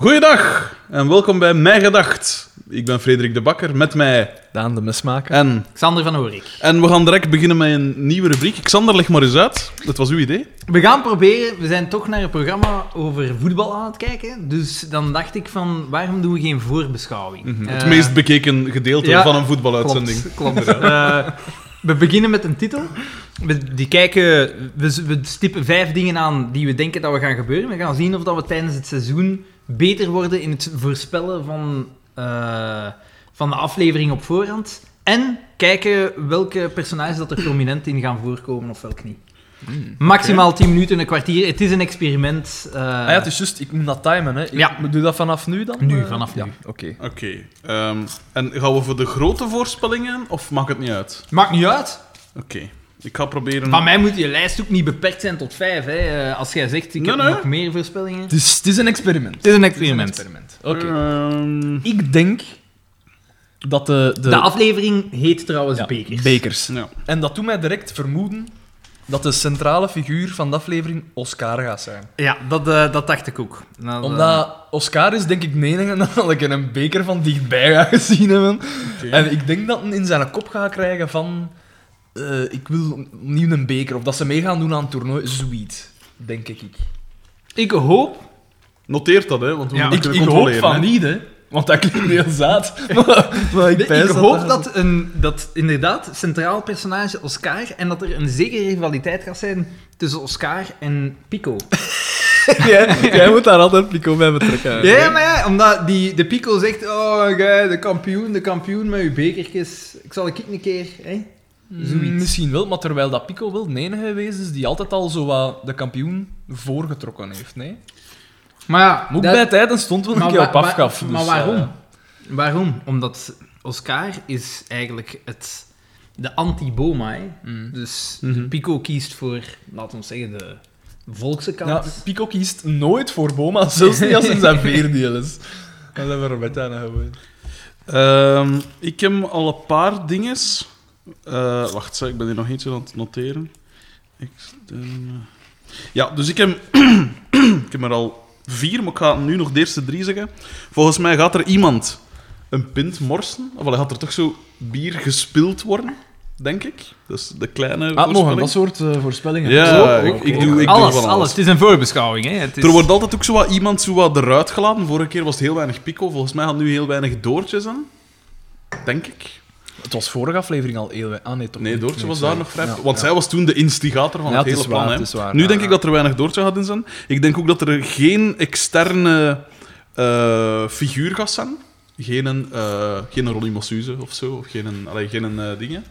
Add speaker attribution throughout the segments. Speaker 1: Goeiedag en welkom bij Mijn Gedacht. Ik ben Frederik de Bakker, met mij
Speaker 2: Daan de mismaker.
Speaker 1: en...
Speaker 3: Xander van Horik.
Speaker 1: En we gaan direct beginnen met een nieuwe rubriek. Xander, leg maar eens uit. Dat was uw idee.
Speaker 3: We gaan proberen, we zijn toch naar een programma over voetbal aan het kijken. Dus dan dacht ik van, waarom doen we geen voorbeschouwing?
Speaker 1: Mhm. Het
Speaker 3: Eh,
Speaker 1: meest bekeken gedeelte
Speaker 3: ja,
Speaker 1: van een voetbaluitzending.
Speaker 3: Klopt, klopt. Eh, we beginnen met een titel. We, die kijken, we, z- we stippen vijf dingen aan die we denken dat we gaan gebeuren. We gaan zien of dat we tijdens het seizoen beter worden in het voorspellen van, eh, van de aflevering op voorhand. En kijken welke personages dat er prominent in gaan voorkomen of welk niet. Maximaal 10 minuten, een kwartier. Het is een experiment. eh,
Speaker 2: Hmm, Ah ja, het is juist, ik moet dat timen. Hè. Ik
Speaker 3: Ja.
Speaker 2: Doe dat vanaf nu dan?
Speaker 3: Nu,
Speaker 2: eh?
Speaker 3: vanaf
Speaker 2: Ja,
Speaker 3: nu.
Speaker 2: Oké.
Speaker 1: Oké. ehm, en gaan we voor de grote voorspellingen of maakt het niet uit?
Speaker 3: Maakt niet uit.
Speaker 1: Oké. Ik ga proberen...
Speaker 3: Van mij moet je lijst ook niet beperkt zijn tot vijf. Hè. Eh, Als jij zegt, ik
Speaker 1: Nee,
Speaker 3: heb
Speaker 1: nee.
Speaker 3: nog meer voorspellingen.
Speaker 2: Het is, het is een experiment.
Speaker 3: is een Eh.
Speaker 2: Het is een experiment. Oké.
Speaker 1: Ehm,
Speaker 2: Ik denk dat de...
Speaker 3: De, aflevering heet trouwens
Speaker 2: ja,
Speaker 3: Bekers.
Speaker 2: Bekers.
Speaker 1: ja.
Speaker 2: En dat doet mij direct vermoeden dat de centrale figuur van de aflevering Oscar gaat zijn.
Speaker 3: Ja, dat, eh, dat dacht ik ook. Nou, dat-
Speaker 2: Omdat Oscar is denk ik de enige dat ik een beker van dichtbij ga gezien hebben.
Speaker 1: Oké.
Speaker 2: En ik denk dat hij in zijn kop gaat krijgen van... eh, ik wil opnieuw een beker. Of dat ze mee gaan doen aan het toernooi. Zoiets. Denk ik.
Speaker 3: Ah, Ik hoop...
Speaker 1: Noteert dat, hè? Want we
Speaker 3: Ja.
Speaker 1: moeten
Speaker 2: Ik,
Speaker 1: kunnen
Speaker 2: ik hoop
Speaker 1: controleren.
Speaker 2: van
Speaker 1: hè.
Speaker 2: niet, hè. Want dat klinkt heel zaad. Maar, maar ik,
Speaker 3: Ik,
Speaker 2: pijs
Speaker 3: hoop dat, een, dat inderdaad centraal personage Oscar en dat er een zekere rivaliteit gaat zijn tussen Oscar en Pico.
Speaker 2: jij, jij moet daar altijd Pico bij betrekken.
Speaker 3: Ja, ja, maar ja, omdat die, de Pico zegt, oh, jij, de kampioen, de kampioen met uw bekertjes. Ik zal ik een keer... Hè?
Speaker 2: Mm, Misschien wel, maar terwijl dat Pico wel de enige geweest is die altijd al zo wat de kampioen voorgetrokken heeft. Nee?
Speaker 3: Maar ja,
Speaker 2: Maar ook
Speaker 3: dat-
Speaker 2: bij tijden stond wel een
Speaker 3: Maar
Speaker 2: keer
Speaker 3: wa-
Speaker 2: op
Speaker 3: wa-
Speaker 2: afgaf.
Speaker 3: maar
Speaker 2: dus,
Speaker 3: waarom?
Speaker 2: eh,
Speaker 3: Waarom? Omdat Oscar is eigenlijk het, de anti-Boma. hè.
Speaker 2: mm.
Speaker 3: Dus
Speaker 1: Mhm.
Speaker 3: Pico kiest voor, laten we zeggen, de volkse
Speaker 2: ja,
Speaker 3: kant.
Speaker 2: Pico kiest nooit voor Boma, zelfs niet als hij zijn veerdeel is. Dat hebben we met aan gewoon.
Speaker 1: Ehm, ik heb al een paar dinges. Eh, wacht, zeg, ik ben hier nog eentje aan het noteren. Externe- Ja, dus ik heb, ik heb er al vier, maar ik ga nu nog de eerste drie zeggen. Volgens mij gaat er iemand een pint morsen. Of wel, gaat er toch zo bier gespild worden, denk ik. Dus de kleine
Speaker 3: Ah,
Speaker 2: Ah,
Speaker 1: voorspelling.
Speaker 2: soort eh, voorspellingen.
Speaker 1: Ja,
Speaker 3: Zo,
Speaker 1: Eh, ik,
Speaker 3: ook,
Speaker 1: ik
Speaker 3: ook.
Speaker 1: doe, ik
Speaker 3: alles,
Speaker 1: doe van
Speaker 3: alles.
Speaker 1: alles.
Speaker 3: Het is een voorbeschouwing. Hè? Het is...
Speaker 1: Er wordt altijd ook zo wat iemand zo wat eruit gelaten. Vorige keer was het heel weinig pico. Volgens mij had nu heel weinig doortjes aan. Denk ik.
Speaker 2: Het was vorige aflevering al heel... Ah nee, toch
Speaker 1: Nee,
Speaker 2: niet.
Speaker 1: Doortje was
Speaker 2: sorry.
Speaker 1: daar nog vrij...
Speaker 2: Ja,
Speaker 1: want
Speaker 2: ja.
Speaker 1: zij was toen de instigator van
Speaker 2: Ja,
Speaker 1: het
Speaker 2: het
Speaker 1: hele
Speaker 2: is
Speaker 1: plan.
Speaker 2: waar,
Speaker 1: hè.
Speaker 2: het is waar,
Speaker 1: nu
Speaker 2: ja,
Speaker 1: denk ik
Speaker 2: ja.
Speaker 1: dat er weinig Doortje gaat in zijn. Ik denk ook dat er geen externe eh, figuur gaat zijn. Geen, eh geen Ronnie Massuze of zo. Of geen, allee, geen eh, dingen.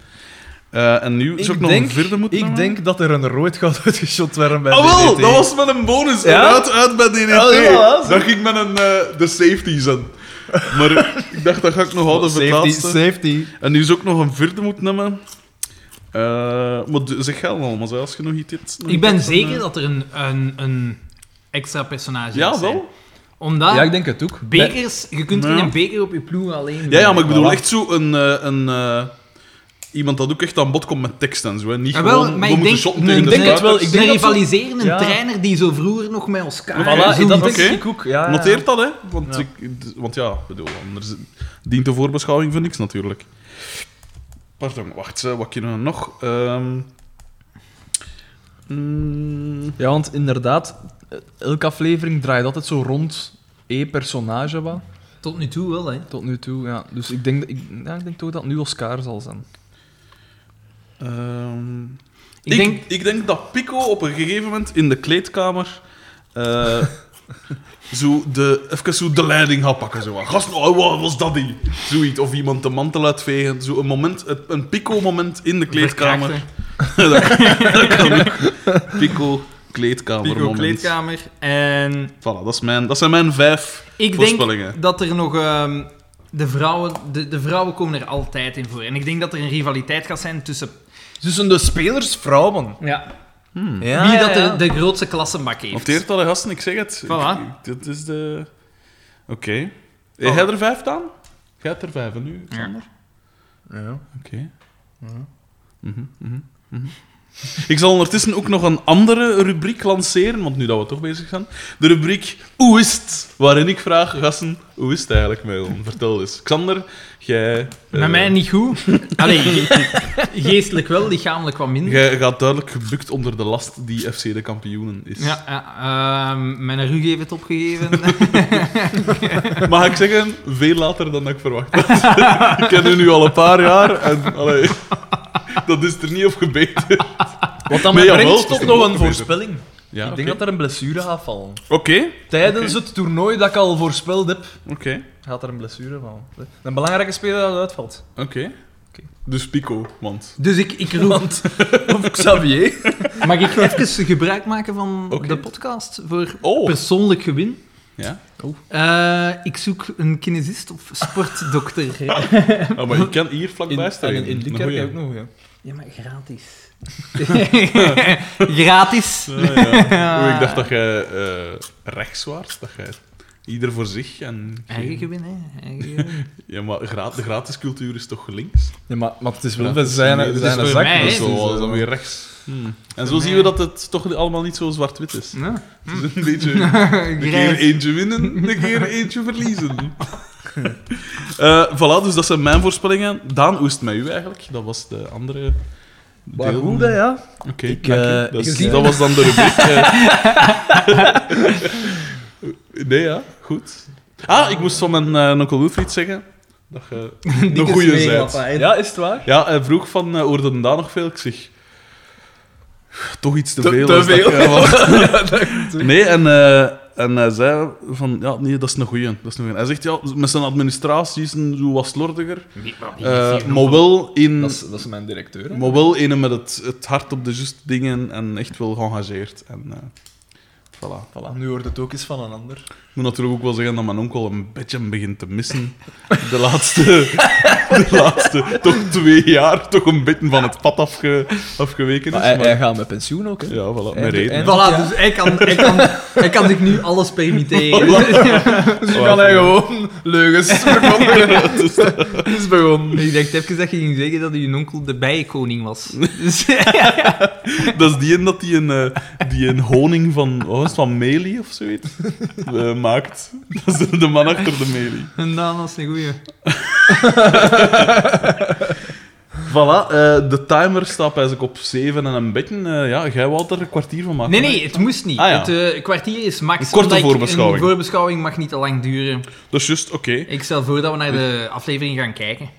Speaker 1: Eh, en nu zou ik nog een vierde moeten
Speaker 2: ik
Speaker 1: noemen?
Speaker 2: denk dat er een rood gaat uitgeschot werden bij E
Speaker 1: Ah, wel,
Speaker 2: DDT.
Speaker 1: dat was met een bonus.
Speaker 2: Ja?
Speaker 1: Eruit uit bij DDT.
Speaker 2: Ah, ja, dat was-
Speaker 1: dat ging met een, eh, de safety zijn. Maar ik dacht, dat ga ik nog houden voor het
Speaker 2: Safety,
Speaker 1: laatste.
Speaker 2: safety.
Speaker 1: En nu is ook nog een vierde moet nemen. Eh maar d- zeg geld allemaal, zei, als je nog iets hebt.
Speaker 3: Ik ben zeker dat er een, een, een extra personage
Speaker 1: Ja,
Speaker 3: gaat zijn.
Speaker 1: wel.
Speaker 3: Omdat
Speaker 2: Ja, ik denk het ook. Bij-
Speaker 3: bekers, je kunt geen
Speaker 1: Ja.
Speaker 3: beker op je ploeg alleen
Speaker 1: Ja, ja, maar ik bedoel
Speaker 2: Voilà.
Speaker 1: echt zo een. eh, een eh, iemand dat ook echt aan bod komt met tekst en zo. Hè. Niet
Speaker 3: Ah, wel,
Speaker 1: gewoon,
Speaker 3: maar
Speaker 1: we
Speaker 3: ik
Speaker 1: moeten
Speaker 3: denk-
Speaker 1: shotten tegen
Speaker 2: ik
Speaker 1: de
Speaker 2: denk het
Speaker 1: stuiters.
Speaker 2: wel, ik
Speaker 3: een
Speaker 2: denk dat zo-
Speaker 3: rivaliserende
Speaker 2: Ja.
Speaker 3: trainer die zo vroeger nog met Oscar...
Speaker 2: Voilà,
Speaker 3: zoiets-
Speaker 2: dat denk
Speaker 1: Oké.
Speaker 2: ik ook. Ja, ja.
Speaker 1: Noteert dat, hè? Want,
Speaker 2: Ja.
Speaker 1: ik, d- want ja, ik bedoel, anders dient de voorbeschouwing voor niks natuurlijk. Pardon, wacht, hè, wat kunnen we nog? Ehm, mm,
Speaker 2: Ja, want inderdaad, eh, elke aflevering draait altijd zo rond één personage wat,
Speaker 3: Tot nu toe wel, hè.
Speaker 2: tot nu toe. Ja. Dus ik denk, dat- ik, ja, ik denk toch dat het nu Oscar zal zijn.
Speaker 1: ehm,
Speaker 3: Ik denk...
Speaker 1: ik denk dat Pico op een gegeven moment in de kleedkamer. eh, zo de, even zo de leiding gaat pakken. Zo. wat. Gast, oh, wat was dat die? Zoiets. Of iemand de mantel uitvegen. Zo een, moment, het- een Pico-moment in de kleedkamer.
Speaker 3: verkrachten.
Speaker 1: dat, dat kan ook. Pico, kleedkamer.
Speaker 3: Pico
Speaker 1: moment.
Speaker 3: kleedkamer. En
Speaker 1: Voilà, dat, is mijn, dat zijn mijn vijf
Speaker 3: ik
Speaker 1: voorspellingen.
Speaker 3: denk dat er nog... ehm, de, vrouwen, de, de vrouwen komen er altijd in voor. En ik denk dat er een rivaliteit gaat zijn tussen...
Speaker 2: Tussen de spelers vrouwen.
Speaker 3: Ja,
Speaker 1: Hmm.
Speaker 3: wie dat de, de grootste klassenbak heeft.
Speaker 1: Noteert dat, hè, gasten, ik zeg het.
Speaker 3: Voilà.
Speaker 1: Ik- ik- dit is de. Oké. Heb jij er vijf dan? Jij hebt er vijf en nu, Xander?
Speaker 2: Ja.
Speaker 1: Oké. Mhm, mhm, mhm. Ik zal ondertussen ook nog een andere rubriek lanceren, want nu dat we toch bezig zijn. De rubriek Hoe is het? Waarin ik vraag, gasten, hoe is het eigenlijk met ons? Vertel eens. Xander, jij... eh,
Speaker 3: Met mij niet goed. Allee, ge- geestelijk wel, lichamelijk wat minder.
Speaker 1: Jij gaat duidelijk gebukt onder de last die FC de kampioenen is.
Speaker 3: Ja, ja, ehm, mijn rug heeft het opgegeven.
Speaker 1: Mag ik zeggen, veel later dan dat ik verwacht had. ik ken u nu al een paar jaar en allee, dat is er niet op gebeten.
Speaker 2: Wat dan
Speaker 1: Nee,
Speaker 2: me
Speaker 1: jawel,
Speaker 2: brengt
Speaker 1: het is
Speaker 2: tot
Speaker 1: toch
Speaker 2: nog een
Speaker 1: goed bezig.
Speaker 2: voorspelling.
Speaker 1: Ja,
Speaker 2: Ik
Speaker 1: oké.
Speaker 2: denk dat er een blessure gaat vallen.
Speaker 1: Oké,
Speaker 2: Tijdens het toernooi dat ik al voorspeld heb,
Speaker 1: oké,
Speaker 2: gaat er een blessure vallen. Een belangrijke speler dat uitvalt.
Speaker 1: oké.
Speaker 2: Oké.
Speaker 1: Dus Pico, want...
Speaker 3: Dus ik, ik roep...
Speaker 2: Want, of Xavier.
Speaker 3: Mag ik even gebruik maken van
Speaker 1: Oké.
Speaker 3: de podcast voor
Speaker 1: Oh!
Speaker 3: persoonlijk gewin?
Speaker 1: Ja?
Speaker 3: Eh, ik zoek een kinesist of sportdokter.
Speaker 1: Ah, maar je kan hier vlakbij staan.
Speaker 2: en in, in
Speaker 1: Een
Speaker 2: Likkerk
Speaker 1: goeie.
Speaker 2: ook nog, ja.
Speaker 3: Ja, maar gratis. gratis.
Speaker 1: Ah, ja. Oeh, ik dacht dat jij eh rechts was, dat jij ieder voor zich en... geen-
Speaker 3: Eigen gewin, hè. Eigen gewin.
Speaker 1: Ja, maar gra- de gratis cultuur is toch links?
Speaker 2: Ja, maar, maar het is
Speaker 1: Ja,
Speaker 2: wel
Speaker 1: het
Speaker 2: we
Speaker 1: is
Speaker 2: zijn,
Speaker 1: niet- het is
Speaker 2: zijn
Speaker 1: voor
Speaker 2: zak.
Speaker 3: mij,
Speaker 1: Dat
Speaker 2: dus,
Speaker 1: is
Speaker 2: eh,
Speaker 1: zo, dat is dan weer rechts.
Speaker 2: Hmm.
Speaker 1: En zo zien we dat het toch allemaal niet zo zwart-wit is.
Speaker 3: Ja.
Speaker 1: Het is een beetje... Een keer
Speaker 3: Grijs.
Speaker 1: eentje winnen, een keer eentje verliezen. Eh voilà, dus dat zijn mijn voorspellingen. Daan, hoe is het met u eigenlijk? Dat was de andere
Speaker 2: Maar
Speaker 1: deel.
Speaker 2: goed, hè, ja.
Speaker 1: Oké,
Speaker 2: Ik,
Speaker 1: dank je.
Speaker 2: eh,
Speaker 1: dat, is-
Speaker 2: ik zie-
Speaker 1: dat was dan de rubriek. eh. nee, ja, goed. Ah, ik moest van mijn eh onkel Wilfried zeggen dat je een goeie zijt.
Speaker 2: Ja, is het waar?
Speaker 1: Ja, hij vroeg van, eh hoorde hem daar nog veel? Ik zeg, toch iets te,
Speaker 2: Te-
Speaker 1: veel.
Speaker 2: te
Speaker 1: als dat
Speaker 2: veel.
Speaker 1: ik, eh, wat- nee, en, eh, en hij zei van, ja, nee, dat is een goeie. Dat is een goeie. Hij zegt, ja, met zijn administratie is een zo wat slordiger, eh, maar, wel in,
Speaker 2: Dat is, dat is mijn directeur. hè.
Speaker 1: maar wel in met het, het hart op de juiste dingen en echt wel geëngageerd. En, eh, voilà.
Speaker 2: Voilà, nu hoort het ook eens van een ander.
Speaker 1: Ik moet natuurlijk ook wel zeggen dat mijn onkel een beetje begint te missen. De laatste, de laatste toch twee jaar, toch een beetje van het pad afge, afgeweken is.
Speaker 2: Maar hij,
Speaker 1: maar-
Speaker 2: hij gaat met pensioen ook, hè.
Speaker 1: ja, voilà,
Speaker 2: Hij-
Speaker 1: met reden. hè.
Speaker 2: hij-
Speaker 3: Voilà, dus hij kan, hij, kan, hij kan zich nu alles permitteren.
Speaker 2: Dus nu kan hij gewoon leugens verkondigen.
Speaker 1: Ja, dus dat-
Speaker 2: Het is begonnen.
Speaker 3: Ik dacht even dat je ging zeggen dat je onkel de bijenkoning was. Dus,
Speaker 1: dat is die een dat die een, eh, die een honing van, wat was het, van melie of zoiets eh, maakt. Dat is de man achter de melie.
Speaker 3: en dan was een goeie.
Speaker 1: Voilà, eh, de timer staat bij zich op 7 en een beetje. eh, ja, jij wou er een kwartier van maken.
Speaker 3: Nee,
Speaker 1: hè?
Speaker 3: nee, het moest niet.
Speaker 1: Ah, ja.
Speaker 3: Het eh, kwartier is max.
Speaker 1: Een korte
Speaker 3: omdat ik-
Speaker 1: voorbeschouwing.
Speaker 3: Een voorbeschouwing mag niet te lang duren.
Speaker 1: Dat is Dus juist, oké.
Speaker 3: Ik stel voor dat we naar de aflevering gaan kijken.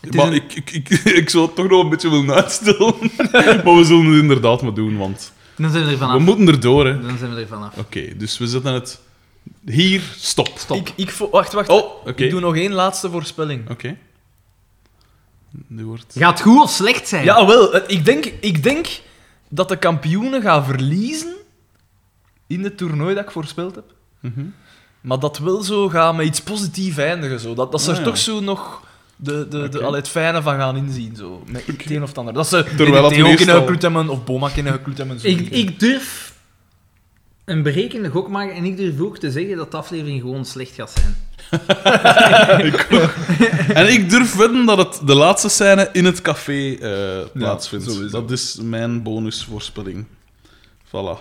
Speaker 3: Het is
Speaker 1: Maar
Speaker 3: een-
Speaker 1: ik, ik, ik, ik zou het toch nog een beetje willen uitstellen. maar we zullen het inderdaad maar doen, want
Speaker 3: Dan zijn we er
Speaker 1: we
Speaker 3: vanaf.
Speaker 1: moeten erdoor. hè. Oké,
Speaker 3: Dan zijn we er vanaf.
Speaker 1: dus we zetten het hier. Stop.
Speaker 3: Stop.
Speaker 2: Ik, ik, vo- wacht, wacht.
Speaker 1: Oh, oké.
Speaker 2: Ik doe nog één laatste voorspelling.
Speaker 1: Oké. Nu wordt...
Speaker 3: Gaat goed of slecht zijn?
Speaker 2: Ja, wel. eh, Ik denk, ik denk dat de kampioenen gaan verliezen in het toernooi dat ik voorspeld heb.
Speaker 1: Mhm.
Speaker 2: Maar dat wel zo gaan met iets positiefs eindigen. Zo. Dat, dat ze er
Speaker 1: Ah, ja.
Speaker 2: toch zo nog de, de, de,
Speaker 1: Oké.
Speaker 2: allee, het fijne van gaan inzien. Zo. Met het een of het ander. Dat ze
Speaker 1: dat
Speaker 2: DDT ook
Speaker 1: meestal-
Speaker 2: kunnen gekloed hebben of Boma kunnen gekloed hebben. Zo.
Speaker 3: Ik, ik durf een berekende gok maken en ik durf ook te zeggen dat de aflevering gewoon slecht gaat zijn.
Speaker 1: En ik durf wedden dat het de laatste scène in het café eh, plaatsvindt.
Speaker 2: sowieso.
Speaker 1: dat is mijn bonusvoorspelling. Voilà.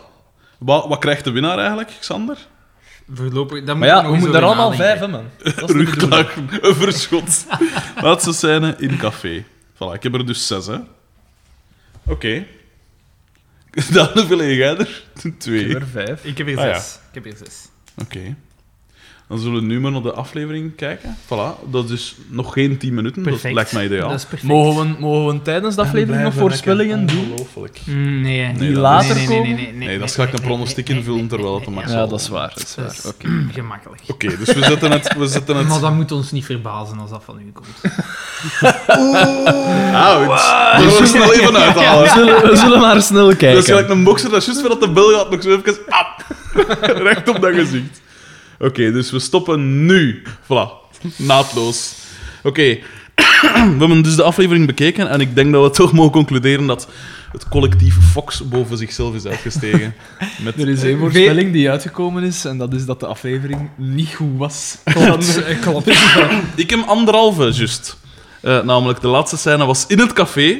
Speaker 1: Wat, wat krijgt de winnaar eigenlijk, Xander?
Speaker 3: Voorlopig, daar
Speaker 2: Maar
Speaker 3: moet ik
Speaker 2: ja,
Speaker 3: nog
Speaker 2: we
Speaker 3: eens
Speaker 2: moeten er
Speaker 3: over
Speaker 2: allemaal vijf
Speaker 3: nadenken.
Speaker 2: hebben. Dat is de bedoeling.
Speaker 1: Rugklaag, een verschot. laatste scène in café. Voilà, ik heb er dus zes, hè. Oké. Dan hoeveel heb jij er? Twee.
Speaker 2: Ik
Speaker 1: Oké.
Speaker 2: heb er vijf.
Speaker 3: Ik heb hier
Speaker 1: Ah, ja.
Speaker 3: zes. Ik heb hier zes.
Speaker 1: Dan zullen we nu maar naar de aflevering kijken. Voilà, dat is nog geen tien minuten. Dat
Speaker 3: Perfect.
Speaker 1: lijkt mij ideaal.
Speaker 3: Dat is perfect.
Speaker 2: Mogen we, mogen we tijdens de aflevering nog voorspellingen doen?
Speaker 1: Ongelooflijk.
Speaker 3: Mm, Nee, hè.
Speaker 1: Nee,
Speaker 2: Die
Speaker 1: dat
Speaker 2: later
Speaker 1: is-
Speaker 2: komen?
Speaker 1: Nee, dat is ga ik een pronostiek invullen terwijl het een max
Speaker 2: Ja, dat is waar. Dat is
Speaker 3: Dat
Speaker 2: waar.
Speaker 3: is
Speaker 2: Oké.
Speaker 3: gemakkelijk.
Speaker 1: Oké, dus we zetten het. We zetten
Speaker 3: Maar
Speaker 1: het.
Speaker 3: dat moet ons niet verbazen als dat van u komt.
Speaker 1: Auw, het- dat Ah, we er snel even uithalen.
Speaker 2: We zullen, we zullen maar snel kijken.
Speaker 1: Dat is gelijk een bokser, dat is juist voordat de bel gaat nog zo even. Ap, recht op dat gezicht. Oké, dus we stoppen nu. Voilà, naadloos. Oké, we hebben dus de aflevering bekeken en ik denk dat we toch mogen concluderen dat het collectief Fox boven zichzelf is uitgestegen. Met
Speaker 2: Er is één voorspelling die uitgekomen is, en dat is dat de aflevering niet goed was.
Speaker 3: Klopt, klopt.
Speaker 1: Ik heb anderhalve, juist. Eh, namelijk, de laatste scène was in het café.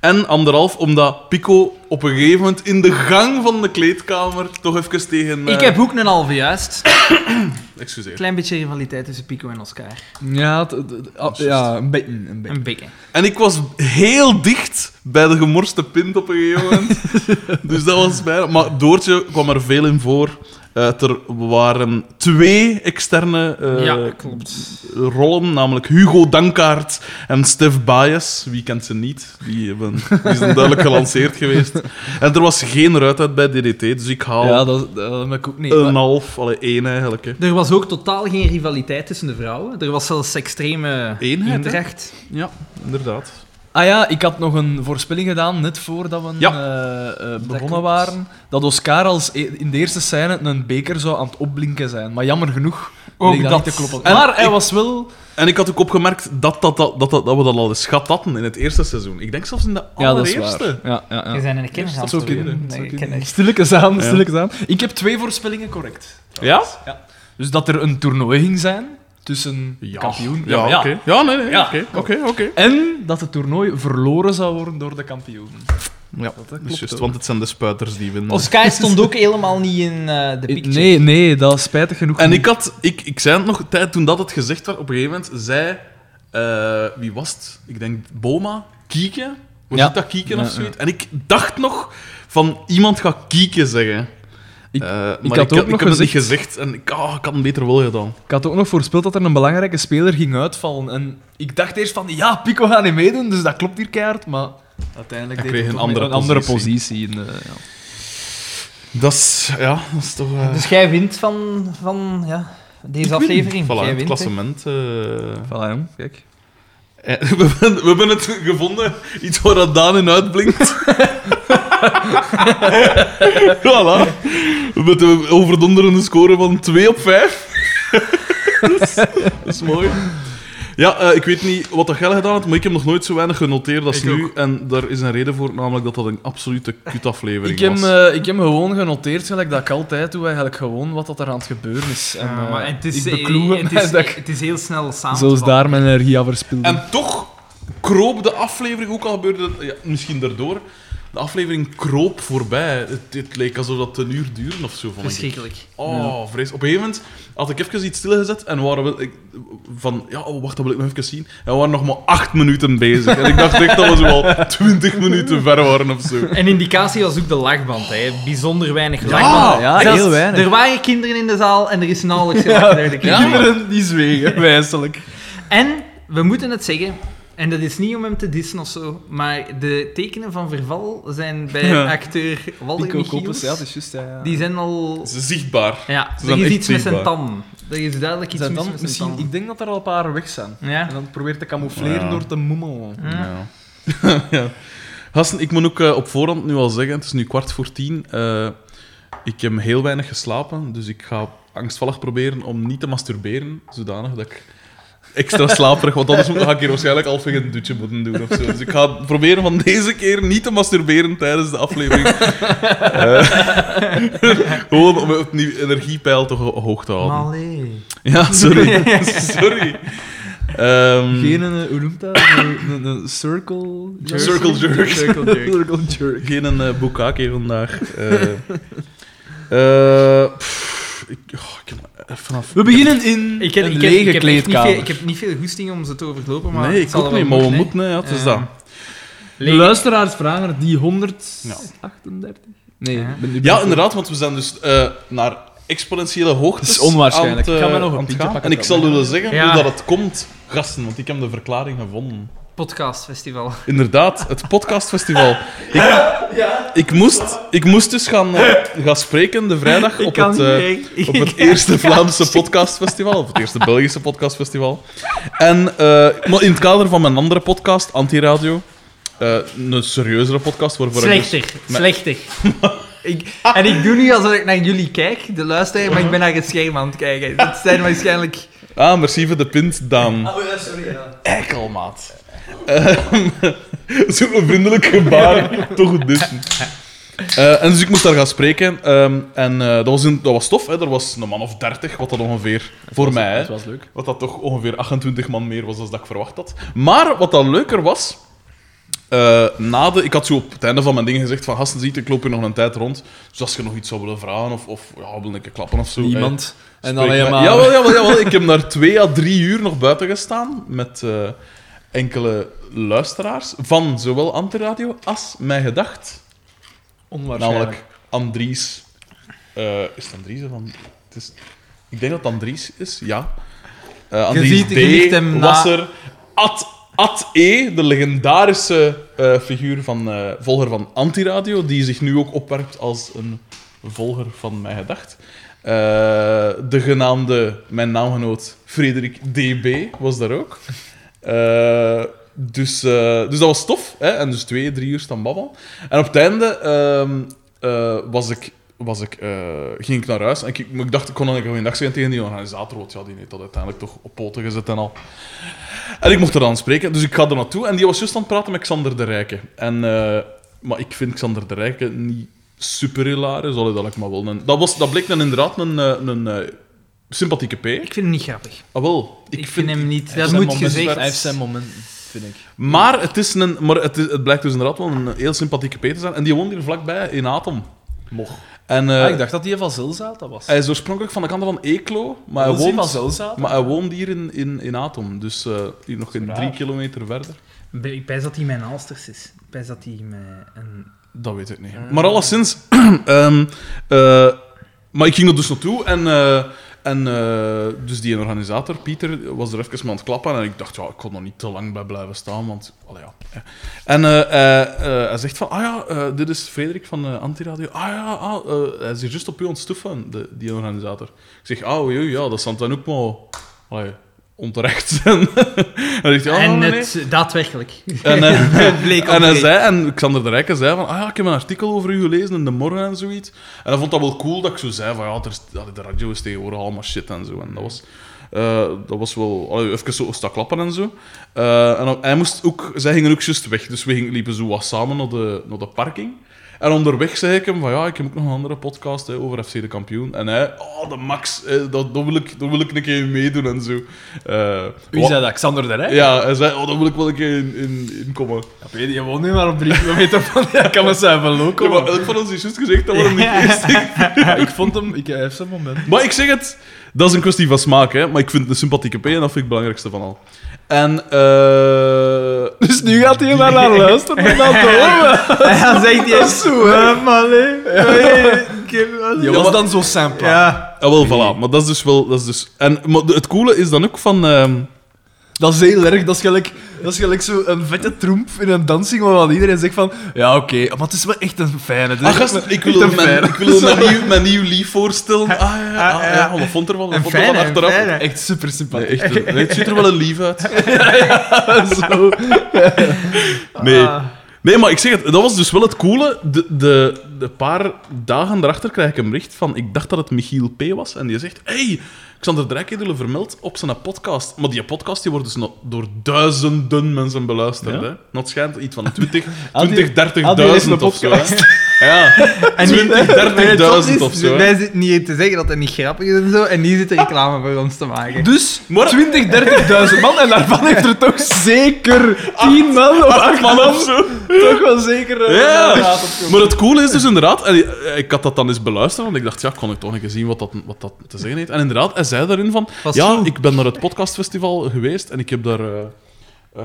Speaker 1: En anderhalf, omdat Pico op een gegeven moment in de gang van de kleedkamer toch even tegen... eh,
Speaker 3: Ik heb ook een halve juist.
Speaker 1: Excuseer.
Speaker 3: Klein beetje rivaliteit tussen Pico en Oscar.
Speaker 2: Ja, het- het- het- ah, ja een beetje. Een beetje.
Speaker 3: Een beetje.
Speaker 1: En ik was heel dicht bij de gemorste pint op een gegeven moment. dus dat was bijna... Maar Doortje kwam er veel in voor. Eh, er waren twee externe eh,
Speaker 3: ja, klopt.
Speaker 1: rollen, namelijk Hugo Dankaert en Stef Baez. Wie kent ze niet? Die, hebben, die zijn duidelijk gelanceerd geweest. En er was geen ruit uit bij DDT, dus ik haal
Speaker 2: Ja, dat, dat heb ik ook niet.
Speaker 1: een
Speaker 2: Maar-
Speaker 1: half, allee, één eigenlijk. Hè.
Speaker 3: Er was ook totaal geen rivaliteit tussen de vrouwen. Er was zelfs extreme
Speaker 1: Eenheid, hè?
Speaker 3: indracht.
Speaker 1: Ja, inderdaad.
Speaker 2: Ah ja, ik had nog een voorspelling gedaan, net voordat we
Speaker 1: Ja.
Speaker 2: eh, eh, begonnen
Speaker 3: klopt.
Speaker 2: waren, dat Oscar als e- in de eerste scène een beker zou aan het opblinken zijn. Maar jammer genoeg
Speaker 3: Ook
Speaker 2: bleek
Speaker 3: dat.
Speaker 2: niet te kloppen.
Speaker 1: En
Speaker 2: maar hij
Speaker 1: ik-
Speaker 2: was wel...
Speaker 1: En ik had ook opgemerkt dat, dat, dat, dat, dat, dat we dat al eens gehad hadden in het eerste seizoen. Ik denk zelfs in de allereerste.
Speaker 2: Ja, ja,
Speaker 3: Je
Speaker 2: ja.
Speaker 3: zijn in de kinderen aan
Speaker 1: Zo
Speaker 3: het doen.
Speaker 1: kinderen,
Speaker 3: Nee,
Speaker 1: zo
Speaker 3: ik
Speaker 1: kinderen.
Speaker 3: ken het.
Speaker 2: Stilletjes aan,
Speaker 1: Ja.
Speaker 2: stilletjes aan. Ik heb twee voorspellingen correct.
Speaker 1: Ja?
Speaker 2: Dus dat er een toernooi ging zijn tussen kampioen...
Speaker 1: Ja,
Speaker 2: maar
Speaker 1: oké. Ja, nee, nee.
Speaker 2: Ja.
Speaker 1: Oké, oké, oké.
Speaker 2: En dat het toernooi verloren zou worden door de kampioen.
Speaker 1: Ja, dat
Speaker 2: klopt
Speaker 1: is juist,
Speaker 2: ook.
Speaker 1: want het zijn de spuiters die winnen.
Speaker 3: Oscar stond ook helemaal niet in eh, de picture.
Speaker 2: Nee, nee, dat is spijtig genoeg.
Speaker 1: En
Speaker 2: niet.
Speaker 1: ik had, ik, ik zei het nog, tijd toen dat het gezegd werd, op een gegeven moment zei, eh, wie was het? Ik denk Boma, Kieken. Was
Speaker 2: Ja.
Speaker 1: het dat Kieken
Speaker 2: Ja,
Speaker 1: of zoiets? En ik dacht nog van iemand gaat Kieken zeggen.
Speaker 2: Ik-
Speaker 1: Eh, maar
Speaker 2: had ook
Speaker 1: ik,
Speaker 2: nog
Speaker 1: ik heb het niet gezegd en ik, ah, ik had hem beter wel gedaan.
Speaker 2: Ik had ook nog voorspeld dat er een belangrijke speler ging uitvallen. En ik dacht eerst van, ja, Pico gaat niet meedoen, dus dat klopt hier keihard. Maar uiteindelijk
Speaker 1: Hij
Speaker 2: deed
Speaker 1: kreeg
Speaker 2: hij
Speaker 1: een
Speaker 2: toch
Speaker 1: andere
Speaker 2: een andere
Speaker 1: positie.
Speaker 2: positie. in de- ja.
Speaker 1: Dat is, ja, dat is toch... eh,
Speaker 3: Dus jij wint van, van ja, deze
Speaker 1: Ik win.
Speaker 3: aflevering.
Speaker 1: Voilà,
Speaker 3: jij
Speaker 1: het
Speaker 3: wint, hè.
Speaker 1: klassement. eh,
Speaker 2: Voilà, jong, kijk.
Speaker 1: Eh, We hebben, we hebben het gevonden, iets waar dat Daan in uitblinkt. voilà. Met een overdonderende score van 2 op 5. dat, is, dat is mooi. Ja, eh, ik weet niet wat dat jij gedaan had, maar ik heb nog nooit zo weinig genoteerd als
Speaker 2: Ik
Speaker 1: nu.
Speaker 2: ook.
Speaker 1: En daar is een reden voor, namelijk dat dat een absolute kutaflevering
Speaker 2: Ik heb,
Speaker 1: was.
Speaker 2: eh, ik heb gewoon genoteerd, gelijk dat ik altijd doe, eigenlijk gewoon wat dat er aan het gebeuren is. En,
Speaker 3: Ja,
Speaker 2: eh,
Speaker 3: maar het is,
Speaker 2: ik bekloeg
Speaker 3: het,
Speaker 2: mij
Speaker 3: is,
Speaker 2: dat ik
Speaker 3: het is heel snel samen.
Speaker 2: zelfs daar mijn energie aan verspilde.
Speaker 1: En toch kroop de aflevering, ook al gebeurde dat ja, misschien daardoor, de aflevering kroop voorbij. Het, het leek alsof dat een uur duurde of zo. Vond ik.
Speaker 3: Verschrikkelijk.
Speaker 1: Oh, vrees. Op een gegeven moment had ik even iets stilgezet en waren we ik, van, ja, oh, wacht, dat wil ik nog even zien. En we waren nog maar acht minuten bezig. En ik dacht echt dat we zo al twintig minuten ver waren of zo.
Speaker 3: Een indicatie was ook de lachband. Hè. Bijzonder weinig lachband.
Speaker 1: Ah,
Speaker 2: ja,
Speaker 3: Zelfs-
Speaker 2: heel weinig.
Speaker 3: Er waren kinderen in de zaal en er is nauwelijks gelachen naar de kinderen.
Speaker 2: Kinderen die zwegen, wijselijk.
Speaker 3: En we moeten het zeggen, en dat is niet om hem te dissen of zo, maar de tekenen van verval zijn bij
Speaker 1: Ja.
Speaker 3: acteur Walter
Speaker 2: Pico Koppes,
Speaker 3: Michiels.
Speaker 2: ja, het is juist. Ja, ja.
Speaker 3: Die zijn al...
Speaker 1: Ze zichtbaar.
Speaker 3: Ja,
Speaker 1: dus- Ze
Speaker 3: er
Speaker 1: zijn
Speaker 3: is
Speaker 1: echt
Speaker 3: iets met zijn
Speaker 1: zichtbaar.
Speaker 3: tanden. Er is duidelijk iets
Speaker 2: Zijn
Speaker 3: mis
Speaker 2: dan
Speaker 3: met zijn
Speaker 2: misschien,
Speaker 3: tanden.
Speaker 2: ik denk dat er al een paar weg zijn.
Speaker 3: Ja.
Speaker 2: En dan probeert te camoufleren
Speaker 1: Ja.
Speaker 2: door te moemelen.
Speaker 3: Ja.
Speaker 1: Ja. ja. Gasten, ik moet ook eh, op voorhand nu al zeggen, het is nu kwart voor tien. eh, ik heb heel weinig geslapen, dus ik ga angstvallig proberen om niet te masturberen, zodanig dat ik extra slaperig, want anders moet- ga ik hier waarschijnlijk al tegen een dutje moeten doen of zo. Dus ik ga proberen van deze keer niet te masturberen tijdens de aflevering. Eh, gewoon om opnieuw energiepeil toch ho- hoog te houden.
Speaker 3: Maar allee.
Speaker 1: Ja, sorry. sorry. Ehm,
Speaker 2: Geen, eh, hoe noemt dat? Een, een, een circle...
Speaker 1: Circle jerk.
Speaker 2: Circle jerk. circle jerk.
Speaker 1: Geen een eh, boekake vandaag. Eh eh, pff, ik, oh, ik heb even af.
Speaker 2: We beginnen in
Speaker 3: Ik heb,
Speaker 2: een
Speaker 3: ik, heb,
Speaker 2: lege
Speaker 3: ik, heb echt niet
Speaker 2: kleedkamer.
Speaker 3: veel, ik heb niet veel goesting om ze te overlopen, maar
Speaker 1: nee,
Speaker 3: het
Speaker 1: ik
Speaker 3: zal
Speaker 1: ook
Speaker 3: wel
Speaker 1: niet, maar we
Speaker 3: hè.
Speaker 1: moeten. hè. Ja, het is
Speaker 3: Eh,
Speaker 1: dat.
Speaker 2: De luisteraars vragen het die 138? Nee.
Speaker 3: Ja.
Speaker 2: ben nu
Speaker 1: Ja,
Speaker 2: bezig.
Speaker 1: inderdaad, want we zijn dus eh, naar exponentiële hoogtes.
Speaker 2: Dat is onwaarschijnlijk.
Speaker 1: aan het,
Speaker 2: Ik ga
Speaker 1: eh,
Speaker 2: mij nog een
Speaker 1: aan het
Speaker 2: pintje
Speaker 1: gaan.
Speaker 2: pakken
Speaker 1: En ik zal
Speaker 2: dan, hè.
Speaker 1: willen zeggen
Speaker 3: Ja.
Speaker 1: hoe dat het komt, gasten, want ik heb de verklaring gevonden.
Speaker 3: Podcastfestival.
Speaker 1: Inderdaad, het podcastfestival. Ik, ik, moest, ik moest dus gaan, eh, gaan spreken de vrijdag op het, eh, op het eerste Vlaamse podcastfestival, of het eerste Belgische podcastfestival. En eh, maar in het kader van mijn andere podcast, Antiradio, eh een serieuzere podcast waarvoor ik...
Speaker 3: Slechter, slechter. dus- ik, en ik doe nu alsof ik naar jullie kijk, de luisteraar, maar ik ben naar het scherm aan het kijken. Dat zijn waarschijnlijk...
Speaker 1: dus- Ah, merci voor de pint, Daan.
Speaker 2: Oh, ja, sorry. Ja.
Speaker 1: Eikelmaat. Zo'n vriendelijk gebaar, toch goed dissen. Eh, en dus ik moest daar gaan spreken. ehm, en eh, dat, was een, dat was tof, hè. er was een man of dertig, wat dat ongeveer voor mij. hè.
Speaker 2: Het was leuk.
Speaker 1: Wat dat toch ongeveer 28 man meer was dan dat ik verwacht had. Maar wat dan leuker was, eh, na de, ik had zo op het einde van mijn ding gezegd van gasten ziet, ik loop hier nog een tijd rond. Dus als je nog iets zou willen vragen of, of ja, wil ik een klappen of zo. eh,
Speaker 2: Niemand. En dan
Speaker 1: Spreek mij-
Speaker 2: helemaal...
Speaker 1: Jawel, jawel, jawel. Ik heb daar twee à drie uur nog buiten gestaan met eh, enkele luisteraars van zowel Antiradio als Mij Gedacht.
Speaker 2: Onwaarschijnlijk.
Speaker 1: Namelijk Andries. eh, is het Andries of An- het is, Ik denk dat het Andries is, ja. Eh Andries
Speaker 3: ziet- je
Speaker 1: D.
Speaker 3: liet hem na-
Speaker 1: was er. Ad, Ad E, de legendarische eh, figuur van eh, volger van Antiradio, die zich nu ook opwerpt als een volger van Mij Gedacht. Eh, de genaamde, mijn naamgenoot Frederik DB was daar ook. Eh, dus, eh, dus dat was tof. Hè? En dus twee, drie uur staan babbelen. En op het einde ehm, eh, was ik, was ik, eh, ging ik naar huis. En ik, maar ik dacht, ik kon dan een goede dag zeggen tegen die organisator. Want ja, die heeft dat uiteindelijk toch op poten gezet en al. En ik mocht er dan spreken. Dus ik ga er naartoe. En die was juist aan het praten met Xander de Rijke. En, eh, maar ik vind Xander de Rijke niet super hilarisch. Allee, dat, lijkt me wel een, dat, was, dat bleek dan inderdaad een, eh, een, eh, sympathieke P.
Speaker 3: Ik vind hem niet grappig.
Speaker 1: Ah, wel.
Speaker 3: Ik, vind hem niet... Dat
Speaker 2: zijn
Speaker 3: moet
Speaker 2: momenten-
Speaker 3: gezegd.
Speaker 2: Hij heeft zijn momenten, vind ik.
Speaker 1: Maar het, is een, maar het, is- het blijkt dus inderdaad wel een heel sympathieke P te zijn. En die woont hier vlakbij, in Atom.
Speaker 2: Moch.
Speaker 1: En eh,
Speaker 2: Ah, ik dacht dat die van Zilzaad dat was.
Speaker 1: hij is oorspronkelijk van de kant van Eeklo, maar hij
Speaker 2: Wil die van
Speaker 1: woont,
Speaker 2: Zilzaad?
Speaker 1: maar hij woont hier in, in, in Atom. Dus eh, hier nog geen
Speaker 2: Raar.
Speaker 1: drie kilometer verder.
Speaker 3: Ik pijs dat hij mijn Alsters is. Ik pijs dat hij mijn... Een...
Speaker 1: Dat weet ik niet.
Speaker 3: Eh.
Speaker 1: Maar alleszins... ehm, eh, maar ik ging er dus naartoe en... eh, en eh, dus die organisator, Pieter, was er even mee aan het klappen. En ik dacht, ja, ik kon nog niet te lang bij blijven staan, want... Allee, ja. hè. En eh, eh, eh, hij zegt van, ah ja, eh, dit is Frederik van eh, Antiradio. Ah ja, ah, eh, hij is hier juist op u ontstoeven, de, die organisator. Ik zeg, ah oei, oei, ja, dat zal dan ook maar... Allee, onterecht zijn. en hij zegt, ja,
Speaker 3: en
Speaker 1: nee, nee.
Speaker 3: het... Daadwerkelijk.
Speaker 1: En, eh,
Speaker 3: Het bleek
Speaker 1: en hij
Speaker 3: oprecht.
Speaker 1: zei, en Xander de Rijken zei van, ah ja, ik heb een artikel over u gelezen in de morgen en zoiets. En hij vond dat wel cool dat ik zo zei van, ja, er, is- allee, de radio is tegenwoordig allemaal shit en zo. En dat was, eh, dat was wel, allee, even zo staan klappen en zo. Eh, en dan- hij moest ook, zij gingen ook juist weg, dus we gingen, liepen zo wat samen naar de, naar de parking. En onderweg zei ik hem van, ja, ik heb ook nog een andere podcast hè, over FC de kampioen. En hij, oh, de Max, hè, dat, dat, wil ik, dat wil ik een keer meedoen en zo. Eh,
Speaker 2: U
Speaker 1: wa-
Speaker 2: zei dat, Xander de Rijk?
Speaker 1: Ja, hij zei, oh, dat wil ik wel een keer in, in, in komen.
Speaker 2: Ik weet niet, je woont nu maar op drie kilometer van... Ja, kan me zijn van loco.
Speaker 1: Ja, maar elk van ons is juist gezegd dat we hem niet eerst
Speaker 2: Ja, ik vond hem... Ik, hij heeft zijn moment.
Speaker 1: Maar ik zeg het, dat is een kwestie van smaak, hè. Maar ik vind het een sympathieke P en dat vind ik het belangrijkste van al. En, eh...
Speaker 2: Dus nu gaat hij naar naar luisteren en dan te horen.
Speaker 3: En dan zegt hij...
Speaker 2: Zo, hè.
Speaker 3: man, Oh, Ah.
Speaker 2: Je
Speaker 1: Ja,
Speaker 2: was
Speaker 1: maar-
Speaker 2: dan zo simpel.
Speaker 3: Ja.
Speaker 1: Ah, wel, voilà. Maar dat is dus wel... Dat is dus... En maar de- het coole is dan ook van... ehm,
Speaker 2: Dat is heel erg. Dat is gelijk, dat is gelijk zo'n vette tromp in een dansing waarvan iedereen zegt van... Ja, oké, maar het is wel echt een fijne. Het is
Speaker 1: Ah,
Speaker 2: echt
Speaker 1: gast,
Speaker 2: een-
Speaker 1: ik
Speaker 2: echt
Speaker 1: wil
Speaker 2: een
Speaker 1: mijn,
Speaker 2: fijne.
Speaker 1: ik wil mijn, nieuw, mijn nieuw lief voorstellen. Ah, ja, ja, ah, ja.
Speaker 3: ja.
Speaker 1: Wat vond ervan? Wat
Speaker 3: Een
Speaker 1: vond ervan
Speaker 3: fijne, een
Speaker 1: achteraf?
Speaker 3: fijne.
Speaker 2: Echt super
Speaker 1: Nee,
Speaker 2: sympathiek.
Speaker 1: echt, nee, het ziet er wel een lief uit.
Speaker 2: Zo.
Speaker 3: Ah.
Speaker 1: Nee, Nee, maar ik zeg het, dat was dus wel het coole. De, de, de paar dagen daarachter krijg ik een bericht van... Ik dacht dat het Michiel P. was. En die zegt... Hey, Xander Drijkedelen vermeld op zijn podcast. Maar die podcast die wordt dus nog door duizenden mensen beluisterd.
Speaker 2: Ja?
Speaker 1: Hè? Dat schijnt iets van 20,
Speaker 2: Had die-
Speaker 1: 20
Speaker 2: had die eens
Speaker 1: 30.000
Speaker 2: een
Speaker 1: of zo. hè. Ja, 20, 30.000 of zo. hè.
Speaker 3: Wij zitten hier te zeggen dat hij niet grappig is en zo, en die zit reclame voor ons te maken.
Speaker 2: Dus
Speaker 1: Maar-
Speaker 2: 20, 30.000 man en daarvan heeft er toch zeker 10 man of 8
Speaker 1: Man
Speaker 2: man
Speaker 1: of zo.
Speaker 2: toch wel zeker... eh,
Speaker 1: Ja.
Speaker 2: inderdaad opkomen.
Speaker 1: Maar het coole is dus inderdaad, en eh, ik had dat dan eens beluisterd, want ik dacht, ja, kon ik toch een keer zien wat dat, wat dat te zeggen heeft. En inderdaad, hij zei daarin van,
Speaker 3: Was
Speaker 1: ja,
Speaker 3: goed.
Speaker 1: ik ben naar het podcastfestival geweest en ik heb daar eh, eh,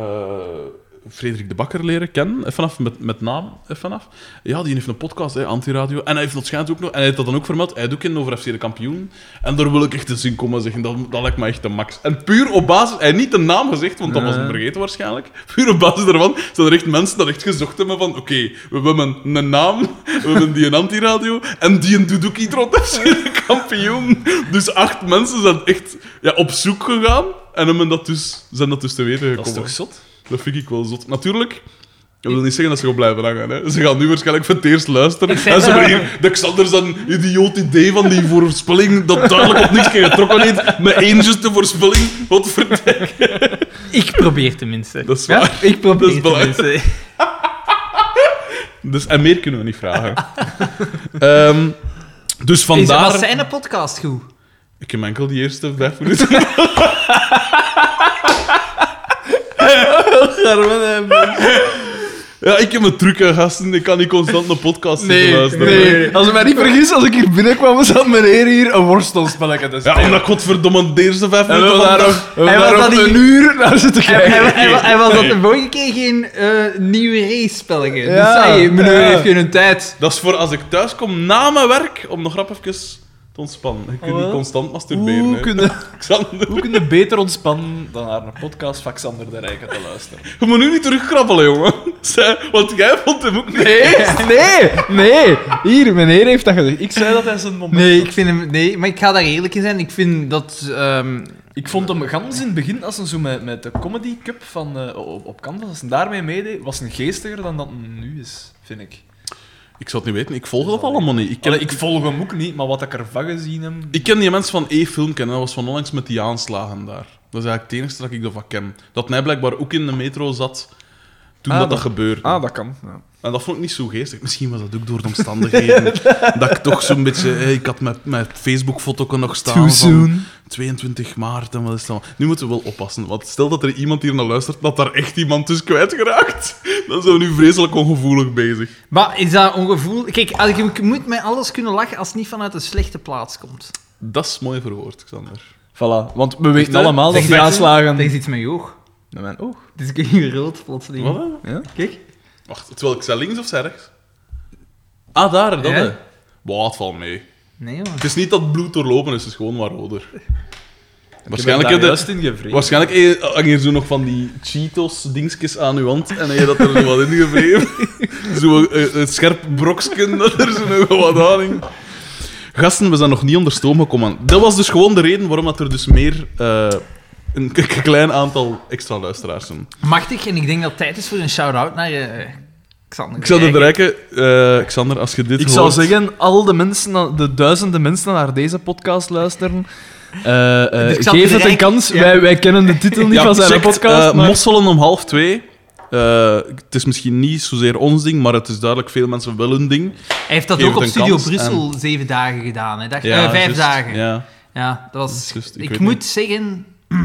Speaker 1: Frederik de Bakker leren kennen, eh, vanaf, met, met naam eh, vanaf. Ja, die heeft een podcast, hè, Antiradio, en hij heeft dat schijnt ook nog, en hij heeft dat dan ook vermeld, hij doet ook in over FC de kampioen, en daar wil ik echt eens in komen zeggen, dat, dat lijkt me echt de max. En puur op basis, hij heeft niet de naam gezegd, want dat was hem
Speaker 2: Nee.
Speaker 1: vergeten waarschijnlijk. Puur op basis daarvan zijn er echt mensen dat echt gezocht hebben van oké, we hebben een naam, we hebben die een antiradio en die een Duduki trot FC de kampioen. Dus acht mensen zijn echt ja, op zoek gegaan en hebben dat dus, zijn dat dus te weten gekomen.
Speaker 2: Dat is toch zot?
Speaker 1: Dat vind ik wel zot. Natuurlijk... Ik wil niet zeggen dat ze gaan blijven hangen. Hè. Ze gaan nu waarschijnlijk voor het eerst luisteren.
Speaker 3: vind
Speaker 1: En ze
Speaker 3: dat-
Speaker 1: hebben hier de Xander zijn idioot idee van die voorspelling dat duidelijk op niks getrokken heeft. Met één juiste voorspelling. Wat vertel
Speaker 3: Ik probeer tenminste.
Speaker 1: Dat is
Speaker 3: Ja,
Speaker 1: waar.
Speaker 3: ik probeer
Speaker 1: Dat is belangrijk.
Speaker 3: tenminste.
Speaker 1: Dus, en meer kunnen we niet vragen. Ehm, dus vandaar...
Speaker 3: Was zijn een podcast goed?
Speaker 1: Ik heb enkel die eerste vijf minuten.
Speaker 2: Gerben en-
Speaker 1: Ja, ik heb mijn truc, hè, gasten. Ik kan niet constant een podcast zitten luisteren. hè.
Speaker 2: nee. Als ik mij niet vergis, als ik hier binnenkwam, zat meneer hier een worstelspelletje te
Speaker 1: Ja, omdat ik godverdomme de eerste vijf
Speaker 2: En we
Speaker 1: minuten
Speaker 2: hebben
Speaker 1: van
Speaker 2: daar
Speaker 1: dag...
Speaker 2: ook- we
Speaker 3: Hij
Speaker 2: hebben
Speaker 3: was
Speaker 2: daar
Speaker 3: dat
Speaker 2: ook
Speaker 3: die-
Speaker 2: een uur naar zitten
Speaker 3: En,
Speaker 2: kijken.
Speaker 3: en, en, en was dat de vorige keer geen eh, nieuwe race-spelletje?
Speaker 2: Ja,
Speaker 3: dus hey, meneer
Speaker 2: ja.
Speaker 3: heeft geen tijd.
Speaker 1: Dat is voor als ik thuis kom na mijn werk, om nog rap even te ontspannen. Je kunt
Speaker 2: Oh, wel.
Speaker 1: niet constant masturberen.
Speaker 2: Hoe
Speaker 1: hè.
Speaker 2: kunnen
Speaker 1: Xander,
Speaker 2: Hoe kun je beter ontspannen dan naar een podcast van Xander de Rijken te luisteren?
Speaker 1: je moet nu niet terugkrabbelen, jongen. Zij- Want jij vond hem ook niet.
Speaker 3: Nee, nee. Hier, meneer heeft dat gezegd.
Speaker 2: Ik zei dat hij zijn moment...
Speaker 3: Nee, ik vind hem... Nee, maar ik ga daar eerlijk in zijn. Ik vind dat... ehm,
Speaker 2: Ik vond hem gans in het begin, als hij zo met, met de Comedy Cup van, eh, op, op Canvas, als hij daarmee meedeed, was hij geestiger dan dat hij nu is, vind ik.
Speaker 1: Ik zou het niet weten. Ik volg dat allemaal niet. Ik ken,
Speaker 2: Allee, ik volg hem ook niet, maar wat ik ervan gezien heb...
Speaker 1: ik ken die mensen van E-film kennen. Dat was van onlangs met die aanslagen daar. Dat is eigenlijk het enige dat ik ervan ken. Dat hij blijkbaar ook in de metro zat toen
Speaker 2: Ah,
Speaker 1: dat, dat
Speaker 2: dat-
Speaker 1: gebeurde.
Speaker 2: dat kan. Ja.
Speaker 1: En dat vond ik niet zo geestig. Misschien was dat ook door de omstandigheden. dat ik toch zo'n beetje... eh, Ik had mijn, mijn Facebook-foto nog staan van 22 maart en wat is dat? Nu moeten we wel oppassen. Want stel dat er iemand hier naar luistert, dat daar echt iemand is kwijtgeraakt. Dan zijn we nu vreselijk ongevoelig bezig.
Speaker 3: maar is dat ongevoel... Kijk, als ik, ik moet met alles kunnen lachen als het niet vanuit een slechte plaats komt.
Speaker 1: Dat is mooi verwoord, Xander.
Speaker 2: Voilà, want we
Speaker 1: Echt,
Speaker 2: weten
Speaker 1: hè?
Speaker 2: allemaal dat
Speaker 1: Zeg,
Speaker 2: die
Speaker 1: zeg,
Speaker 2: aanslagen...
Speaker 3: Er is iets met je oog.
Speaker 2: Met mijn oog.
Speaker 3: Dus ik ben hier rood plotseling.
Speaker 1: Wat? hè?
Speaker 3: Kijk.
Speaker 1: Hm. Wacht, terwijl ik zij links of zij rechts? Ah, daar, dat
Speaker 3: Ja.
Speaker 1: hè. Wow, het valt mee.
Speaker 3: Nee, man.
Speaker 1: Het is niet dat het bloed doorlopen is, het is gewoon maar roder.
Speaker 2: ik
Speaker 1: Waarschijnlijk
Speaker 2: heb
Speaker 1: heb
Speaker 2: hem
Speaker 1: je...
Speaker 2: daar juist in gevreesd.
Speaker 1: Waarschijnlijk eh, hang je zo nog van die Cheetos-dingetjes aan uw hand en heb je dat er zo wat in gevreven. Zo'n eh, een scherp broksken dat er zo nog wat aan hing. Gasten, we zijn nog niet onder stoom gekomen. Dat was dus gewoon de reden waarom dat er dus meer... eh, een k- klein aantal extra luisteraars zijn.
Speaker 3: Machtig, en ik denk dat het tijd is voor een shout-out naar eh Xander.
Speaker 1: Ik zou er
Speaker 3: Rijken.
Speaker 1: bereiken, eh, Xander, als je dit
Speaker 2: Ik zou
Speaker 1: hoort-
Speaker 2: zeggen, al de mensen, de duizenden mensen die naar deze podcast luisteren, eh, eh,
Speaker 3: Dus ik zal
Speaker 2: geef het
Speaker 3: direct-
Speaker 2: een kans.
Speaker 3: ja.
Speaker 2: Wij, wij kennen de titel niet van zijn
Speaker 1: checkt,
Speaker 2: podcast,
Speaker 1: eh,
Speaker 2: maar...
Speaker 1: Mosselen om half twee. Eh, het is misschien niet zozeer ons ding, maar het is duidelijk veel mensen wel hun ding.
Speaker 3: Hij heeft dat
Speaker 1: Geef
Speaker 3: ook op
Speaker 1: het een
Speaker 3: Studio
Speaker 1: kans
Speaker 3: Brussel zeven dagen gedaan. Hè. Dag, eh, vijf
Speaker 1: juist,
Speaker 3: dagen. Ja.
Speaker 1: Ja.
Speaker 3: dat was...
Speaker 1: Juist, ik
Speaker 3: ik
Speaker 1: weet
Speaker 3: moet
Speaker 1: niet.
Speaker 3: zeggen...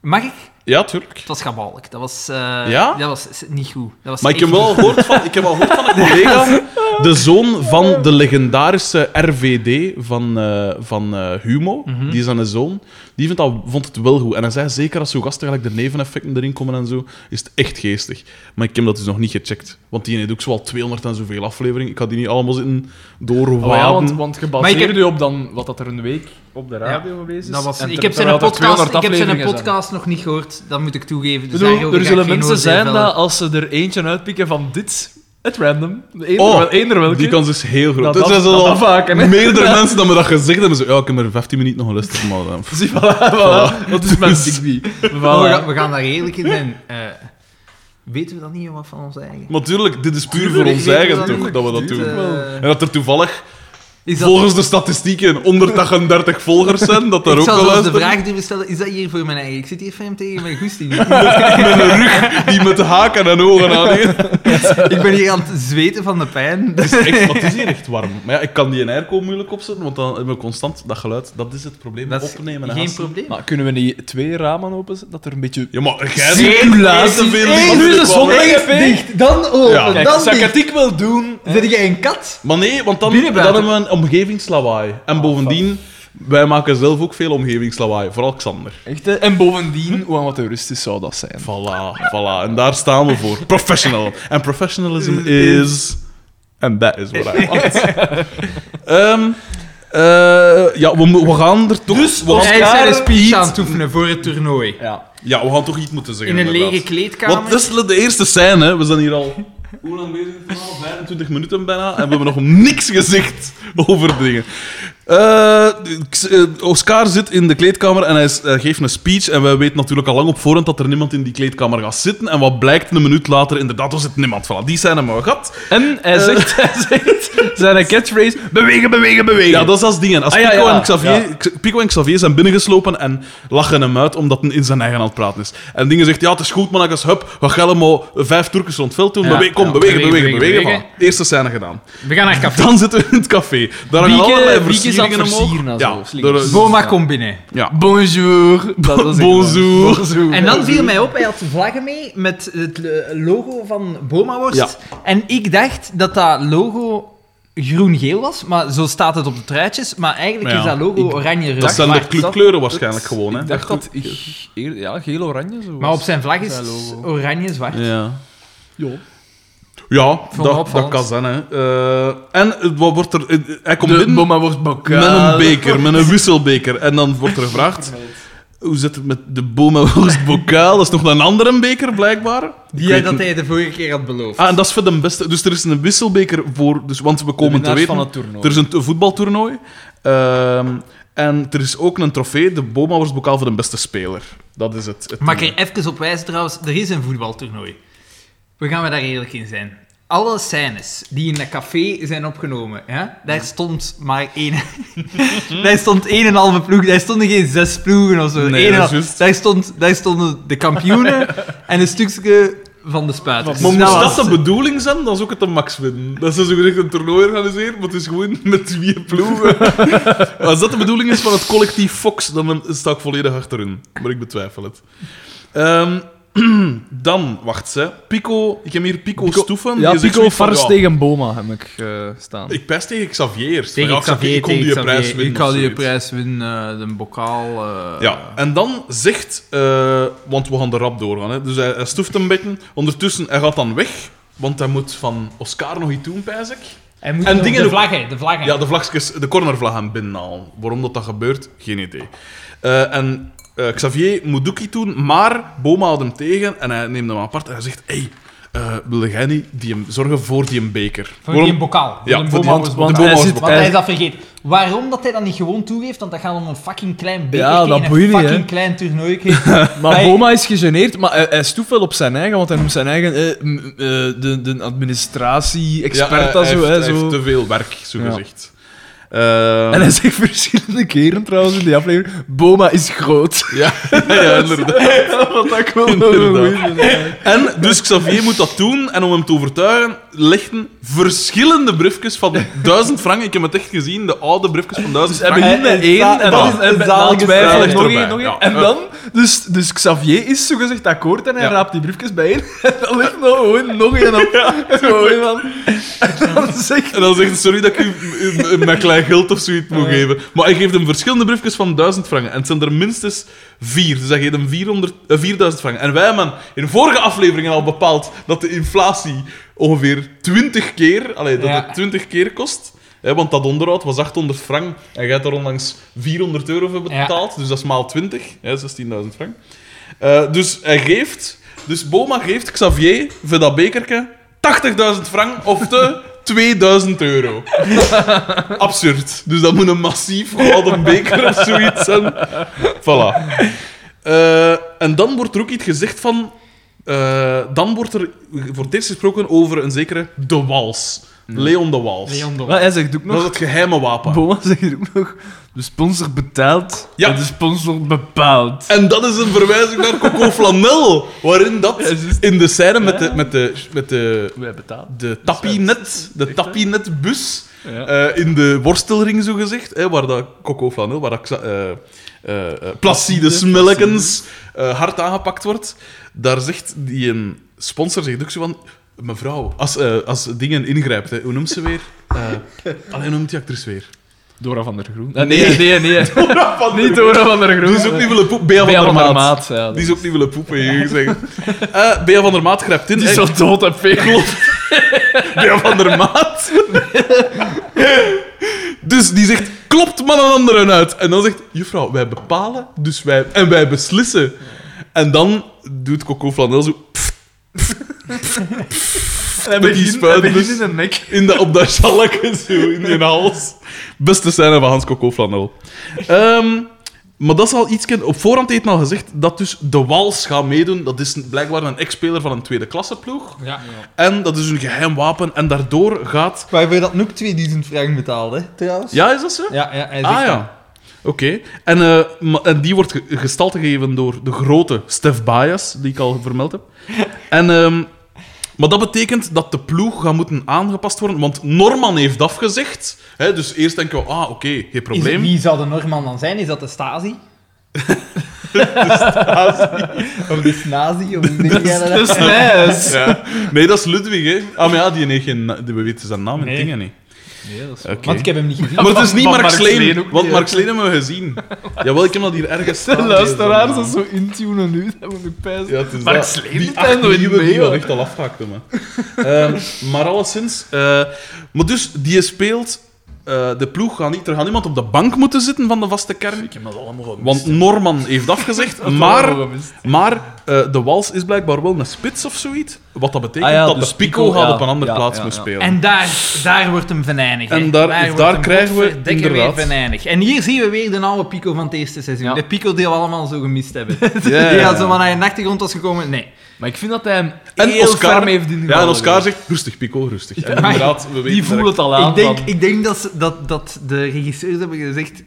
Speaker 3: Mag ik?
Speaker 1: ja, tuurlijk.
Speaker 3: Het was schabalk. Dat was... eh,
Speaker 1: Ja?
Speaker 3: Dat was s- niet goed. Dat was
Speaker 1: Maar ik
Speaker 3: echt
Speaker 1: heb wel
Speaker 3: niet
Speaker 1: al gehoord van, ik heb al gehoord van een collega, de zoon van de legendarische RVD van, eh, van eh, Humo,
Speaker 2: Mhm.
Speaker 1: die is aan een zoon, die vindt dat, vond het wel goed. En hij zei, zeker als zo gasten gelijk de neveneffecten erin komen en zo, is het echt geestig. Maar ik heb dat dus nog niet gecheckt, want die heeft ook zoal 200 en zoveel afleveringen. Ik had die niet allemaal zitten doorwaden.
Speaker 2: Oh ja, want, want gebaseerd
Speaker 3: Maar ik-
Speaker 2: u op dan, wat dat er een week op de radio geweest
Speaker 3: goed.
Speaker 2: is.
Speaker 3: Dat was,
Speaker 2: En
Speaker 3: ik,
Speaker 2: ter-
Speaker 3: heb zijn
Speaker 2: terwijl er
Speaker 3: podcast,
Speaker 2: 200
Speaker 3: ik heb zijn
Speaker 2: afleveringen zijn.
Speaker 3: podcast nog niet gehoord. Dat moet ik toegeven.
Speaker 2: Ik
Speaker 3: Dus
Speaker 2: bedoel,
Speaker 3: daarover
Speaker 2: er
Speaker 3: ga
Speaker 2: zullen
Speaker 3: ik geen
Speaker 2: mensen
Speaker 3: oordeel
Speaker 2: zijn
Speaker 3: vellen.
Speaker 2: dat als ze er eentje uitpikken van dit, het random, eender,
Speaker 1: Oh,
Speaker 2: wel- eender welke...
Speaker 1: Die kans is heel groot.
Speaker 2: dat,
Speaker 1: Dus
Speaker 2: dat,
Speaker 1: dat is
Speaker 2: dat,
Speaker 1: al
Speaker 2: dat vaak, hè.
Speaker 1: meerdere mensen dan me dat gezegd hebben. Zo, ja, ik heb er 15 minuten nog geluisterd, maar... eh, pff.
Speaker 2: Zie, voilà, voilà. Dat is mijn
Speaker 1: Dus-
Speaker 2: Digby.
Speaker 3: Maar we,
Speaker 2: Voilà.
Speaker 3: gaan, we gaan daar eerlijk in zijn. Eh, weten we dat niet, wat van ons eigen?
Speaker 1: Maar tuurlijk, dit is puur voor
Speaker 3: Tuurlijk,
Speaker 1: ons
Speaker 3: ik weet
Speaker 1: eigen,
Speaker 3: dat
Speaker 1: toch,
Speaker 3: niet.
Speaker 1: dat we dat
Speaker 3: Dit,
Speaker 1: doen.
Speaker 3: eh,
Speaker 1: En dat er toevallig,
Speaker 3: Is dat,
Speaker 1: volgens de statistieken, 138 volgers zijn, dat daar
Speaker 3: ik
Speaker 1: ook
Speaker 3: zou
Speaker 1: wel
Speaker 3: zelfs de
Speaker 1: luisteren.
Speaker 3: vraag durven stellen, is dat hier voor mijn eigen? Ik zit hier fijn tegen mijn goesting.
Speaker 1: Met een rug die met haken en ogen aan heeft.
Speaker 3: ik ben hier aan het zweten van de pijn.
Speaker 1: Het is echt, het is hier echt warm. Maar ja, ik kan die een airco moeilijk opzetten, want dan hebben we constant dat geluid. Dat is het probleem,
Speaker 3: Dat is
Speaker 1: opnemen en
Speaker 3: geen
Speaker 1: hassen.
Speaker 3: probleem.
Speaker 2: Maar kunnen we niet twee ramen openzetten, dat er een beetje...
Speaker 1: Ja, maar jij
Speaker 2: Circulatie.
Speaker 1: te veel
Speaker 2: Hey,
Speaker 1: mensen
Speaker 2: nu is de
Speaker 1: kwamen.
Speaker 2: zon weg.
Speaker 3: Eerst dicht, dan open,
Speaker 1: Ja.
Speaker 2: Kijk,
Speaker 3: dan
Speaker 2: zou ik
Speaker 3: dicht.
Speaker 2: het ik wel doen... hè?
Speaker 3: Zit jij een kat?
Speaker 1: Maar nee, want dan,
Speaker 3: Binnen
Speaker 1: dan
Speaker 3: buiten. Ah,
Speaker 1: hebben we een omgevingslawaai. En bovendien, wij maken zelf ook veel omgevingslawaai. Vooral Xander.
Speaker 2: Echt, hè? En bovendien, hoe amateuristisch zou dat zijn?
Speaker 1: Voilà, voilà. En daar staan we voor. Professional. En professionalism is... En dat is wat I want. Ehm, eh, ja, we, mo- we gaan er toch... we gaan-
Speaker 3: Hij Dus is
Speaker 2: Oscar
Speaker 3: zijn speech aan het oefenen voor het toernooi.
Speaker 2: Ja.
Speaker 1: ja, we gaan toch iets moeten zeggen,
Speaker 3: In een
Speaker 1: inderdaad.
Speaker 3: lege kleedkamer.
Speaker 1: Want dat is de eerste scène. hè. We zijn hier al... Hoe lang bezig? 25 minuten bijna. En we hebben nog niks gezegd over dingen. Eh, X- eh, Oscar zit in de kleedkamer en hij is- hij geeft een speech. En wij weten natuurlijk al lang op voorhand dat er niemand in die kleedkamer gaat zitten. En wat blijkt een minuut later? Inderdaad, er zit niemand. Voilà, die scène hebben we gehad.
Speaker 2: En hij zegt, hij zegt zijn catchphrase: bewegen, bewegen, bewegen.
Speaker 1: Ja, dat is als dingen. Als
Speaker 2: Ah, ja,
Speaker 1: Pico,
Speaker 2: ja,
Speaker 1: En Xavier,
Speaker 2: ja.
Speaker 1: X- Pico en Xavier zijn binnengeslopen en lachen hem uit omdat hij in zijn eigen hand praten is. En dingen zegt, ja, het is goed, man. Als hup, we gaan hem al vijf Turkers rond het veld doen.
Speaker 3: Ja,
Speaker 1: Bewe- kom,
Speaker 3: ja.
Speaker 1: bewegen, bewegen,
Speaker 3: Bewegen,
Speaker 1: bewegen.
Speaker 3: bewegen.
Speaker 1: voilà. Eerste scène gedaan.
Speaker 3: We gaan naar café.
Speaker 1: Dan zitten we in het café. Daar hangen allerlei
Speaker 2: Bieke, Bieke
Speaker 1: versieringen
Speaker 3: aan het
Speaker 1: slingeren omhoog.
Speaker 3: versieren. en
Speaker 1: Ja,
Speaker 3: zo, slingers.
Speaker 1: door eh, de-
Speaker 3: Boma komt binnen.
Speaker 2: Bonjour. Dat was ik
Speaker 1: Bonjour.
Speaker 2: dan. Bonjour.
Speaker 3: En dan viel mij op, hij had vlaggen mee met het eh, logo van Bomaworst. En ik dacht dat dat logo groen-geel was, maar zo staat het op de truitjes. Maar eigenlijk
Speaker 1: Ja,
Speaker 3: is dat logo
Speaker 2: ik-
Speaker 3: oranje-rood.
Speaker 1: Dat zijn de
Speaker 3: Maar-
Speaker 1: clubkleuren waarschijnlijk gewoon, hè?
Speaker 2: Ik dacht dat... ge- Ja, geel-oranje zo
Speaker 3: Maar op zijn vlag is
Speaker 2: Zijn
Speaker 3: het
Speaker 2: logo.
Speaker 3: oranje-zwart.
Speaker 1: Ja.
Speaker 2: Ja.
Speaker 1: Ja,
Speaker 2: me
Speaker 1: dat, dat
Speaker 2: opvallend.
Speaker 1: kan zijn, hè. Eh, en eh, wat wordt er... eh, hij komt binnen
Speaker 2: Boma wordt
Speaker 1: met
Speaker 2: bokaal.
Speaker 1: een beker, met een wisselbeker. En dan wordt er gevraagd... Hoe zit het met de Bomaworst bokaal? Dat is nog een andere beker, blijkbaar.
Speaker 3: Die hij, dat hij de vorige keer had beloofd.
Speaker 1: Ah, en dat is voor de beste... Dus er is een wisselbeker voor... Dus, want we komen te
Speaker 2: winnaars
Speaker 1: weten...
Speaker 2: van het toernooi.
Speaker 1: Er is een t- voetbaltoernooi. Ehm, en er is ook een trofee, de Bomaworst bokaal voor de beste speler. Dat is het. het
Speaker 3: Mag ik er even op wijzen trouwens, er is een voetbaltoernooi. We gaan we daar eerlijk in zijn. Alle scènes die in dat café zijn opgenomen, ja, daar stond maar één. daar stond één en een halve ploeg, daar stonden geen zes ploegen of zo.
Speaker 1: Nee,
Speaker 3: Eén en
Speaker 1: dat is
Speaker 3: al-
Speaker 1: juist.
Speaker 3: daar, stond, daar stonden de kampioenen en een stukje van de spuiters.
Speaker 1: Maar moest
Speaker 3: Dus Dat
Speaker 1: dat,
Speaker 3: was-
Speaker 1: de bedoeling zijn, dan is ook het een max winnen. Dat ze zogezegd een toernooi organiseren, maar het is gewoon met vier ploegen. Als dat de bedoeling is van het collectief Fox, dan sta ik volledig achterin. Maar ik betwijfel het. Ehm, dan, wacht ze. Pico, ik heb hier Pico,
Speaker 2: Pico-
Speaker 1: Stoeven.
Speaker 2: Ja,
Speaker 1: die zegt
Speaker 2: Pico
Speaker 1: zoiets van,
Speaker 2: Vars
Speaker 1: ja,
Speaker 2: tegen Boma heb ik eh, staan.
Speaker 1: Ik pest tegen Xavier. Van,
Speaker 3: Tegen
Speaker 1: ja,
Speaker 3: Xavier,
Speaker 1: ik kon
Speaker 3: tegen
Speaker 1: die
Speaker 3: Xavier.
Speaker 1: prijs winnen.
Speaker 2: Ik had
Speaker 1: of
Speaker 2: die
Speaker 1: zoiets.
Speaker 2: prijs winnen, eh, de bokaal. eh,
Speaker 1: Ja, en dan zegt, eh, want we gaan er rap doorgaan, hè. dus hij, hij stoeft een beetje. Ondertussen, hij gaat dan weg, want hij moet van Oscar nog iets doen, pijs ik.
Speaker 3: Hij moet
Speaker 1: En
Speaker 3: nog
Speaker 1: dingen
Speaker 3: de
Speaker 1: ook-
Speaker 3: vlaggen, de vlaggen.
Speaker 1: Ja, de, vlagjes, de cornervlag aan binnenhalen. Waarom dat, dat gebeurt, geen idee. Eh, en eh, Xavier moet ook iets doen, maar Boma houdt hem tegen en hij neemt hem apart en hij zegt: Hey, eh wilde jij niet die hem zorgen voor die een beker?
Speaker 3: Voor
Speaker 1: Waarom-
Speaker 3: die bokaal.
Speaker 1: Ja,
Speaker 3: een
Speaker 1: voor die-
Speaker 3: Boma-
Speaker 1: want-
Speaker 2: want- want
Speaker 1: de Boma
Speaker 2: hij
Speaker 1: was
Speaker 2: zit-
Speaker 1: bokaal.
Speaker 3: Want hij
Speaker 2: Hij-
Speaker 3: is dat vergeten. Waarom dat hij dat niet gewoon toegeeft, want dat gaat om een fucking klein bekertje
Speaker 2: Ja, dat
Speaker 3: in
Speaker 2: boeit
Speaker 3: een
Speaker 2: niet,
Speaker 3: fucking
Speaker 2: hè.
Speaker 3: klein toernooitje.
Speaker 2: Maar
Speaker 3: Hij-
Speaker 2: Boma is gegeneerd, maar hij, hij stoeft wel op zijn eigen, want hij noemt zijn eigen eh, m- eh, de, de
Speaker 1: Ja, hij
Speaker 2: administratie-expert. en
Speaker 1: heeft-
Speaker 2: zo, hè,
Speaker 1: Hij
Speaker 2: zo.
Speaker 1: heeft te veel werk, zo
Speaker 2: Ja.
Speaker 1: gezegd. Eh,
Speaker 2: En hij zegt verschillende keren trouwens in die aflevering: Boma is groot.
Speaker 1: ja, ja, inderdaad.
Speaker 2: Wat ik wel
Speaker 1: Inderdaad. En dus Xavier moet dat doen. En om hem te overtuigen, legden verschillende briefjes van 1000 frank. Ik heb het echt gezien, de oude briefjes van 1000
Speaker 2: Hij
Speaker 1: frank.
Speaker 2: begint met één en
Speaker 1: dat
Speaker 2: dan
Speaker 1: is
Speaker 2: en met- na
Speaker 3: zalige
Speaker 2: twee
Speaker 1: zalig
Speaker 2: en nog
Speaker 1: erbij,
Speaker 2: één, nog één.
Speaker 1: ja.
Speaker 2: En dan, dus, dus Xavier is zogezegd akkoord en hij
Speaker 1: Ja.
Speaker 2: raapt die briefjes bijeen. En dan ligt nog gewoon nog één op. Gewoon dan- En dan zegt
Speaker 1: En dan zegt hij, sorry dat ik u u- u mijn klein geld of zoiets moet geven. Maar hij geeft hem verschillende briefjes van 1000 franken. En het zijn er minstens vier. Dus hij geeft hem 400, eh, 4000 franken. En wij hebben in de vorige afleveringen al bepaald dat de inflatie ongeveer 20 keer... Allee, dat
Speaker 3: Ja.
Speaker 1: het 20 keer kost. Hè, want dat onderhoud was 800 frank. En jij hebt daar onlangs 400 euro voor betaald. Dus dat is maal 20. hè, 16.000 frank. Eh, dus hij geeft... Dus Boma geeft Xavier voor dat bekerke 80.000 frank of de 2000 euro. Absurd. Dus dat moet een massief gouden beker of zoiets zijn. Voilà. Eh, en dan wordt er ook iets gezegd van... eh, dan wordt er voor het eerst gesproken over een zekere De Wals. Leon De Wals.
Speaker 3: Leon de
Speaker 2: Maar hij zegt ook
Speaker 1: Dat is
Speaker 2: nog...
Speaker 1: het geheime wapen.
Speaker 2: Boma zegt ook nog... De sponsor betaalt
Speaker 1: Ja.
Speaker 2: en de sponsor bepaalt.
Speaker 1: En dat is een verwijzing naar Coco Flanel, waarin dat in de scène met de, met de, met de,
Speaker 2: Wij betaalt.
Speaker 1: de tapienet, de tapienetbus
Speaker 2: Ja.
Speaker 1: eh, in de worstelring zo gezegd, hè, waar dat Coco Flanel, waar dat Xa- eh, eh, eh, Placide Smellekens eh, hard aangepakt wordt, daar zegt die een sponsor zegt ook zo van mevrouw, als, eh, als dingen ingrijpt, hè, hoe noemt ze weer? Eh alleen noemt die actrice weer.
Speaker 2: Dora van der Groen.
Speaker 1: Nee.
Speaker 2: nee, nee. nee. Niet Dora van der Groen.
Speaker 1: Die is ook niet willen poepen. Bea
Speaker 2: Bea
Speaker 1: van der Maat.
Speaker 2: ja.
Speaker 1: Die is ook niet willen poepen, je zeggen. Eh Bea van der Maat grijpt in.
Speaker 2: Die is
Speaker 1: hè.
Speaker 2: al dood en veel.
Speaker 1: Bea van der Maat. dus die zegt, klopt man een anderen uit. En dan zegt, juffrouw, wij bepalen dus wij, en wij beslissen. En dan doet Coco Flanel zo
Speaker 2: Hij
Speaker 1: Met die
Speaker 2: begint-
Speaker 1: spuit
Speaker 2: hij begint
Speaker 1: dus.
Speaker 2: in de nek.
Speaker 1: in de, op dat sjalletje zo in die hals. Beste scène van Hans Coco Flanel. Ehm, maar dat is al iets... Op voorhand heeft men al gezegd dat dus de Wals gaat meedoen. Dat is blijkbaar een ex-speler van een tweede klasseploeg.
Speaker 3: Ja.
Speaker 1: En dat is een geheim wapen. En daardoor gaat
Speaker 3: Waarvoor dat Noek 2000 frank betaalde, hè, trouwens.
Speaker 1: Ja, is dat zo?
Speaker 3: Ja, ja, hij
Speaker 1: ah
Speaker 3: zegt
Speaker 1: ja. Oké. En, eh, ma- en die wordt ge- gestalte gegeven door de grote Stef Bias, die ik al vermeld heb. En ehm, Maar dat betekent dat de ploeg gaat moeten aangepast worden, want Norman heeft afgezegd. Hè, dus eerst denken we, ah, oké, geen
Speaker 3: Is-
Speaker 1: probleem.
Speaker 3: wie zou de Norman dan zijn? Is dat de Stasi? Of de Snazi? Of hoe denk jij dat?
Speaker 1: Dat is nice. Ja. Nee, dat is Ludwig, hè. Ah, maar ja, die heeft geen... Die, we weten zijn naam en
Speaker 3: Nee.
Speaker 1: dingen niet.
Speaker 2: Nee, dat is...
Speaker 1: Oké.
Speaker 3: Want ik heb hem niet gezien.
Speaker 1: Maar het is niet
Speaker 2: Van
Speaker 1: Mark
Speaker 2: Mark Sleen
Speaker 1: Sleen,
Speaker 2: ook
Speaker 1: want
Speaker 2: niet,
Speaker 1: Mark Sleen hebben we gezien. Jawel, ik heb dat hier ergens staan.
Speaker 2: is zo intunen nu, dat moet ik pijzen.
Speaker 1: Ja, het is
Speaker 2: Mark
Speaker 1: dat.
Speaker 2: Sleen
Speaker 1: Die
Speaker 2: doet daar
Speaker 1: acht
Speaker 2: nooit
Speaker 1: nieuwe
Speaker 2: mee,
Speaker 1: die wel
Speaker 2: hoor.
Speaker 1: echt al afhaakte, man. Ehm, maar alleszins... eh, maar dus, die speelt... eh, de ploeg gaat niet... Er gaat niemand op de bank moeten zitten van de vaste kern.
Speaker 2: Ik heb dat allemaal gemist.
Speaker 1: Want Norman heeft afgezegd, maar...
Speaker 3: Oh,
Speaker 1: Maar eh, de wals is blijkbaar wel een spits of zoiets. Wat dat betekent
Speaker 2: Ah ja,
Speaker 1: dat
Speaker 2: dus
Speaker 1: de Pico,
Speaker 2: Pico,
Speaker 1: gaat
Speaker 2: ja,
Speaker 1: op een andere
Speaker 2: ja,
Speaker 1: plaats
Speaker 2: ja,
Speaker 1: moet
Speaker 2: ja.
Speaker 1: spelen.
Speaker 3: En daar, daar wordt hem venijnig. hè.
Speaker 1: En daar- daar
Speaker 3: wordt hem
Speaker 1: krijgen we
Speaker 3: godverdikke
Speaker 1: inderdaad-
Speaker 3: weer venijnig. En hier zien we weer de oude Pico van het eerste seizoen.
Speaker 2: Ja.
Speaker 3: De Pico die we allemaal zo gemist hebben.
Speaker 1: Ja,
Speaker 3: Die
Speaker 1: ja,
Speaker 3: had
Speaker 1: ja.
Speaker 3: zo "Ah, maar naar je nachtergrond was gekomen. Nee.
Speaker 2: Maar ik vind dat hij hem
Speaker 1: En
Speaker 2: heel
Speaker 1: Oscar-
Speaker 2: ferm heeft in
Speaker 1: Ja,
Speaker 2: de
Speaker 1: en
Speaker 2: handen
Speaker 1: Oscar
Speaker 2: gelegd.
Speaker 1: zegt, rustig Pico, rustig. En inderdaad, we weten
Speaker 2: Die voelt
Speaker 1: direct-
Speaker 2: het al aan.
Speaker 3: ik, denk,
Speaker 2: van-
Speaker 3: ik denk dat, ze- dat, dat de regisseurs hebben gezegd...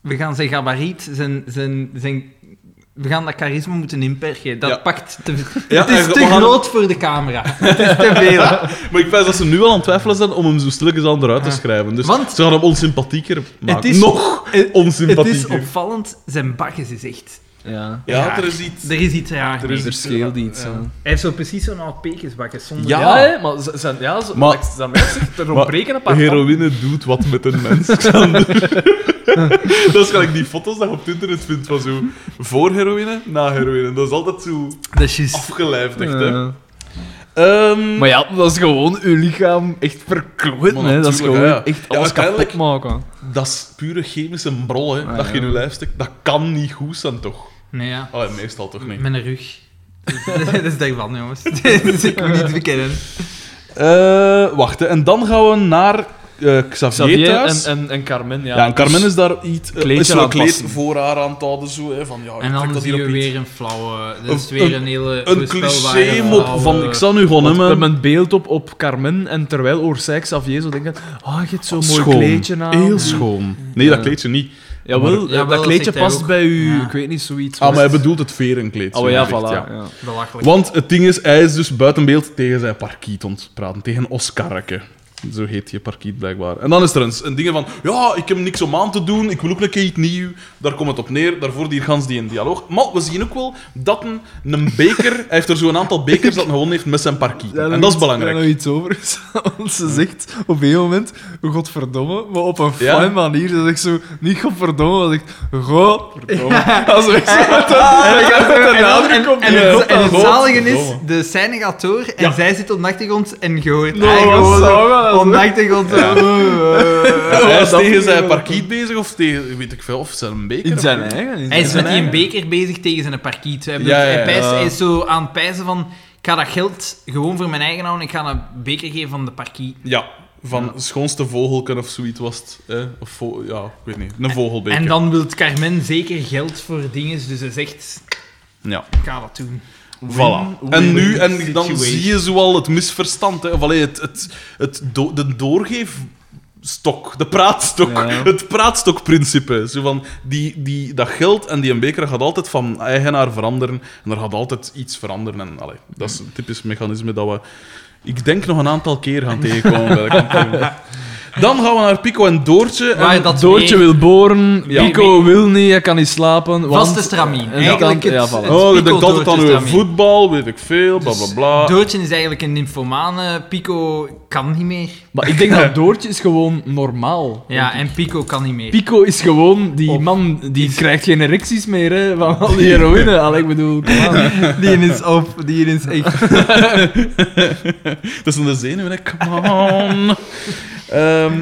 Speaker 3: We gaan zijn gabariet, zijn, zijn, zijn, we gaan dat charisma moeten inperken. Dat
Speaker 1: Ja.
Speaker 3: pakt te...
Speaker 1: Ja,
Speaker 3: het is
Speaker 1: en
Speaker 3: te
Speaker 1: we gaan-
Speaker 3: groot voor de camera. Het is te veel.
Speaker 1: Maar ik vind dat ze nu al aan het twijfelen zijn om hem zo stilletjes aan eruit te
Speaker 3: Ja.
Speaker 1: schrijven. Dus
Speaker 3: Want-
Speaker 1: ze gaan hem onsympathieker maken.
Speaker 3: Het is-
Speaker 1: Nog
Speaker 3: het- Het is
Speaker 1: onsympathieker.
Speaker 3: opvallend, zijn bakjes is echt...
Speaker 2: Ja.
Speaker 1: Ja, er is iets...
Speaker 3: Er is iets raar
Speaker 1: Er
Speaker 3: mee.
Speaker 1: is
Speaker 2: Er scheelt iets.
Speaker 1: Ja.
Speaker 2: hè.
Speaker 3: Hij heeft zo precies zo'n oud pekersbakje zonder...
Speaker 1: Ja.
Speaker 2: Ehm, Ja, hè, maar ze- zijn, ja, zo,
Speaker 1: Maar-
Speaker 2: maar, dat mensen er
Speaker 1: Maar
Speaker 2: ontbreken een paar
Speaker 1: Heroïne doet wat met een mens, Xander. dat is gelijk die foto's dat je op het internet vindt van zo voor heroïne, na heroïne. Dat is altijd zo
Speaker 3: Dat is juist.
Speaker 1: afgelijfd, echt, hè.
Speaker 2: Ja.
Speaker 1: Ehm,
Speaker 2: Maar ja, dat is gewoon uw lichaam echt verkloten.
Speaker 1: Maar
Speaker 2: hè. Dat is gewoon
Speaker 1: natuurlijk, ja, ja.
Speaker 2: echt
Speaker 1: Ja,
Speaker 2: alles
Speaker 1: uiteindelijk-
Speaker 2: kapot maken.
Speaker 1: Dat is pure chemische brol, hè.
Speaker 2: Ah,
Speaker 1: dat je in
Speaker 2: ja.
Speaker 1: je lijf steekt. Dat kan niet goed zijn, toch?
Speaker 3: Nee, ja.
Speaker 1: Allee, meestal toch niet.
Speaker 3: Met een rug. dat is daarvan, jongens. dat ik moet niet bekennen.
Speaker 1: Eh, wacht, hè. en dan gaan we naar eh, Xavier
Speaker 2: Xavier en,
Speaker 1: thuis.
Speaker 2: en, en Carmen, ja.
Speaker 1: ja, en Carmen is daar iets... eh,
Speaker 2: kleedje
Speaker 1: is zo'n
Speaker 2: aan het
Speaker 1: kleed
Speaker 2: passen.
Speaker 1: voor haar aan het houden, zo, hè, van ja, ik
Speaker 3: En
Speaker 1: trek
Speaker 3: dan
Speaker 1: dat
Speaker 3: zie
Speaker 1: hier
Speaker 3: je
Speaker 1: op iets.
Speaker 3: weer eh, een flauwe... Dat is
Speaker 1: Een-
Speaker 3: weer een hele
Speaker 1: Een
Speaker 3: voorspelbare
Speaker 1: cliché-mop
Speaker 3: flauwe-
Speaker 1: van, ik zal nu gewoon
Speaker 2: Want we
Speaker 1: hem...
Speaker 2: hebben een beeld op op Carmen en terwijl Orsay Xavier zo denkt, ah, je hebt zo'n mooi
Speaker 1: Schoon.
Speaker 2: kleedje aan.
Speaker 1: Heel schoon. Nee, dat kleedje niet.
Speaker 2: Jawel,
Speaker 3: Maar- Jawel,
Speaker 2: dat kleedje
Speaker 3: zegt hij
Speaker 2: past
Speaker 3: ook.
Speaker 2: bij u,
Speaker 3: Ja.
Speaker 2: ik weet niet, zoiets.
Speaker 1: Ah, maar hij
Speaker 2: was-
Speaker 1: bedoelt het verenkleed.
Speaker 2: Oh
Speaker 1: zo
Speaker 2: ja,
Speaker 1: gezegd,
Speaker 2: voilà.
Speaker 1: ja.
Speaker 2: ja.
Speaker 3: Belachelijk.
Speaker 1: Want het ding is, hij is dus buiten beeld tegen zijn parkiet ontpraten. Tegen Oscarke. Zo heet je parkiet blijkbaar. En dan is er een, een ding van... Ja, ik heb niks om aan te doen. Ik wil ook een keer iets nieuw. Daar komt het op neer. Daarvoor die gans die in dialoog. Maar we zien ook wel dat een, een beker... hij heeft er zo'n aantal bekers dat hij gewoon heeft met zijn parkiet.
Speaker 2: Ja,
Speaker 1: en
Speaker 2: nog
Speaker 1: dat is
Speaker 2: iets- ja,
Speaker 1: belangrijk.
Speaker 2: nog iets over is, want ze zegt op een moment, godverdomme, maar op een
Speaker 1: Ja.
Speaker 2: fijn manier. Ze zegt zo, niet godverdomme, maar ze zegt, godverdomme. Als we echt zo...
Speaker 3: En, en,
Speaker 2: nadruk
Speaker 3: en-
Speaker 2: op
Speaker 3: en
Speaker 2: die-
Speaker 3: het,
Speaker 2: op
Speaker 3: en het
Speaker 2: dat
Speaker 3: zalige is,
Speaker 1: godverdomme.
Speaker 3: de scène gaat door en zij zit op de achtergrond en je hoort
Speaker 2: No,
Speaker 3: haar gewoon
Speaker 2: zo gaat dat,
Speaker 3: op de
Speaker 2: hè?
Speaker 3: achtergrond zo.
Speaker 1: Ja, hij is
Speaker 2: dat
Speaker 1: tegen
Speaker 2: vind ik
Speaker 1: zijn
Speaker 2: wel
Speaker 1: parkiet bezig of tegen... Weet ik veel. Of zijn beker.
Speaker 2: In
Speaker 1: of-
Speaker 2: zijn eigen. in
Speaker 3: Hij is met
Speaker 2: zijn
Speaker 3: die
Speaker 2: eigen.
Speaker 3: een beker bezig tegen zijn parkiet. Hij,
Speaker 1: Ja, ja, ja.
Speaker 3: hij pijst- hij is zo aan het pijzen van... Ik ga dat geld gewoon voor mijn eigen houden. Ik ga een beker geven van de parkiet.
Speaker 1: Ja. Van schoonste vogelken of zoiets was het. Hè? Of vo- ja, ik weet niet. Een vogelbeker.
Speaker 3: En dan wil Carmen zeker geld voor dingen. Dus ze zegt...
Speaker 1: Ja.
Speaker 3: Ik ga dat doen.
Speaker 1: Voilà.
Speaker 2: Win-win
Speaker 1: En nu, en dan
Speaker 3: situation.
Speaker 1: zie je zoal het misverstand, hè. of allee, het, het, het do- de doorgeefstok, de praatstok,
Speaker 2: Ja.
Speaker 1: het praatstokprincipe. Zo van, die, die, dat geld en die een beker gaat altijd van eigenaar veranderen en er gaat altijd iets veranderen. En, allee, dat is een typisch mechanisme dat we, ik denk, nog een aantal keer gaan tegenkomen. bij de kampioen. dan gaan we naar Pico en Doortje. En
Speaker 3: Maar dat
Speaker 2: Doortje wil boren,
Speaker 1: Ja.
Speaker 2: Pico wil niet, hij kan niet slapen. Want...
Speaker 3: Vaste
Speaker 2: en
Speaker 3: stramien. Eigenlijk
Speaker 2: dan-
Speaker 3: het-
Speaker 2: ja, voilà.
Speaker 3: het
Speaker 1: Oh, je denkt
Speaker 3: Pico
Speaker 1: altijd aan
Speaker 3: Doortje
Speaker 1: uw
Speaker 3: stramien.
Speaker 1: voetbal, weet ik veel,
Speaker 3: Dus
Speaker 1: bla bla bla.
Speaker 3: Doodje is eigenlijk een nymphomane. Pico kan niet meer.
Speaker 2: Maar ik denk dat Doortje is gewoon normaal.
Speaker 3: Ja, en Pico kan niet meer.
Speaker 2: Pico is gewoon die man, die krijgt geen erecties meer hè, van al die heroïne. Allee, ik bedoel, kom aan.
Speaker 3: Die is op, die is echt.
Speaker 1: Dat is in de zenuwen, hè. Come on. Ehm,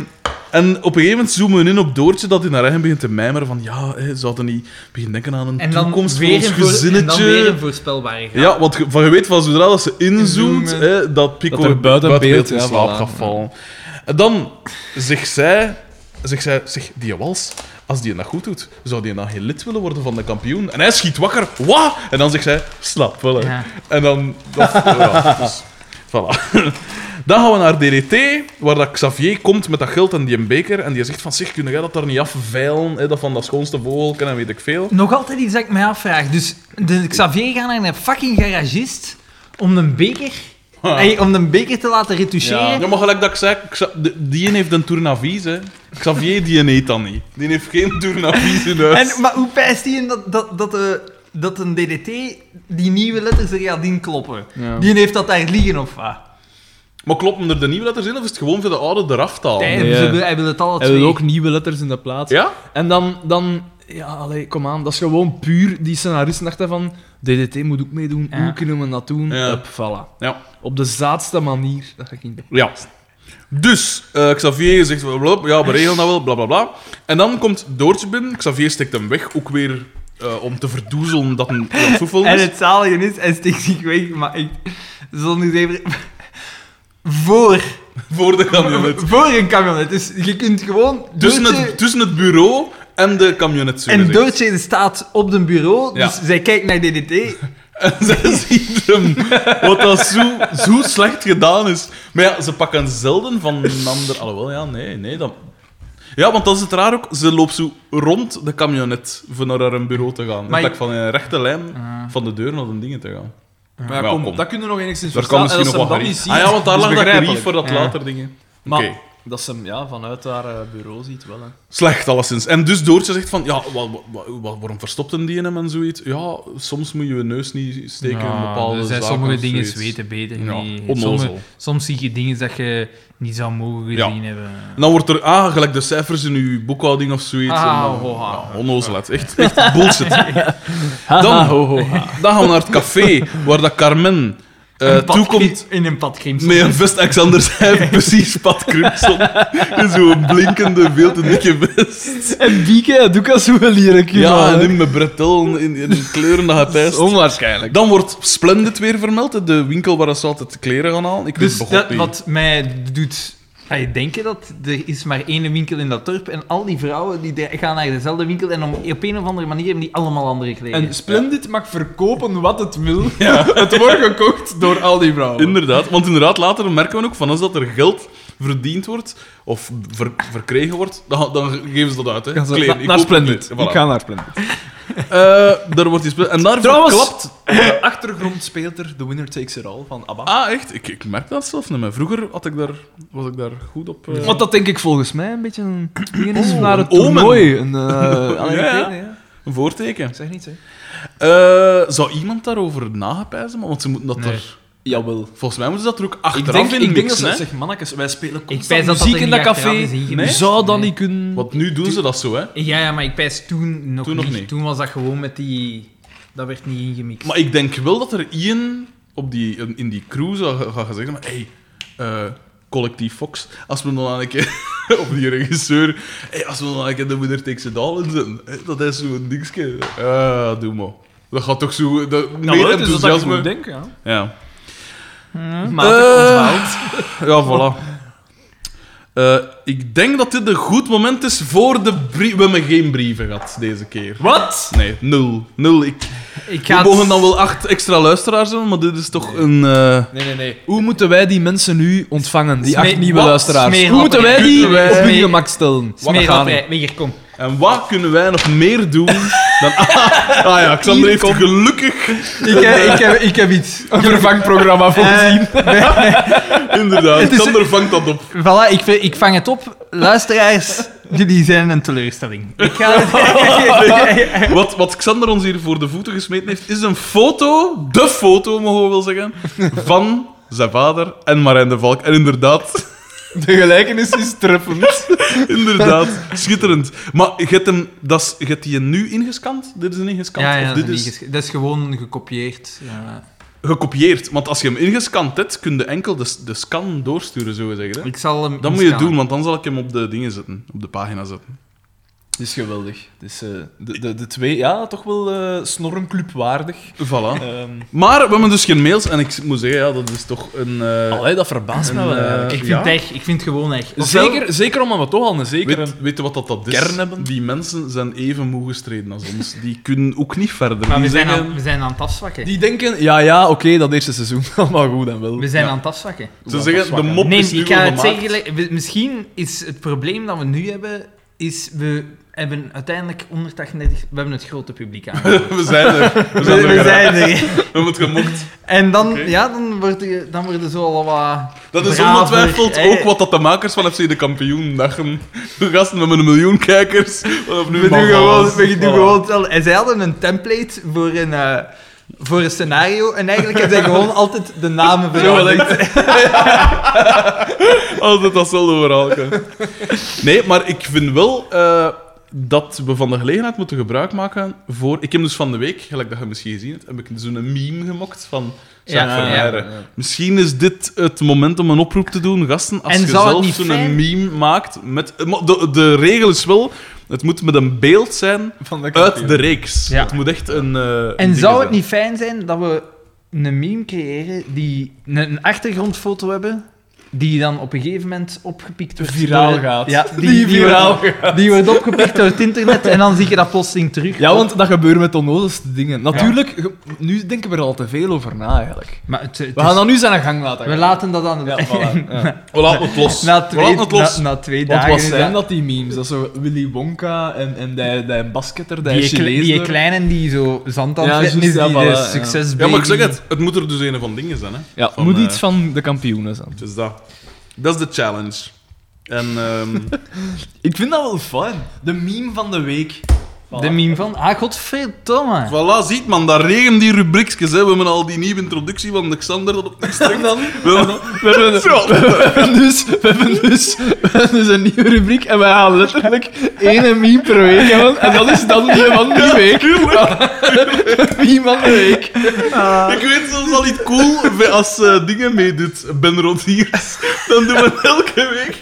Speaker 1: en op een gegeven moment zoomen we in op Doortje, dat in haar eigen begint te mijmeren van ja, hè, ze hadden niet begin denken aan een
Speaker 3: En dan,
Speaker 1: toekomst voor
Speaker 3: weer
Speaker 1: ons
Speaker 3: een voor, en dan
Speaker 1: gezinnetje.
Speaker 3: weer een voorspelbare grap.
Speaker 1: ja, want je- van je weet van zodra dat ze inzoomt,
Speaker 3: Inzoomen.
Speaker 1: hè, dat Pico
Speaker 2: Dat er buiten beeld,
Speaker 1: in
Speaker 2: ja,
Speaker 1: slaap
Speaker 2: voilà.
Speaker 1: gaat vallen. En dan zegt zij, zegt zij zeg, die wals, als die dat goed doet, zou die dan geen lid willen worden van de kampioen? En hij schiet wakker, wat? En dan zegt zij, slaap wel. hè.
Speaker 3: Ja.
Speaker 1: En dan... Dat, ja, dus, voilà. Dan gaan we naar DDT, waar dat Xavier komt met dat geld en die een beker. En die zegt van, zeg, kun jij dat daar niet afveilen? Hè, dat van dat schoonste vogelken en weet ik veel.
Speaker 3: Nog altijd iets dat ik mij afvraag. Dus de Xavier gaat naar een fucking garagist om een beker Hey, om een beker te laten retoucheren.
Speaker 1: Ja, maar gelijk dat ik zei, Xa- de- die een heeft een tournavies, hè. Xavier, die een eet dat niet. Die heeft geen tournavies in huis.
Speaker 3: En, maar hoe pijst hij in dat, dat, dat, eh, dat een DDT die nieuwe letters er gaat inkloppen?
Speaker 2: Ja.
Speaker 3: Die heeft dat daar liggen of wat?
Speaker 1: Maar kloppen er de nieuwe letters in, of is het gewoon voor de oude eraf te halen?
Speaker 3: Hij,
Speaker 2: Oh, nee.
Speaker 3: ze wil- hij wil het alle
Speaker 2: Hij
Speaker 3: twee.
Speaker 2: wil ook nieuwe letters in de plaats.
Speaker 1: Ja?
Speaker 2: En dan, dan ja, allee, kom aan, dat is gewoon puur die scenaristen dachten van, DDT moet ook meedoen,
Speaker 3: Ja.
Speaker 2: hoe kunnen we dat doen?
Speaker 1: Ja.
Speaker 2: Up, voilà.
Speaker 1: Ja.
Speaker 2: Op de zaadste manier, dat ga ik niet
Speaker 1: Ja. Dus, eh, Xavier zegt, blablabla, ja, we regelen dat wel, blablabla. En dan komt Doortje binnen, Xavier steekt hem weg, ook weer eh, om te verdoezelen dat een soefel
Speaker 3: En
Speaker 1: is.
Speaker 3: het zalige is, hij steekt zich weg, maar ik... Zonder even... Voor,
Speaker 1: Voor de camionet.
Speaker 3: voor een camionet. Dus je kunt gewoon...
Speaker 1: Tussen
Speaker 3: Doortje-
Speaker 1: het, tussen het bureau en de camionet, zo
Speaker 3: En
Speaker 1: gezegd.
Speaker 3: Doortje staat op een bureau,
Speaker 1: Ja.
Speaker 3: dus zij kijkt naar DDT.
Speaker 1: En zij ziet hem, wat dat zo, zo slecht gedaan is. Maar ja, ze pakken zelden van een ander... Alhoewel, ja, nee, nee, dat... Ja, want dat is het raar ook. Ze loopt zo rond de camionet voor naar haar bureau te gaan. In
Speaker 2: Maar
Speaker 1: plaats
Speaker 2: ik-
Speaker 1: van in een rechte lijn van de deur naar de dingen te gaan.
Speaker 2: Maar
Speaker 1: ja,
Speaker 2: ja, kom,
Speaker 1: kom.
Speaker 2: dat kunnen we nog enigszins
Speaker 1: Daar kan
Speaker 2: verstaan.
Speaker 1: misschien
Speaker 2: En
Speaker 1: nog wat gerief- Ah ja, want
Speaker 2: dat ze hem dan niet zien,
Speaker 1: daar
Speaker 2: is
Speaker 1: lag dat
Speaker 2: begrijpelijk.
Speaker 1: gerief voor dat
Speaker 3: Ja.
Speaker 1: later dingen.
Speaker 2: Maar
Speaker 1: Oké.
Speaker 2: dat ze hem ja, vanuit haar eh, bureau ziet wel. Hè.
Speaker 1: Slecht, alleszins. En dus Doortje zegt van, ja, wa- wa- wa- waarom verstopten die hem en zoiets? Ja, soms moet je je neus niet steken in bepaalde
Speaker 4: er zijn
Speaker 1: zaken
Speaker 4: sommige
Speaker 1: of
Speaker 4: dingen
Speaker 1: zoiets.
Speaker 4: weten beter
Speaker 1: Ja,
Speaker 4: niet.
Speaker 1: onnozel.
Speaker 4: Sommige- soms zie je dingen dat je niet zou mogen
Speaker 1: Ja.
Speaker 4: gezien hebben.
Speaker 1: En dan wordt er aangelijk gelijk de cijfers in uw boekhouding of zoiets.
Speaker 2: Ah,
Speaker 1: en dan-
Speaker 2: ho, ha.
Speaker 1: Ja, onnozelheid. Echt, echt bullshit. Dan, dan gaan we naar het café waar dat Carmen eh
Speaker 3: Een pad-
Speaker 1: toekomt
Speaker 3: In een pad crimson.
Speaker 1: met een vest Ah, Alexander zijn precies Pat Crimson. In Zo'n blinkende, veel te dikke vest.
Speaker 2: En Bieke doe ik als hoe een lierkje.
Speaker 1: Ja, en in mijn bretel, in, in de kleuren dat hij pijst.
Speaker 2: Onwaarschijnlijk.
Speaker 1: Dan wordt Splendid weer vermeld, de winkel waar ze altijd kleren gaan halen. Ik weet
Speaker 3: Dus
Speaker 1: het
Speaker 3: dat,
Speaker 1: niet.
Speaker 3: wat mij doet je denken dat er is maar één winkel in dat dorp en al die vrouwen die de- gaan naar dezelfde winkel en om, op een of andere manier hebben die allemaal andere kleding.
Speaker 2: En Splendid mag verkopen wat het wil. het wordt gekocht door al die vrouwen.
Speaker 1: Inderdaad, want inderdaad, later merken we ook van als dat er geld verdiend wordt of ver- verkregen wordt, dan, dan geven ze dat uit. Hè.
Speaker 2: Gaan ze-
Speaker 1: Kleren.
Speaker 2: na-
Speaker 1: Ik
Speaker 2: naar
Speaker 1: koop het
Speaker 2: Splendid.
Speaker 1: niet. Voilà.
Speaker 2: Ik ga naar Splendid.
Speaker 1: Eh, daar wordt die spel- En daar
Speaker 2: Trouwens,
Speaker 1: verklapt-
Speaker 2: op de achtergrond speelt er The Winner Takes It All van ABBA.
Speaker 1: Ah, echt? Ik, ik merk dat zelf niet meer. Vroeger had ik daar, was ik daar goed op. eh.
Speaker 2: Ah. Want dat denk ik volgens mij een beetje een ding is
Speaker 1: Oh,
Speaker 2: naar het
Speaker 1: een omen.
Speaker 2: toernooi. Een, eh, allee,
Speaker 1: Ja, ja.
Speaker 2: ik weet niet, ja.
Speaker 1: Een voorteken.
Speaker 2: Zeg niet, hè.
Speaker 1: Eh, zou iemand daarover nagepijzen? Want ze moeten dat
Speaker 4: Nee.
Speaker 1: er...
Speaker 2: Jawel.
Speaker 1: Volgens mij moeten ze dat er ook
Speaker 2: Ik
Speaker 1: achteraf
Speaker 2: denk,
Speaker 1: in
Speaker 2: ik denk dat
Speaker 1: mixen,
Speaker 2: ze
Speaker 1: hè.
Speaker 2: zeggen, mannetjes, wij spelen
Speaker 4: pijs
Speaker 2: constant
Speaker 4: dat dat
Speaker 2: muziek
Speaker 4: er
Speaker 2: in
Speaker 4: niet
Speaker 2: dat café.
Speaker 4: achteraf is ingemist.
Speaker 2: Zou dat
Speaker 4: Nee.
Speaker 2: niet kunnen...
Speaker 1: Want nu doen ze dat zo, hè.
Speaker 4: Ja, ja, maar ik pijs toen nog,
Speaker 1: Toen nog
Speaker 4: niet.
Speaker 1: niet.
Speaker 4: Toen was dat gewoon met die... Dat werd niet ingemixt.
Speaker 1: Maar ik denk wel dat er Ian op die, in die crew zou ga- gaan zeggen: maar, hey, eh, collectief Fox, als we dan een keer, of die regisseur, hey, als we dan een keer de moeder Takes It All inzetten, hè, dat is zo'n dingetje. Ah, doe maar. Dat gaat toch zo. Dat, meer
Speaker 2: Nou, het is dat ik
Speaker 1: enthousiasme.
Speaker 2: goed denk, ja.
Speaker 1: ja.
Speaker 2: Eh.
Speaker 3: maar
Speaker 1: Ja, voilà. Eh, ik denk dat dit een goed moment is voor de brief. We hebben geen brieven gehad deze keer.
Speaker 2: Wat?
Speaker 1: Nee, nul. Nul. Ik,
Speaker 4: ik
Speaker 1: we
Speaker 4: ga
Speaker 1: mogen dan wel acht extra luisteraars hebben, maar dit is toch een. eh,
Speaker 2: Nee, nee, nee. Hoe moeten wij die mensen nu ontvangen, die acht nieuwe
Speaker 3: wat?
Speaker 2: luisteraars?
Speaker 3: Smeerlapperij.
Speaker 2: Hoe moeten wij die
Speaker 3: Kunnen wij-
Speaker 2: op hun
Speaker 3: Smeer-
Speaker 2: gemak stellen?
Speaker 4: Smeer
Speaker 2: gaan
Speaker 4: dat
Speaker 2: we?
Speaker 4: wij. Maar hier, kom.
Speaker 1: En wat kunnen wij nog meer doen dan... Ah, ja, Xander heeft gelukkig
Speaker 3: ik, heb, ik, heb, ik heb iets.
Speaker 2: Een vervangprogramma voorzien.
Speaker 1: inderdaad. Xander vangt dat op.
Speaker 3: Voilà, ik, v- ik vang het op. Luisteraars, jullie zijn een teleurstelling. Ik ga het...
Speaker 1: Wat, wat Xander ons hier voor de voeten gesmeten heeft, is een foto, de foto mogen we wel zeggen, van zijn vader en Marijn de Valk. En inderdaad,
Speaker 2: De gelijkenis is treffend.
Speaker 1: inderdaad, schitterend. Maar je hebt hem, dat is, je hebt die nu ingescand? Dit is een ingescand?
Speaker 4: Ja, ja,
Speaker 1: of
Speaker 4: dat,
Speaker 1: dit
Speaker 4: is
Speaker 1: is
Speaker 4: niet ges- dat is gewoon gekopieerd. Ja.
Speaker 1: gekopieerd. Want als je hem ingescand hebt, kun je enkel de, de scan doorsturen, zo zeggen.
Speaker 4: Ik zal hem
Speaker 1: Dat moet je
Speaker 4: inscannen.
Speaker 1: doen, want dan zal ik hem op de dingen zetten, op de pagina zetten.
Speaker 2: Het is geweldig. Het is eh, de, de, de twee, ja, toch wel eh snorrenclub waardig.
Speaker 1: Voilà.
Speaker 2: Ehm
Speaker 1: Maar we hebben dus geen mails en ik moet zeggen, ja, dat is toch een. eh,
Speaker 2: allee, dat verbaast mij wel.
Speaker 1: en, eh,
Speaker 2: eigenlijk.
Speaker 4: Ik vind
Speaker 1: Ja.
Speaker 4: het echt. Ik vind het gewoon echt. Ofwel-
Speaker 2: zeker, zeker omdat we toch al een zekere...
Speaker 1: weet, weet je wat dat, dat is?
Speaker 2: Kern hebben.
Speaker 1: Die mensen zijn even moe gestreden als ons. Die kunnen ook niet verder.
Speaker 4: Maar we
Speaker 1: Die
Speaker 4: zijn,
Speaker 1: zeggen-
Speaker 4: aan, we zijn aan het afzwakken.
Speaker 2: Die denken, ja, ja, oké, dat eerste seizoen, allemaal goed en wel.
Speaker 4: We zijn
Speaker 1: Ja.
Speaker 4: aan het afzwakken.
Speaker 1: ze zeggen, de mop
Speaker 4: Nee,
Speaker 1: is nu
Speaker 4: ik ga
Speaker 1: al
Speaker 4: het
Speaker 1: gemaakt.
Speaker 4: zeggen. gelijk- we- Misschien is het probleem dat we nu hebben
Speaker 3: is, we hebben uiteindelijk 138... We hebben het grote publiek aan.
Speaker 1: We zijn er.
Speaker 3: We,
Speaker 1: We zijn er.
Speaker 3: we zijn er.
Speaker 1: We hebben het gemokt.
Speaker 3: En dan,
Speaker 1: Oké.
Speaker 3: ja, dan worden je- dan worden ze al wat...
Speaker 1: Dat is
Speaker 3: braver,
Speaker 1: ongetwijfeld
Speaker 3: hè.
Speaker 1: ook wat dat de makers van FC de Kampioen dachten. We gasten hebben een miljoen kijkers. Vanaf nu
Speaker 3: We doen
Speaker 1: mag
Speaker 3: gewoon,
Speaker 1: alles.
Speaker 3: we doen
Speaker 1: Voilà.
Speaker 3: gewoon hetzelfde. En zij hadden een template voor een, eh, voor een scenario. En eigenlijk hebben zij gewoon altijd de namen veranderd.
Speaker 1: Altijd datzelfde verhaal. Nee, maar ik vind wel eh, dat we van de gelegenheid moeten gebruik maken voor... Ik heb dus van de week, gelijk dat je misschien gezien hebt, heb ik zo'n meme gemokt van Jacques
Speaker 3: Ja,
Speaker 1: van
Speaker 3: ja,
Speaker 1: Heijren. Misschien is dit het moment om een oproep te doen, gasten. Als
Speaker 3: En
Speaker 1: je
Speaker 3: zou het
Speaker 1: zelf
Speaker 3: niet
Speaker 1: zo'n
Speaker 3: fijn-
Speaker 1: meme maakt... Met, maar de, de regel is wel, het moet met een beeld zijn
Speaker 2: Van de
Speaker 1: uit de reeks.
Speaker 3: Ja.
Speaker 1: Het moet echt een... eh,
Speaker 3: En
Speaker 1: ding
Speaker 3: zou het
Speaker 1: zijn.
Speaker 3: niet fijn zijn dat we een meme creëren die een- een achtergrondfoto hebben, die dan op een gegeven moment opgepikt wordt.
Speaker 2: Viraal
Speaker 3: door-
Speaker 2: gaat.
Speaker 3: Ja, die,
Speaker 2: Die
Speaker 3: die
Speaker 2: viraal
Speaker 3: wordt, Die wordt opgepikt door het internet en dan zie je dat plotseling terug.
Speaker 2: Ja, want dat gebeurt met onnozelste dingen. Natuurlijk, ge- nu denken we er al te veel over na, eigenlijk.
Speaker 3: Maar het, het
Speaker 2: We
Speaker 3: is-
Speaker 2: gaan dat nu zijn gang laten.
Speaker 3: we laten dat aan de...
Speaker 2: Ja, voilà. Ja.
Speaker 1: We laten het los.
Speaker 3: Na
Speaker 1: we
Speaker 3: twee,
Speaker 1: laten het los.
Speaker 3: na, na twee
Speaker 2: Wat
Speaker 3: dagen...
Speaker 2: was
Speaker 3: is
Speaker 2: zijn dat,
Speaker 3: dat-
Speaker 2: die memes? Dat is zo Willy Wonka en, en die, die basketter, die,
Speaker 3: Die, kle-
Speaker 2: Chilees.
Speaker 3: die
Speaker 2: daar.
Speaker 3: kleinen die zo zand aan
Speaker 2: Ja,
Speaker 3: het zetten
Speaker 2: juist,
Speaker 3: is,
Speaker 2: ja,
Speaker 3: die
Speaker 2: voilà,
Speaker 3: de
Speaker 2: ja.
Speaker 3: succesbaby...
Speaker 1: Ja, maar ik zeg het. Het moet er dus een van dingen zijn, hè.
Speaker 2: Ja, het
Speaker 1: Van,
Speaker 2: moet
Speaker 1: eh,
Speaker 2: iets van de kampioenen zijn.
Speaker 1: Dus dat. Dat is de challenge. En ehm,
Speaker 2: Ik vind dat wel fijn. De meme van de week.
Speaker 3: De meme van... Ah, godverdomme.
Speaker 1: voilà, ziet man, daar regen die rubriekjes. Hè. We hebben al die nieuwe introductie van Alexander dat op niks trekt.
Speaker 2: dan?
Speaker 1: We hebben, we hebben-
Speaker 2: We hebben, dus, we, hebben dus, we hebben dus een nieuwe rubriek en we gaan letterlijk één meme per week hebben. En dat is dan die van die week. De meme van de week.
Speaker 1: Ik weet zelfs al iets cool als eh, dingen meedoet, Ben Rodiers. Dan doen we elke week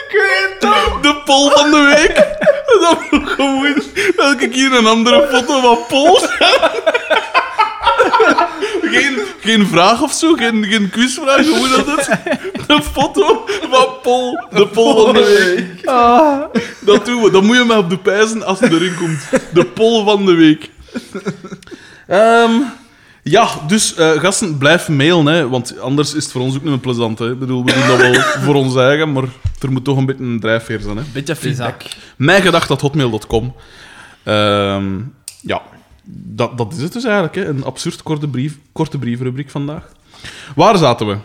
Speaker 2: Ik weet het.
Speaker 1: de poll van de week. En dan wordt gewoon elke keer een andere foto van polls. Geen, geen vraag of zo, geen, geen quizvraag, hoe dat het? De foto van Pol, de Pol van de week. Dat doen we, dat moet je mij op de pijzen als het erin komt. De Pol van de week. Ehm, ja, dus eh, gasten, blijf mailen, hè, want anders is het voor ons ook niet meer plezant. Hè. Ik bedoel, we doen dat wel voor ons eigen, maar er moet toch een beetje een drijfveer zijn. Hè.
Speaker 2: Beetje feedback.
Speaker 1: Ah, Mijngedacht.hotmail.com. Ehm ja, dat, dat is het dus eigenlijk. Hè. Een absurd korte, brief, korte brievenrubriek vandaag. Waar zaten we?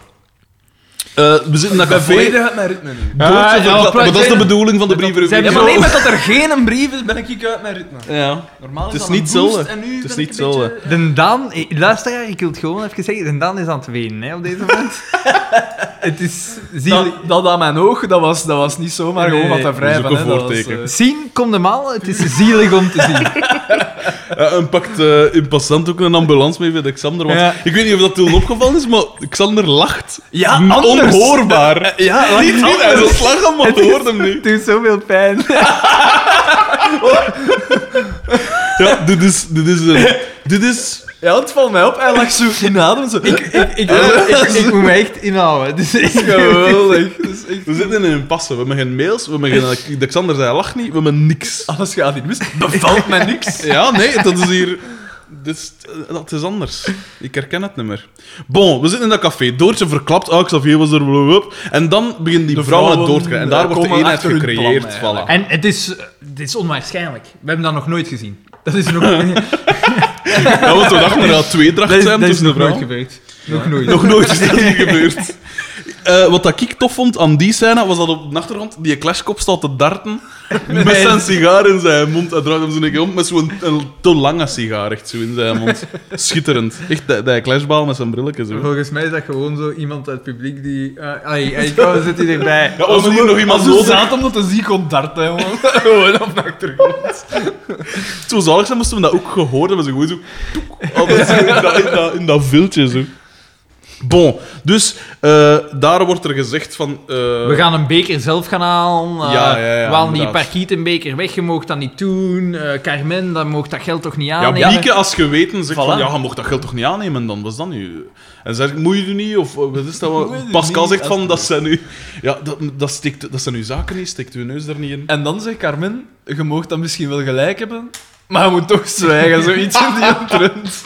Speaker 1: Eh, we zitten in dat café.
Speaker 2: Volledig uit mijn ritme nu.
Speaker 1: Doortje
Speaker 3: Ah, ja,
Speaker 1: verklapt, maar dat is de
Speaker 3: zijn-
Speaker 1: bedoeling van de brievenrubriek.
Speaker 2: hebben alleen
Speaker 3: dat er geen brief
Speaker 2: Ben ik uit mijn ritme.
Speaker 1: Ja.
Speaker 2: Normaal
Speaker 1: Het is
Speaker 2: dat
Speaker 1: niet
Speaker 2: een boost
Speaker 1: hetzelfde.
Speaker 2: en nu
Speaker 1: Het is
Speaker 2: ben ik
Speaker 1: niet
Speaker 2: een beetje-
Speaker 3: De Daan... eh, Luisteraar, ik wil het gewoon even zeggen. De Daan is aan het wenen, hè, op deze moment. het is... Zien,
Speaker 2: Dat, dat aan mijn oog, dat was, dat was niet zomaar
Speaker 3: Nee,
Speaker 2: gewoon wat
Speaker 3: nee,
Speaker 2: te wrijven.
Speaker 1: dat is ook
Speaker 2: hè.
Speaker 1: een
Speaker 2: Dat was,
Speaker 1: voorteken.
Speaker 2: eh,
Speaker 3: zien kom de maal. Het is zielig om te zien.
Speaker 1: Eh, en pakt eh, in passant ook een ambulance mee met Xander. Want
Speaker 2: Ja.
Speaker 1: ik weet niet of dat toen opgevallen is, maar Xander lacht.
Speaker 2: Ja,
Speaker 1: Mm,
Speaker 2: anders.
Speaker 1: Onhoorbaar.
Speaker 2: Ja, laat
Speaker 1: Niet niet, hij is lachen, maar je hoort hem niet.
Speaker 3: Het doet zoveel pijn.
Speaker 1: Ja, dit is... Dit is, een- dit is
Speaker 2: Ja, het valt mij op. Hij lag zo in adem. Zo. Ik, ik,
Speaker 3: Ik, ik, ik moet me echt inhouden. Dus ik-
Speaker 2: geweldig. Dat is echt...
Speaker 1: We zitten in een passen. We hebben geen mails, we hebben geen... De Xander zei, lach niet, we hebben niks.
Speaker 2: Alles gaat hier mis. Bevalt mij niks.
Speaker 1: Ja, nee, dat is hier... dit is- dat is anders. Ik herken het niet meer. Bon, we zitten in dat café. Doortje verklapt, oh, Xavier was er... blablabla. En dan begint die
Speaker 2: De
Speaker 1: vrouw aan het
Speaker 2: vrouwen,
Speaker 1: door te krijgen. En daar
Speaker 2: eh,
Speaker 1: wordt de
Speaker 2: komen
Speaker 1: eenheid
Speaker 2: achter hun plan,
Speaker 1: gecreëerd.
Speaker 2: eigenlijk.
Speaker 1: voilà.
Speaker 4: En het is, het is onwaarschijnlijk. We hebben dat nog nooit gezien. Dat is nog, dat
Speaker 1: Ja, Nou, want we dachten dat er twee drachten
Speaker 4: is,
Speaker 1: zijn
Speaker 4: dat is
Speaker 1: tussen de
Speaker 4: nog nooit
Speaker 1: vrouwen.
Speaker 4: gebeurd. Nog nooit.
Speaker 1: Nog nooit is dat hier gebeurd. Eh, wat dat ik tof vond aan die scène, was dat op de achtergrond die klashkop staat te darten met zijn sigaar in zijn mond. Hij draait hem zo'n keer om met zo'n een te lange sigaar echt zo in zijn mond. Schitterend. Echt, die, die clashbal met zijn brilletje zo.
Speaker 3: Volgens mij is dat gewoon zo iemand uit het publiek die... eh, ai, ai, kom, zit hier erbij.
Speaker 1: Ja, als we hier nog iemand
Speaker 2: Zo
Speaker 1: nodig
Speaker 2: zaad omdat hij ziek kon darten, jongen.
Speaker 1: hebben, op Zo zalig zijn moesten we dat ook gehoord hebben. Zo gewoon zo... toek, altijd zo in, dat, in, dat, in dat viltje zo. Bon, dus eh, daar wordt er gezegd van... eh,
Speaker 4: We gaan een beker zelf gaan halen. eh,
Speaker 1: Ja, ja, ja,
Speaker 4: we halen die
Speaker 1: inderdaad.
Speaker 4: parkietenbeker weg. Je mocht dat niet doen. eh, Carmen, dan mocht dat geld toch niet
Speaker 1: Ja,
Speaker 4: aannemen.
Speaker 1: Bieke, als je weten zegt
Speaker 4: Voilà.
Speaker 1: van ja, je mocht dat geld toch niet aannemen, dan was dat nu. En zegt moet je doen niet of eh, wat is dat?
Speaker 2: Moet je
Speaker 1: Wat?
Speaker 2: doen
Speaker 1: Pascal
Speaker 2: niet,
Speaker 1: zegt van dat zijn nu ja, dat, dat, stikt, dat zijn uw zaken niet, steekt uw neus daar niet in.
Speaker 2: En dan zegt Carmen, je mag dan misschien wel gelijk hebben, maar je moet toch zwijgen. Zoiets in die trend.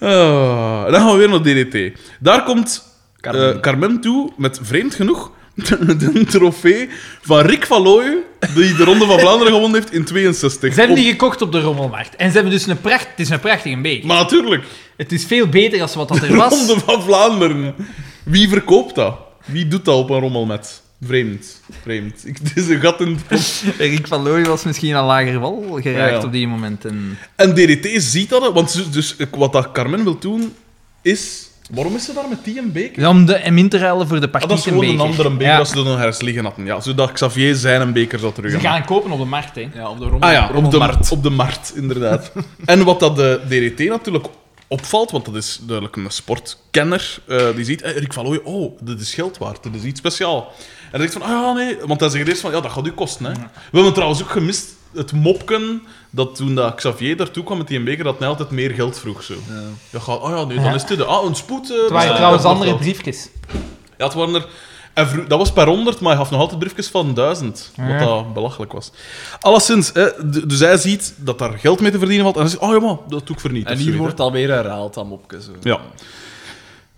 Speaker 1: Oh, Ah, en dan gaan we weer naar DDT. Daar komt eh,
Speaker 2: Carmen.
Speaker 1: Carmen toe met vreemd genoeg de trofee van Rick van Looyen, die de Ronde van Vlaanderen gewonnen heeft in 62.
Speaker 4: Ze hebben
Speaker 1: Op-
Speaker 4: die gekocht op de rommelmarkt. En ze hebben dus een pracht... Het is een prachtige beek.
Speaker 1: Maar natuurlijk,
Speaker 4: Het is veel beter dan wat dat er
Speaker 1: de
Speaker 4: was.
Speaker 1: Ronde van Vlaanderen. Wie verkoopt dat? Wie doet dat op een rommelmet? Vreemd, vreemd. Ik, het is een gat in het pot.
Speaker 3: Rick van Looy was misschien aan lager wal geraakt
Speaker 1: Ja, ja.
Speaker 3: op die moment. En...
Speaker 1: En DDT ziet dat, hè, want dus, dus wat dat Carmen wil doen, is... Waarom is ze daar met die een beker?
Speaker 3: Ja, om de hem in te ruilen voor de
Speaker 1: Ah, dat is gewoon een andere beker als ze er nog ergens liggen hadden. Ja, zodat Xavier zijn beker zou terug
Speaker 4: Ze
Speaker 1: hebben.
Speaker 4: gaan kopen op de markt, hè.
Speaker 2: Ja, op de rommel.
Speaker 1: Ah ja, op de,
Speaker 2: rommelmarkt.
Speaker 1: op de markt, inderdaad. en wat dat de DDT natuurlijk opvalt, want dat is duidelijk een sportkenner, eh, die ziet, eh, Rick van Looy, oh, dit is geld waard, dit is iets speciaal. En hij zegt van, ah ja, nee, want hij zegt eerst van, ja, dat gaat u kosten, hè. We hebben trouwens ook gemist het mopken dat toen dat Xavier daartoe kwam met die beker, dat hij altijd meer geld vroeg, zo. Ja. gaat, oh ja, nee, dan
Speaker 4: Ja.
Speaker 1: is dit, de- ah, een spoed... eh,
Speaker 4: Het waren
Speaker 1: bestel-
Speaker 4: trouwens
Speaker 1: dat
Speaker 4: andere
Speaker 1: wordt wel.
Speaker 4: briefjes.
Speaker 1: Ja, het waren er... en vroeg- dat was per 100, maar hij gaf nog altijd briefjes van 1000. Wat
Speaker 4: Ja.
Speaker 1: dat belachelijk was. Alleszins, hè, d- dus hij ziet dat daar geld mee te verdienen valt. En hij zegt: Oh ja, maar dat doe ik voor niet.
Speaker 2: En
Speaker 1: of
Speaker 2: hier
Speaker 1: zoiets,
Speaker 2: wordt alweer herhaald, dat mopje. Zo.
Speaker 1: hè. Ja.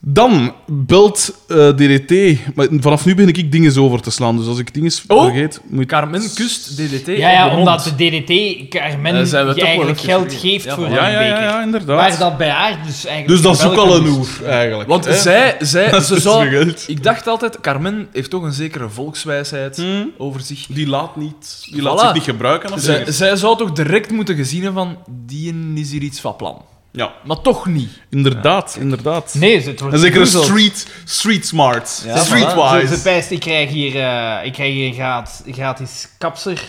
Speaker 1: Dan belt eh, DDT. Maar vanaf nu begin ik dingen over te slaan. Dus als ik dingen
Speaker 2: Oh!
Speaker 1: vergeet, moet
Speaker 2: Carmen kust DDT
Speaker 4: Ja,
Speaker 2: op
Speaker 4: ja,
Speaker 2: de mond.
Speaker 4: omdat de DDT Carmen
Speaker 2: Dan zijn we
Speaker 4: je
Speaker 2: toch
Speaker 4: eigenlijk
Speaker 2: wel even
Speaker 4: geld
Speaker 2: verliezen.
Speaker 4: geeft
Speaker 2: Ja,
Speaker 4: voor
Speaker 2: voilà.
Speaker 4: een
Speaker 1: Ja, ja, ja,
Speaker 4: beker.
Speaker 1: ja,
Speaker 4: Waar
Speaker 1: inderdaad.
Speaker 4: dat bij haar dus eigenlijk...
Speaker 1: Dus dat is ook
Speaker 4: geweldig
Speaker 1: al een
Speaker 4: is.
Speaker 1: oer, eigenlijk.
Speaker 2: Want
Speaker 1: hè.
Speaker 2: zij, zij
Speaker 1: Dat
Speaker 2: ze
Speaker 1: is dus
Speaker 2: zou-
Speaker 1: geld.
Speaker 2: Ik dacht altijd, Carmen heeft toch een zekere volkswijsheid
Speaker 1: Hm,
Speaker 2: over zich.
Speaker 1: Die laat, niet, die
Speaker 2: Voilà.
Speaker 1: laat zich niet gebruiken. Of
Speaker 2: Zij,
Speaker 1: zoiets.
Speaker 2: zij zou toch direct moeten gezien hebben van, die is hier iets van plan.
Speaker 1: Ja,
Speaker 2: Maar toch niet.
Speaker 1: inderdaad, inderdaad.
Speaker 4: Nee, ze- het wordt
Speaker 1: En zeker een
Speaker 2: Brussel.
Speaker 1: street, street smart.
Speaker 2: Ja, voilà.
Speaker 1: streetwise.
Speaker 4: Ze, ze pijst, ik krijg hier, eh, ik krijg hier een gratis, gratis kapser,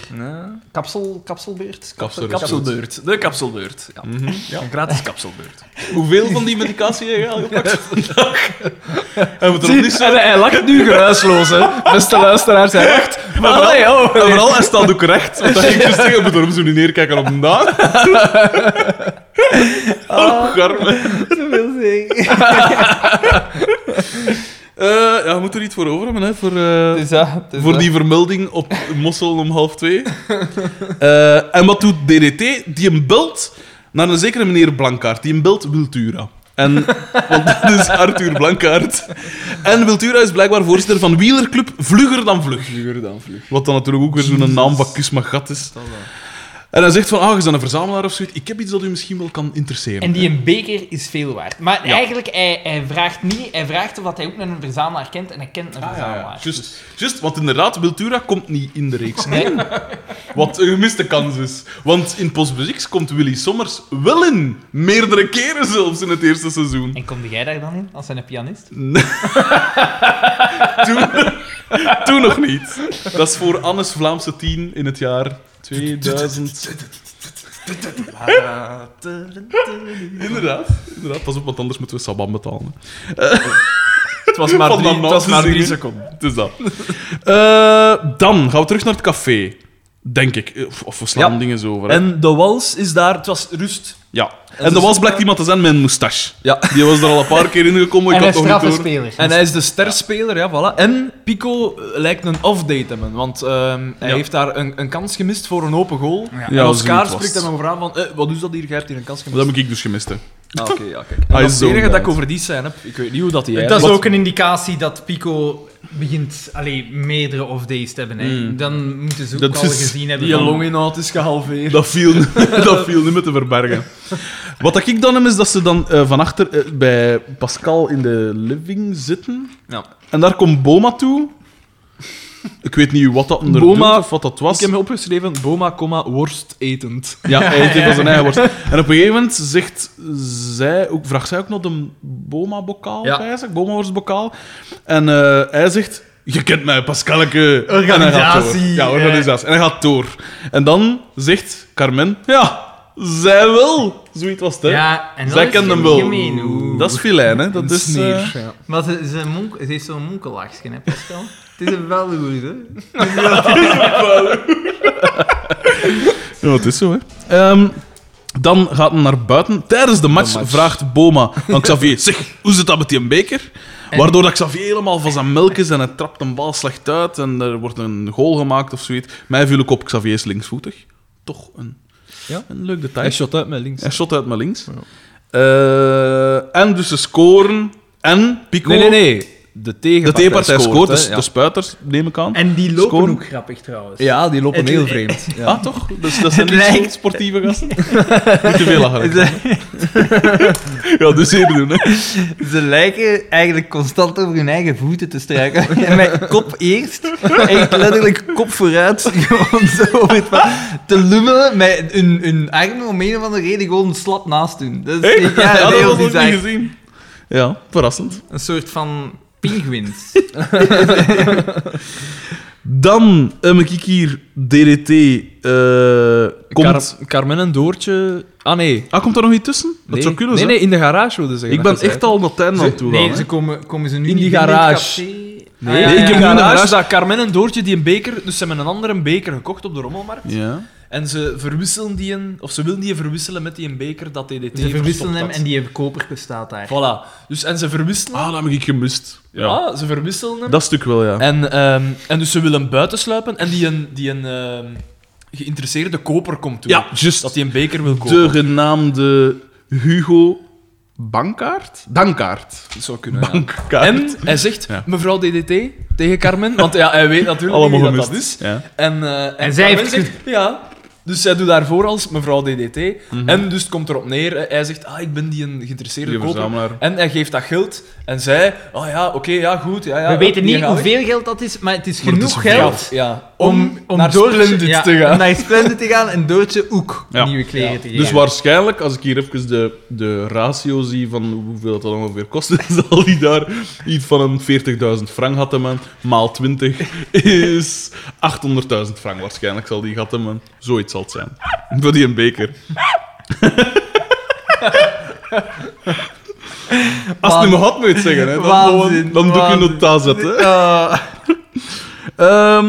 Speaker 4: kapsel, kapselbeurt.
Speaker 1: Kapsel-
Speaker 2: Kapselbeurt. De kapselbeurt. Ja.
Speaker 1: Mhm.
Speaker 2: Een gratis kapselbeurt.
Speaker 1: Hoeveel van die medicatie heb je al gepakt vandaag? Hij moet er nog
Speaker 2: Zie,
Speaker 1: niet zo...
Speaker 2: en hij, hij lacht nu geruisloos, hè. Beste luisteraars, hij lacht.
Speaker 1: Maar vooral-
Speaker 2: Allee, oh.
Speaker 1: En vooral, hij staat ook recht. Want hij ging dus zeggen, moet erom zo niet neerkijken op een naam. Oh, garme. Eh, ja, we moeten er iets voor over hebben, hè. Voor, eh,
Speaker 2: Dus
Speaker 1: voor die vermelding op Mossel om half twee. Eh, en wat doet DDT? Die hem belt naar een zekere meneer Blankaart. Die hem belt Wiltura. En, want dat is Arthur Blankaart. En Wiltura is blijkbaar voorzitter van wielerclub Vlugger dan Vlug.
Speaker 2: Vlugger dan vlug.
Speaker 1: Wat dan natuurlijk ook weer zo'n naam van Kusma Gat is. En hij zegt van, ah, je bent een verzamelaar of zoiets. Ik heb iets dat u misschien wel kan interesseren.
Speaker 4: En die een beker is veel waard. Maar
Speaker 1: Ja.
Speaker 4: eigenlijk, hij, hij vraagt niet, hij vraagt of dat hij ook een verzamelaar kent en hij kent een
Speaker 1: Ah, ja, ja.
Speaker 4: verzamelaar.
Speaker 1: Just, just, want inderdaad, Wiltura komt niet in de reeks in. Wat een gemiste kans is. Want in Postbus X komt Willy Sommers wel in. Meerdere keren zelfs in het eerste seizoen.
Speaker 4: En kom jij daar dan in, als een pianist?
Speaker 1: Toen, toen nog niet. Dat is voor Annes Vlaamse 10 in het jaar 2000. Inderdaad, inderdaad. Pas op, want anders moeten we Saban betalen.
Speaker 2: Het was maar
Speaker 1: Van
Speaker 2: drie,
Speaker 1: dat
Speaker 2: het was
Speaker 1: na
Speaker 2: maar
Speaker 1: te
Speaker 2: drie
Speaker 1: zingen.
Speaker 2: seconden.
Speaker 1: Het is dat. Eh, dan gaan we terug naar het café. Denk ik. Of, of we slaan
Speaker 2: Ja.
Speaker 1: dingen zo over. hè.
Speaker 2: En de wals is daar... Het was rust.
Speaker 1: Ja. En,
Speaker 2: dus-
Speaker 1: er was blijkt iemand te zijn met een moustache.
Speaker 2: Ja.
Speaker 1: Die was er al een paar keer ingekomen. Ik
Speaker 4: en hij is
Speaker 1: had toch niet door.
Speaker 4: straffenspeler.
Speaker 2: En hij is de sterspeler, ja, voilà. En Pico eh, lijkt een off-date hebben, want ehm, hij
Speaker 1: Ja.
Speaker 2: heeft daar een, een kans gemist voor een open goal. en
Speaker 1: Ja,
Speaker 2: Oscar
Speaker 1: zoiets was
Speaker 2: spreekt
Speaker 1: het.
Speaker 2: hem over aan van, eh, wat is dat hier? Jij hebt hier een kans gemist.
Speaker 1: Dat heb ik dus gemist. Hè.
Speaker 2: Ah, oké, ja, kijk. En
Speaker 1: Hij
Speaker 2: dat
Speaker 1: is
Speaker 2: is
Speaker 1: zo
Speaker 2: het enige dat ik
Speaker 1: bad.
Speaker 2: over die scène heb. Ik weet niet hoe dat hij
Speaker 3: Dat is
Speaker 1: Wat-
Speaker 3: ook een indicatie dat Pico begint allee, meerdere off-days te hebben. Hè.
Speaker 1: Mm.
Speaker 3: Dan moeten ze ook
Speaker 1: Dat
Speaker 3: al
Speaker 1: is
Speaker 3: gezien hebben.
Speaker 2: Die
Speaker 3: van-
Speaker 2: longinhoud is gehalveerd.
Speaker 1: Dat viel, dat viel niet meer te verbergen. Wat dat ik dan heb, is dat ze dan eh, van achter eh, bij Pascal in de living zitten.
Speaker 2: Ja.
Speaker 1: En daar komt Boma toe. Ik weet niet wat dat onder
Speaker 2: Boma-
Speaker 1: doet of wat dat was.
Speaker 2: Ik heb me opgeschreven, boma, comma, worst etend.
Speaker 1: Ja, hij heeft van zijn eigen worst. En op een gegeven moment zegt zij ook, vraagt zij ook nog de Boma-bokaal,
Speaker 2: Ja.
Speaker 1: eigenlijk, Boma-worstbokaal. En eh, hij zegt, je kent mij, Pascalke. En hij gaat door.
Speaker 3: Organisatie,
Speaker 1: Ja, organisatie. En hij gaat door. En dan zegt Carmen, ja, zij wel. Zoiets was het, hè.
Speaker 3: Ja, en dat
Speaker 1: zij
Speaker 3: is
Speaker 1: kent hem wel.
Speaker 3: gemeen. Oeh.
Speaker 1: Dat is filijn, hè. Dat
Speaker 2: Een
Speaker 1: is... eh,
Speaker 2: sneer, ja.
Speaker 3: Maar ze, ze, monk, ze heeft zo'n monkelaagje, hè, Pascal? het is een welhoer, hè?
Speaker 1: Ja, het is zo, hè. Ehm, dan gaat hij naar buiten. Tijdens de match,
Speaker 2: match.
Speaker 1: vraagt Boma aan Xavier... Zeg, hoe zit dat met die beker? Waardoor dat Xavier helemaal van zijn melk is en hij trapt een bal slecht uit en er wordt een goal gemaakt of zoiets. Mij viel ik op, Xavier is linksvoetig. Toch een,
Speaker 2: Ja.
Speaker 1: een leuk detail.
Speaker 2: Hij shot uit met links.
Speaker 1: Hij shot uit mijn links. Eh, en dus ze scoren. En Pico...
Speaker 2: Nee, nee, nee. de
Speaker 1: De
Speaker 2: tegenpartij,
Speaker 1: tegenpartij
Speaker 2: scoort,
Speaker 1: scoort,
Speaker 2: hè,
Speaker 1: dus
Speaker 2: ja.
Speaker 1: de spuiters, neem ik aan.
Speaker 3: En die lopen
Speaker 1: Scoren.
Speaker 3: ook grappig trouwens.
Speaker 2: ja, die lopen
Speaker 3: Het-
Speaker 2: heel vreemd. Ja.
Speaker 1: Ah, toch? Dus dat zijn
Speaker 3: Het
Speaker 1: niet zo
Speaker 3: lijkt-
Speaker 1: sportieve gasten? Niet te veel lachen.
Speaker 3: Ze,
Speaker 1: Ja, dus hier doen, hè.
Speaker 3: ze lijken eigenlijk constant over hun eigen voeten te struikelen. En mijn kop eerst, echt letterlijk Ah, kop vooruit, gewoon zo op het pa- te lummelen met hun, hun armen om een of andere reden gewoon slap naast doen. Dat is
Speaker 1: Ja,
Speaker 3: echt- ja,
Speaker 1: dat
Speaker 3: heel
Speaker 1: was ook niet
Speaker 3: bizar.
Speaker 1: gezien. Ja, verrassend.
Speaker 3: Een soort van pinguïns.
Speaker 1: Dan eh, heb ik hier DDT. eh komt...
Speaker 2: Car- Carmen en Doortje... Ah, nee.
Speaker 1: Ah, komt daar nog iets tussen? Dat
Speaker 2: Nee.
Speaker 1: zou kunnen,
Speaker 2: nee,
Speaker 1: zijn.
Speaker 2: nee, in de garage wilde ze
Speaker 1: Ik ben echt al naar Tijn aan toe
Speaker 3: Nee,
Speaker 1: gaan,
Speaker 3: ze
Speaker 1: hè.
Speaker 3: komen, komen ze nu
Speaker 2: In
Speaker 3: niet
Speaker 2: die
Speaker 3: binnen het
Speaker 2: garage.
Speaker 3: café?
Speaker 2: Nee,
Speaker 3: Ah, ja,
Speaker 2: ik
Speaker 3: ja,
Speaker 2: heb
Speaker 3: ja.
Speaker 2: nu in de garage
Speaker 1: huis-
Speaker 2: dat Carmen en Doortje die een beker... Dus ze hebben een andere beker gekocht op de rommelmarkt.
Speaker 1: Ja.
Speaker 2: En ze verwisselen die een... Of ze willen die verwisselen met die een beker dat DDT
Speaker 3: Ze verwisselen
Speaker 2: verstopt
Speaker 3: hem
Speaker 2: had.
Speaker 3: en die koper bestaat daar.
Speaker 2: Voilà. Dus, en ze verwisselen...
Speaker 1: Ah, dat heb ik gemist. Ja.
Speaker 2: ja, ze verwisselen hem.
Speaker 1: Dat stuk wel, ja.
Speaker 2: Oh. En, ehm, en dus ze willen buitensluipen en die een, die een ehm, geïnteresseerde koper komt toe.
Speaker 1: ja, juist.
Speaker 2: Dat hij een beker wil kopen.
Speaker 1: De genaamde Hugo Bankkaart? Dankaart.
Speaker 2: Dat zou kunnen. ja.
Speaker 1: Bankkaart.
Speaker 2: En hij zegt
Speaker 1: Ja.
Speaker 2: mevrouw DDT tegen Carmen, want ja, hij weet natuurlijk
Speaker 1: Allemaal
Speaker 2: niet wie
Speaker 1: gemist.
Speaker 2: dat, dat is.
Speaker 1: Ja.
Speaker 2: En, eh, en,
Speaker 3: En zij
Speaker 2: Carmen
Speaker 3: heeft
Speaker 2: zegt, ja. Dus zij doet daarvoor als mevrouw DDT. En dus het komt erop neer, eh, hij zegt, ah, ik ben die een geïnteresseerde
Speaker 1: Mhm. Die
Speaker 2: koper.
Speaker 1: verzamelaar.
Speaker 2: En hij geeft dat geld en zij, oh ja, oké, ja, goed. Ja, ja,
Speaker 3: We
Speaker 2: hup,
Speaker 3: weten
Speaker 2: die
Speaker 3: niet
Speaker 2: gaan weg.
Speaker 3: hoeveel geld dat is, maar het is
Speaker 1: Maar het
Speaker 3: genoeg
Speaker 1: is
Speaker 3: geld
Speaker 2: geld. Ja.
Speaker 3: om, om
Speaker 2: naar
Speaker 3: Doortje-
Speaker 2: Splendid
Speaker 3: ja,
Speaker 2: te gaan.
Speaker 3: om naar Splendid te gaan en Doortje ook
Speaker 1: Ja.
Speaker 3: nieuwe kleren te geven.
Speaker 1: Dus waarschijnlijk, als ik hier even de, de ratio zie van hoeveel dat ongeveer kost, zal die daar iets van een 40.000 frank hadden, man. Maal 20 is 800.000 frank waarschijnlijk zal die hadden, man. Zoiets zal het zijn. Voor die een beker. Als het nu maar had, moet je het zeggen. Hè. Dan,
Speaker 3: Waanzin,
Speaker 1: dan doe ik je
Speaker 3: waanzin.
Speaker 1: nota zetten.
Speaker 3: Eh,
Speaker 1: Ehm,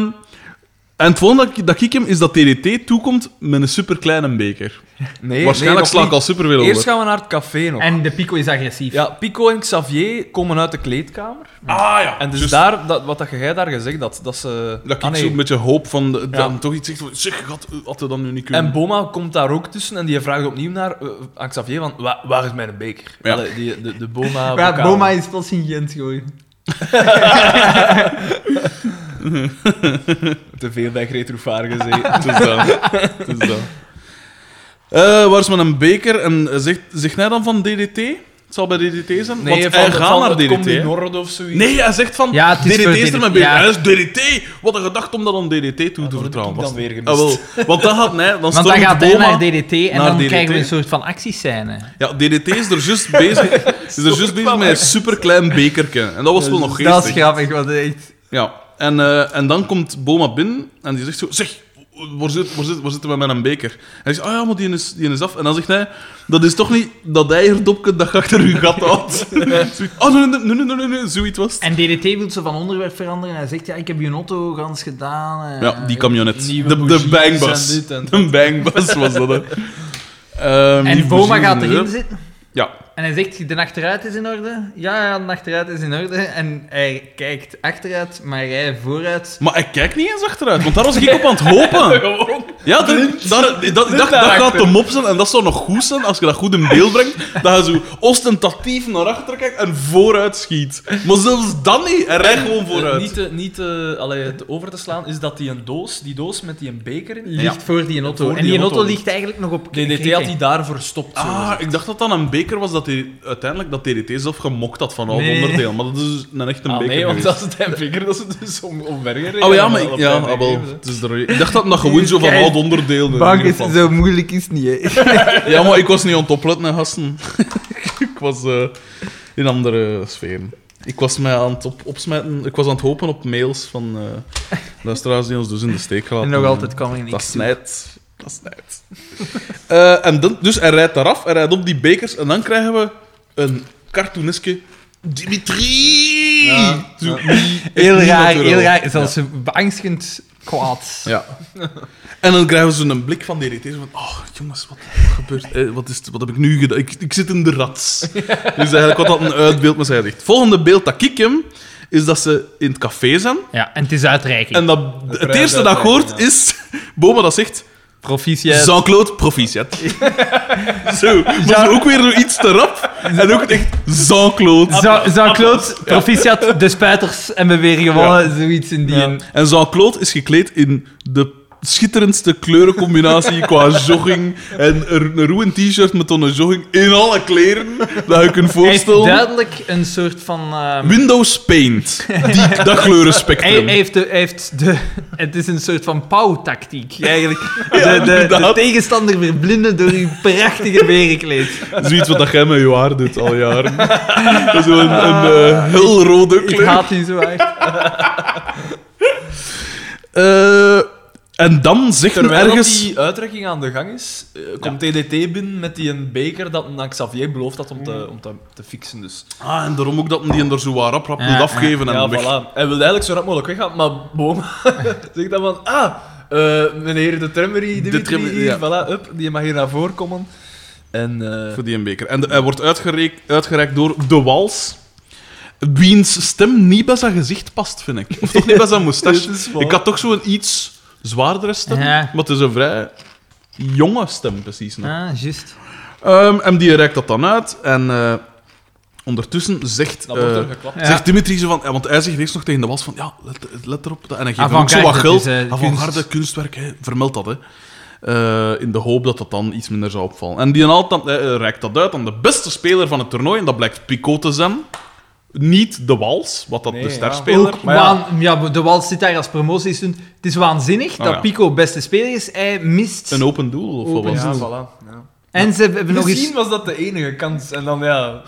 Speaker 1: en het volgende dat ik, dat ik hem is dat TDT toekomt met een superkleine beker.
Speaker 2: Nee,
Speaker 1: Waarschijnlijk
Speaker 2: nee,
Speaker 1: sla
Speaker 2: nog
Speaker 1: ik al superveel
Speaker 2: niet. Eerst
Speaker 1: over.
Speaker 2: gaan we naar het café nog.
Speaker 3: en de Pico is agressief.
Speaker 2: Ja, Pico en Xavier komen uit de kleedkamer.
Speaker 1: Ah ja.
Speaker 2: En dus
Speaker 1: Juist.
Speaker 2: daar, dat, wat dat jij daar gezegd had, dat ze...
Speaker 1: Dat ik
Speaker 2: Ah, nee.
Speaker 1: zo'n beetje hoop van de,
Speaker 2: Ja.
Speaker 1: dan toch iets zegt van zeg, had, had hij dan nu niet kunnen.
Speaker 2: En Boma komt daar ook tussen en die vraagt opnieuw naar, eh, aan Xavier van, "Wa- waar is mijn beker?
Speaker 1: Ja.
Speaker 2: Allee, die, de, de Boma...
Speaker 3: Maar ja,
Speaker 2: bokaal.
Speaker 3: Boma is plots in Gent gooien.
Speaker 2: Te veel bij Greet Roefaar gezeten.
Speaker 1: Het is dat. Het is dat. Eh, waar is mijn beker? En eh, zegt, zegt hij dan van DDT? Het zal bij DDT zijn?
Speaker 2: Nee,
Speaker 1: Want
Speaker 2: van,
Speaker 1: hij
Speaker 2: van
Speaker 1: gaat naar
Speaker 2: het
Speaker 1: DDT.
Speaker 2: Combi
Speaker 1: hè?
Speaker 2: Nord of zoiets.
Speaker 1: Nee, hij zegt van
Speaker 3: Ja, het is
Speaker 1: DDT
Speaker 3: voor
Speaker 1: is er
Speaker 3: DDT,
Speaker 1: mijn beker.
Speaker 3: ja.
Speaker 1: Hij is DDT. Wat een gedachte om dat aan DDT toe te
Speaker 2: heb
Speaker 1: vertrouwen.
Speaker 2: ik dan
Speaker 1: was.
Speaker 2: weer gemist.
Speaker 1: Ah, wel. Want dan gaat hij, dan
Speaker 3: Want dan
Speaker 1: stormt
Speaker 3: gaat hij
Speaker 1: Boma-
Speaker 3: naar DDT en
Speaker 1: naar
Speaker 3: dan
Speaker 1: DDT.
Speaker 3: krijgen we een soort van actiescène.
Speaker 1: Ja, DDT is er juist bezig, is er juist bezig met een superklein bekertje. En dat was wel nog geestig.
Speaker 3: Dat is grappig, want echt...
Speaker 1: Ja, en, eh, en dan komt Boma binnen en die zegt zo... Zeg, waar, zit, waar, zit, waar zitten we met een beker? En hij zegt, ah ja, maar die is, die is af. En dan zegt hij, dat is toch niet dat eierdopje dat je achter uw gat houdt. Zoiets, oh, nee, nee, nee, nee, nee, nee, nee, zoiets was het.
Speaker 3: En DDT wil ze van onderwerp veranderen en hij zegt, ja, ik heb je auto gans gedaan. eh.
Speaker 1: Ja, die camionet.
Speaker 2: nieuwe
Speaker 1: De, de
Speaker 2: bougies en
Speaker 1: bangbus.
Speaker 2: dit en
Speaker 1: De bangbus was dat, hè. Ehm, die
Speaker 3: En Boma
Speaker 1: bougies
Speaker 3: gaat
Speaker 1: en zo.
Speaker 3: erin zitten.
Speaker 1: Ja,
Speaker 3: En hij zegt, de achteruit is in orde. Ja, ja, de achteruit is in orde. En hij kijkt achteruit, maar hij vooruit.
Speaker 1: Maar ik kijk niet eens achteruit, want daar was ik op aan het hopen. Ja, dat, dat, dat, ik dacht, dat gaat de mop zijn en dat zou nog goed zijn als je dat goed in beeld brengt. Dat je zo ostentatief naar achter kijkt en vooruit schiet. Maar zelfs dan niet, hij rijdt gewoon
Speaker 2: Eh,
Speaker 1: vooruit.
Speaker 2: Niet, te, niet te, allee, te over te slaan is dat die een doos, die doos met die een beker in...
Speaker 3: Ligt voor die auto.
Speaker 2: Voor
Speaker 3: en
Speaker 2: die
Speaker 3: die, auto,
Speaker 2: auto.
Speaker 3: ligt eigenlijk nog op...
Speaker 2: DDT had die daar verstopt. zo
Speaker 1: Ah,
Speaker 2: gezegd.
Speaker 1: ik dacht dat dat een beker was dat hij uiteindelijk dat TDT zelf gemokt had van al
Speaker 3: Nee.
Speaker 1: onderdeel. Maar dat is dus een echte
Speaker 2: Ah,
Speaker 1: beker.
Speaker 2: nee, want
Speaker 1: geweest.
Speaker 2: dat is het beker dat ze dus om, omvergereden.
Speaker 1: Oh ja, maar ik,
Speaker 2: Op
Speaker 1: ja,
Speaker 2: hem
Speaker 1: ah, wel,
Speaker 2: gegeven.
Speaker 1: het is er, ik dacht dat het nog gewoon zo van oud onderdeel. in ieder geval.
Speaker 3: zo moeilijk is niet, hè.
Speaker 1: Ja, maar ik was niet aan het opletten, hè, gasten. ik was eh, in andere sferen. Ik was mij aan het op opsmijten. Ik was aan het hopen op mails van eh, luisteraars die ons dus in de steek laten.
Speaker 3: En nog altijd kan hij
Speaker 1: Dat
Speaker 3: niks doen.
Speaker 1: snijdt. Dat snijdt. Eh, en dan, dus hij rijdt daaraf, hij rijdt op die bekers en dan krijgen we een cartooneske Dimitri!
Speaker 2: Ja,
Speaker 1: Zo,
Speaker 2: ja.
Speaker 1: niet- echt
Speaker 3: Heel
Speaker 1: niet
Speaker 3: raar,
Speaker 1: natuurlijk.
Speaker 3: heel raar. Zelfs beangstigend kwaad.
Speaker 1: Ja. En dan krijgen ze een blik van de irritatie van... Oh, jongens, wat gebeurt... Eh, wat, is het- wat heb ik nu gedaan? Ik, ik zit in de rats. Dus eigenlijk wat dat een uitbeeld met zijn Het volgende beeld dat ik hem... Is dat ze in het café zijn.
Speaker 3: Ja, en het is uitreiking.
Speaker 1: En dat, het eerste dat ik hoort is... Boma dat zegt...
Speaker 5: Proficiat.
Speaker 1: Jean-Claude Proficiat. Zo, maar zo ook weer door iets te rap. En ook echt Jean-Claude.
Speaker 3: Jean- Jean-Claude, proficiat, de spuiters en we weer gewonnen. Zoiets in die.
Speaker 1: Ja. En Jean-Claude is gekleed in de schitterendste kleurencombinatie qua jogging. En een ruwe t-shirt met dan een jogging in alle kleren dat je kunt
Speaker 3: Hij heeft
Speaker 1: voorstellen.
Speaker 3: duidelijk een soort van... ehm,
Speaker 1: Windows Paint. Die, dat
Speaker 3: Hij,
Speaker 1: kleurenspectrum.
Speaker 3: hij heeft de, hij heeft de... Het is een soort van pauwtactiek, eigenlijk. De,
Speaker 1: Ja,
Speaker 3: de, de
Speaker 1: inderdaad.
Speaker 3: tegenstander verblinden door uw prachtige berenkleed.
Speaker 1: Zoiets wat dat jij met je haar doet al jaren. Zo'n een,
Speaker 5: Ah.
Speaker 1: eh, heel rode
Speaker 3: Ik
Speaker 1: kleur.
Speaker 3: haat u zo hard.
Speaker 1: Eh, en dan zegt men
Speaker 5: Terwijl dat
Speaker 1: ergens...
Speaker 5: die uitrekking aan de gang is, eh, komt TDT binnen met die een beker dat een Xavier belooft dat om
Speaker 1: Mhm.
Speaker 5: te, om te, te fixen. Dus.
Speaker 1: Ah, en daarom ook dat men die hem er zo wat rap, rap
Speaker 3: Ja,
Speaker 1: moet
Speaker 3: ja.
Speaker 1: afgeven en
Speaker 5: Ja,
Speaker 1: weg.
Speaker 5: voilà. Hij wil eigenlijk zo rap mogelijk weggaan, maar Boom zegt dan van, ah, eh, meneer de Tremmery, Dimitri,
Speaker 1: Tremmery,
Speaker 5: hier,
Speaker 1: ja.
Speaker 5: voilà, up, die mag hier naar voren komen. En eh,
Speaker 1: Voor die een beker. En de- hij wordt uitgereikt, uitgereikt door De Wals. Wiens stem niet bij zijn gezicht past, vind ik. Of toch niet bij zijn moustache. ik had toch zo'n iets zwaardere stem.
Speaker 3: Ja.
Speaker 1: Maar het is een vrij jonge stem, precies. nog.
Speaker 3: Ah, juist.
Speaker 1: Ehm, en die reikt dat dan uit. En eh, ondertussen zegt...
Speaker 5: dan wordt
Speaker 1: eh,
Speaker 5: er geklapt.
Speaker 3: Ja.
Speaker 1: Zegt Dimitri zo van, ja, want hij zegt eerst nog tegen de was van, ja, let, let erop. dat- En hij geeft hem ook zo
Speaker 3: Avant-garde,
Speaker 1: wat geld.
Speaker 3: dus, eh,
Speaker 1: Avant-garde,
Speaker 3: kunst.
Speaker 1: kunstwerk, hè, vermeld dat, hè. Eh, in de hoop dat dat dan iets minder zou opvallen. En die altijd eh, reikt dat uit aan de beste speler van het toernooi, en dat blijkt Picot te zijn. Niet de Wals, wat dat
Speaker 5: Nee,
Speaker 1: de
Speaker 5: ja.
Speaker 1: sterspeler...
Speaker 3: Ook
Speaker 5: maar ja.
Speaker 3: waan- ja. de Wals zit daar als promotie. Het is waanzinnig
Speaker 1: Ah,
Speaker 3: dat
Speaker 1: ja.
Speaker 3: Pico beste speler is. Hij mist.
Speaker 1: Een open doel, of wat
Speaker 3: Open
Speaker 1: was
Speaker 5: Ja,
Speaker 1: het?
Speaker 5: voilà. Ja.
Speaker 3: En ze hebben nog
Speaker 5: Misschien
Speaker 3: eens...
Speaker 5: was dat de enige kans. En dan ja.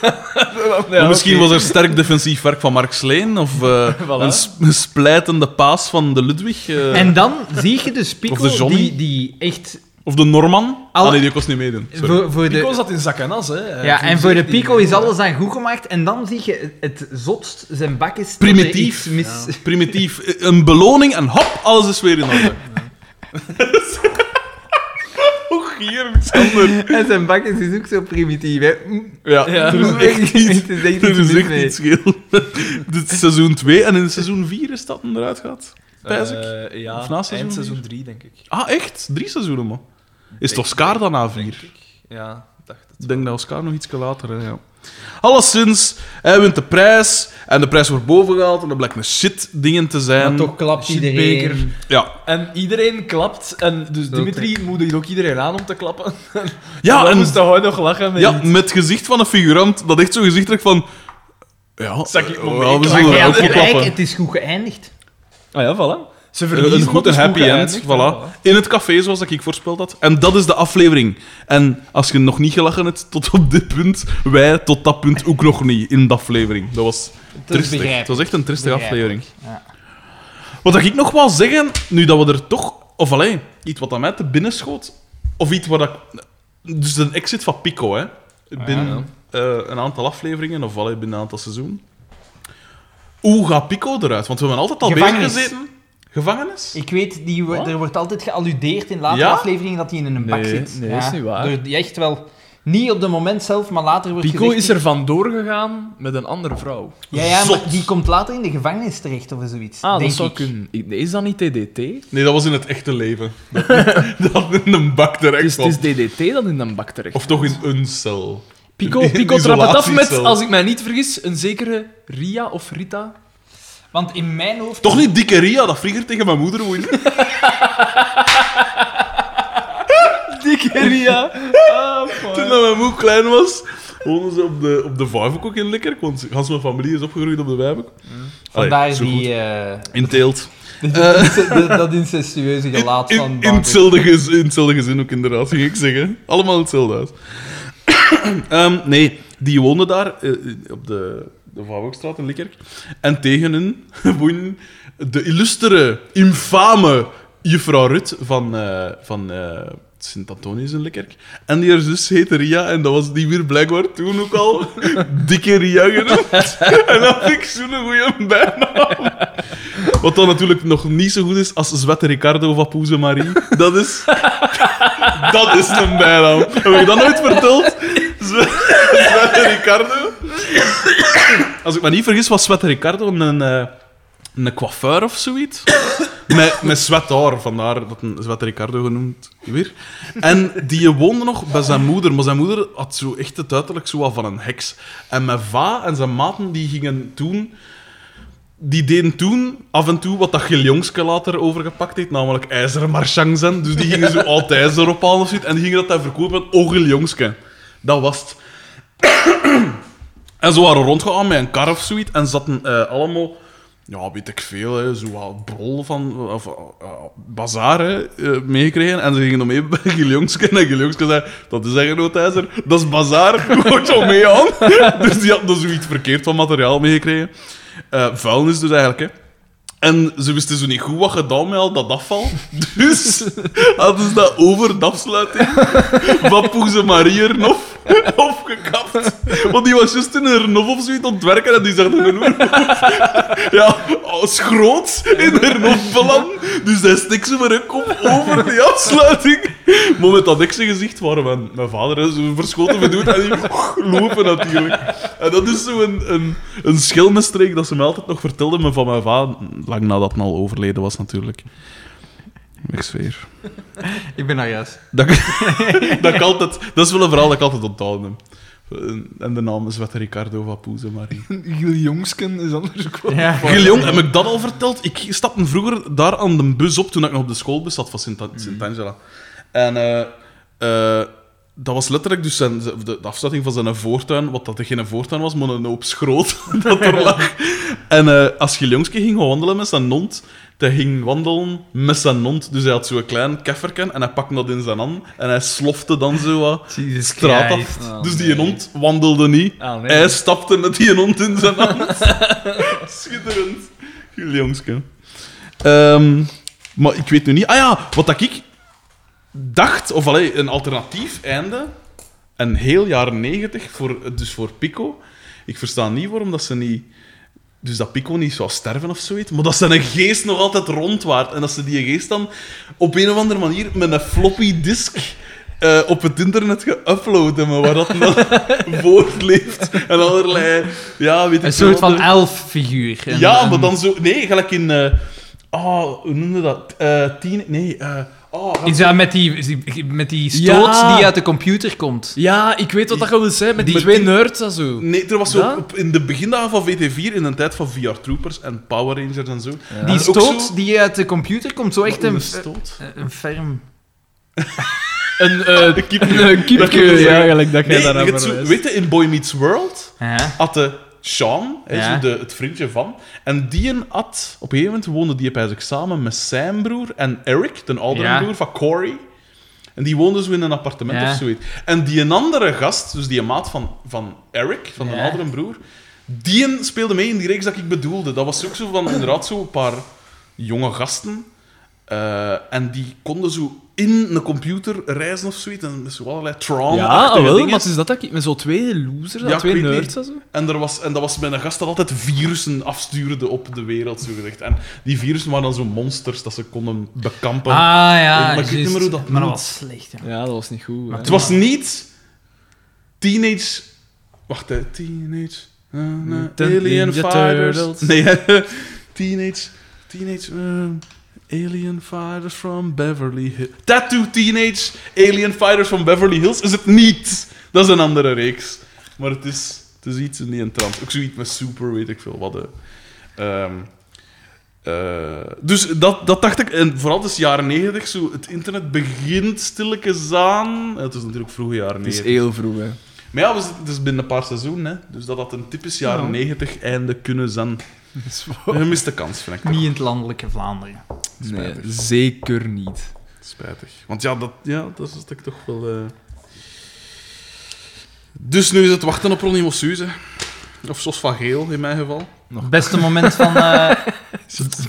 Speaker 1: Maar misschien was er sterk defensief werk van Mark Sleen, of eh, een sp- een splijtende paas van de Ludwig, eh,
Speaker 3: En dan zie je dus
Speaker 1: Of de
Speaker 3: Pico,
Speaker 1: Johnny.
Speaker 3: die, die echt...
Speaker 1: of de Norman.
Speaker 3: Al-
Speaker 1: Ah, nee, die kost niet meedoen. Sorry.
Speaker 3: Voor, voor
Speaker 5: Pico
Speaker 3: de,
Speaker 5: zat in zak en as, hè?
Speaker 3: ja, en voor de Pico is alles aan goed gemaakt. En dan zie je het, het zotst, zijn bak is... dat er
Speaker 1: Primitief.
Speaker 3: iets Mis...
Speaker 1: Primitief. Een beloning en hop, alles is weer in orde. Hoe gierig, Sander.
Speaker 3: En zijn bakjes is dus ook zo primitief, hè. Mm.
Speaker 1: Ja, er is echt iets,
Speaker 3: Het is echt
Speaker 1: er
Speaker 3: iets
Speaker 1: is
Speaker 3: mis
Speaker 1: echt
Speaker 3: mee.
Speaker 1: iets heel. Dit is seizoen 2 en in seizoen 4 is dat hem eruit gaat. Pijs ik.
Speaker 5: Eh, ja,
Speaker 1: Of na seizoen
Speaker 5: eind
Speaker 1: vier?
Speaker 5: seizoen 3, denk ik.
Speaker 1: Eh, Ah, echt? Drie seizoenen, man. Is het Oscar dan na
Speaker 5: Denk
Speaker 1: 4?
Speaker 5: ik. Ja, dacht het.
Speaker 1: Ik denk dat Oscar nog iets later, hè, ja. Alleszins, hij wint de prijs en de prijs wordt bovengehaald en dat blijkt een shit dingen te zijn.
Speaker 3: Maar toch klapt
Speaker 5: shitbeker.
Speaker 3: iedereen.
Speaker 1: Ja,
Speaker 5: En iedereen klapt. En dus Dimitri moedigt ook iedereen aan om te klappen.
Speaker 1: ja
Speaker 5: dan
Speaker 1: en
Speaker 5: moest hij nog lachen. Met
Speaker 1: Ja, met gezicht van een figurant, dat echt zo gezicht trekt van... Ja,
Speaker 5: Zak ik
Speaker 1: eh,
Speaker 5: maar mee.
Speaker 1: wel, we
Speaker 3: Maar
Speaker 1: zullen
Speaker 3: jij
Speaker 1: er ook
Speaker 3: had
Speaker 1: wel
Speaker 3: gelijk,
Speaker 1: klappen.
Speaker 3: het is goed geëindigd.
Speaker 5: Ah ja, voilà. Ze verliezen,
Speaker 1: Een
Speaker 5: maar dus het
Speaker 1: goede
Speaker 5: is goed
Speaker 1: happy end,
Speaker 5: geëindigd,
Speaker 1: voilà. In het café, zoals dat ik voorspeld had. En dat is de aflevering. En als je nog niet gelachen hebt tot op dit punt, wij tot dat punt ook nog niet in de aflevering. Dat was tristig. Het was echt een tristige
Speaker 4: Begrijpelijk,
Speaker 1: aflevering. Wat dat ik nog wel zeggen, nu dat we er toch... Of alleen, iets wat aan mij te binnen schoot. Of iets waar dat... Dus een exit van Pico, hè. Binnen eh, een aantal afleveringen, of allee, binnen een aantal seizoenen. Hoe gaat Pico eruit? Want we hebben altijd al
Speaker 3: Gevangenis.
Speaker 1: bezig gezeten. Gevangenis?
Speaker 3: Ik weet, die, wo-
Speaker 1: Wat?
Speaker 3: er wordt altijd gealludeerd in latere
Speaker 1: Ja?
Speaker 3: afleveringen dat hij in een bak
Speaker 5: Nee,
Speaker 3: zit.
Speaker 5: nee, is niet waar.
Speaker 3: Door die echt wel... Niet op het moment zelf, maar later wordt
Speaker 5: Pico
Speaker 3: gezegd-
Speaker 5: is er vandoor gegaan met een andere vrouw.
Speaker 3: Ja, ja,
Speaker 1: Zot.
Speaker 3: maar die komt later in de gevangenis terecht of zoiets.
Speaker 5: Ah,
Speaker 3: denk
Speaker 5: dat zou
Speaker 3: ik.
Speaker 5: kunnen. Ik- Is dat niet DDT? Het
Speaker 1: Nee, dat was in het echte leven. Dat, dat in een bak terecht
Speaker 3: Dus
Speaker 5: is,
Speaker 1: kwam.
Speaker 5: het is DDT dat in een bak terecht.
Speaker 1: Of toch in een cel.
Speaker 5: Pico,
Speaker 1: in
Speaker 5: Pico trapt het af met,
Speaker 1: isolatiecel.
Speaker 5: als ik mij niet vergis, een zekere Ria of Rita.
Speaker 3: Want in mijn hoofd...
Speaker 1: Toch niet dikke Ria, dat vrieger tegen mijn moeder woont.
Speaker 5: Dikke Ria.
Speaker 1: Toen dat mijn moe klein was, woonden ze op de, op de Vijfhoek ook in Likkerk, want gans mijn familie is opgegroeid op de Vijfhoek. Allee,
Speaker 3: Vandaar
Speaker 1: zo goed.
Speaker 3: die... eh,
Speaker 1: In teelt.
Speaker 3: dat- dat incestueuze gelaat
Speaker 1: Eh, In,
Speaker 3: van...
Speaker 1: in,
Speaker 3: Barbara.
Speaker 1: hetzelfde gez- in hetzelfde gezin ook, inderdaad, ging ik zeggen. Allemaal in hetzelfde huis. Ehm, nee, die woonden daar eh, op de, de Vouwhoekstraat in Likkerk. En tegen hun woonde de illustere, infame juffrouw Rut van, eh, van eh, Sint-Antonius in Likkerk. En die haar zus heette Ria, en dat was die weer blijkbaar toen ook al dikke Ria genoemd. en dat vind ik zo'n goeie bijnaam. Wat dan natuurlijk nog niet zo goed is als Zwette Ricardo van Poeze Marie. Dat is... Dat is een bijnaam. Heb ik dat nooit verteld? Zwe- Zwette Ricardo? Als ik me niet vergis was Zwette Ricardo een, eh, een coiffeur of zoiets. met, met zwet haar, vandaar dat een zwet Ricardo genoemd weer. En die woonde nog bij zijn moeder, maar zijn moeder had zo echt het uiterlijk zo wat van een heks. En mijn va en zijn maten die gingen toen... Die deden toen af en toe wat dat Giljongske later overgepakt heeft, namelijk ijzermarchang zijn. Dus die gingen zo oud ijzer ophalen of zoiets. En die gingen dat daar verkopen. Oh, Giljongske. Dat was het. En ze waren rondgegaan met een kar of zoiets en zaten eh, allemaal, ja, weet ik veel, hè, zo wat brol van, of eh, bazaar, hè, eh, meegekregen. En ze gingen dan mee bij Giljongske en Giljongske zei, dat is een noodijzer, dat is bazaar, hoort zo mee aan. dus die hadden zoiets verkeerd van materiaal meegekregen. Eh, vuilnis dus eigenlijk, hè. En ze wisten zo niet goed wat gedaan met al dat afval. Dus hadden ze dat over de afsluiting van Poeze Marie Ernof opgekapt. Want die was juist in een Ernof of zoiets aan het werken en die zag een Ernof. Ja, als groot in een Ernof beland. Dus hij stikt ze maar een kop over die afsluiting. Maar met dat zijn gezicht waren mijn, mijn vader hè, zo verschoten bedoeld en die lopen natuurlijk. En dat is zo een, een, een schilmenstreek dat ze me altijd nog vertelde, maar van mijn vader, lang nadat hij al overleden was natuurlijk. Ik zweer.
Speaker 3: Ik ben daar juist.
Speaker 1: Dat, dat, ik altijd, dat is wel een verhaal dat ik altijd onthouden heb. En de naam is wat Ricardo van Poeze Marie.
Speaker 5: Giljongsken is anders gewoon.
Speaker 3: Ja.
Speaker 1: Giljong, heb ik dat al verteld? Ik stapte vroeger daar aan de bus op toen ik nog op de schoolbus zat van Sint- Sint-Angela. En eh, eh, dat was letterlijk dus zijn, de, de afsluiting van zijn voortuin, wat dat er geen voortuin was, maar een hoop schroot dat er lag. En eh, als Giljongske ging wandelen met zijn hond, hij ging wandelen met zijn hond. Dus hij had zo'n klein kefferken en hij pakte dat in zijn hand en hij slofte dan zo wat
Speaker 3: Jesus
Speaker 1: straat af.
Speaker 3: Christ.
Speaker 1: dus die hond wandelde niet.
Speaker 5: Ah, nee.
Speaker 1: Hij stapte met die hond in zijn hand. Schitterend. Jullie jongske. Ehm, maar ik weet nu niet... Ah ja, wat dat ik dacht, of allee, een alternatief einde, een heel jaar negentig, voor, dus voor Pico. Ik versta niet waarom dat ze niet... Dus dat Pico niet zou sterven of zoiets, maar dat zijn geest nog altijd rondwaart. En dat ze die geest dan op een of andere manier met een floppy disk eh, op het internet geüploaden, maar waar dat dan voortleeft en allerlei... Ja, weet ik
Speaker 3: Een soort
Speaker 1: veel,
Speaker 3: van elf-figuur. eh, Een-
Speaker 1: ja,
Speaker 3: een-
Speaker 1: maar dan zo... Nee, gelijk in... eh oh, hoe noemde dat? Eh tien... Nee, eh oh,
Speaker 3: Iets aan met die, met die stoot
Speaker 5: Ja.
Speaker 3: die uit de computer komt.
Speaker 5: Ja, ik weet wat dat je wil zeggen. Met die,
Speaker 1: Met
Speaker 5: twee
Speaker 1: die-
Speaker 5: nerds en zo.
Speaker 1: Nee, er was zo
Speaker 5: Ja?
Speaker 1: op- in de begindagen van VT4, in de tijd van VR Troopers en Power Rangers en zo. En
Speaker 3: Die
Speaker 1: ook
Speaker 3: stoot
Speaker 1: zo-
Speaker 3: die uit de computer komt, zo echt
Speaker 1: Wat
Speaker 3: een, eh,
Speaker 1: stoot.
Speaker 3: een, een ferm.
Speaker 5: Een, eh,
Speaker 1: Een kiep.
Speaker 5: een
Speaker 1: Dat wil
Speaker 5: kiepje,
Speaker 1: zeggen-
Speaker 5: ja, eigenlijk, dat jij
Speaker 1: Nee,
Speaker 5: daaraan
Speaker 1: je hebt zo-
Speaker 5: verwijst.
Speaker 1: weet je, in Boy Meets World
Speaker 3: Ja.
Speaker 1: had de Sean, hè,
Speaker 3: Ja.
Speaker 1: zo de, het vriendje van, en die een had... Op een gegeven moment woonde die op eigenlijk samen met zijn broer en Eric, de oudere
Speaker 3: Ja.
Speaker 1: broer van Corey. En die woonden zo in een appartement
Speaker 3: Ja.
Speaker 1: of zoiets. En die een andere gast, dus die maat van, van Eric, van de
Speaker 3: Ja.
Speaker 1: oudere broer, die een speelde mee in die reeks dat ik bedoelde. Dat was ook zo van inderdaad zo'n paar jonge gasten. eh, en die konden zo in een computer reizen of zoiets. En met zo allerlei tron
Speaker 5: Ja, ah, wel, maar is dat dat ik met zo twee losers,
Speaker 1: Ja,
Speaker 5: ja,
Speaker 1: ik
Speaker 5: twee
Speaker 1: weet
Speaker 5: nerds
Speaker 1: niet.
Speaker 5: en zo.
Speaker 1: En, er was, en dat was mijn gast dat altijd virussen afstuurde op de wereld, zo gezegd. En die virussen waren dan zo monsters dat ze konden bekampen.
Speaker 3: Ah ja,
Speaker 1: Maar Oh. ik weet
Speaker 3: juist.
Speaker 1: niet meer hoe dat
Speaker 3: Maar dat
Speaker 1: moet.
Speaker 3: was slecht. Ja.
Speaker 5: Ja, dat was niet goed. hè.
Speaker 1: Het was niet Teenage... Wacht, hè. Teenage... eh, eh,
Speaker 5: Ten-
Speaker 1: alien
Speaker 5: Ninja
Speaker 1: Fighters.
Speaker 5: Turtles.
Speaker 1: Nee, hè. Teenage... Teenage... eh, alien Fighters from Beverly Hills. Tattoo Teenage Alien Fighters from Beverly Hills is het niet. Dat is een andere reeks. Maar het is, het is iets in die trant. Ook zoiets met super, weet ik veel wat. hè. Ehm, eh, dus dat, dat dacht ik, en vooral dus jaren 90, zo, het internet begint stilletjes aan. Het is natuurlijk vroege jaren
Speaker 5: Het is
Speaker 1: 90.
Speaker 5: heel vroeg, hè.
Speaker 1: Maar ja, we zitten dus binnen een paar seizoenen, hè. dus dat had een typisch jaren 90 einde kunnen zijn. Een gemiste kans, vind ik.
Speaker 3: Niet in het landelijke Vlaanderen.
Speaker 5: Nee,
Speaker 1: Spijtig.
Speaker 5: zeker niet.
Speaker 1: Spijtig. Want ja, dat, ja, dat is dat ik toch wel... eh. Dus nu is het wachten op Ronnie Mossuus, hè. Of Sos van Geel, in mijn geval.
Speaker 3: Het beste moment van... eh,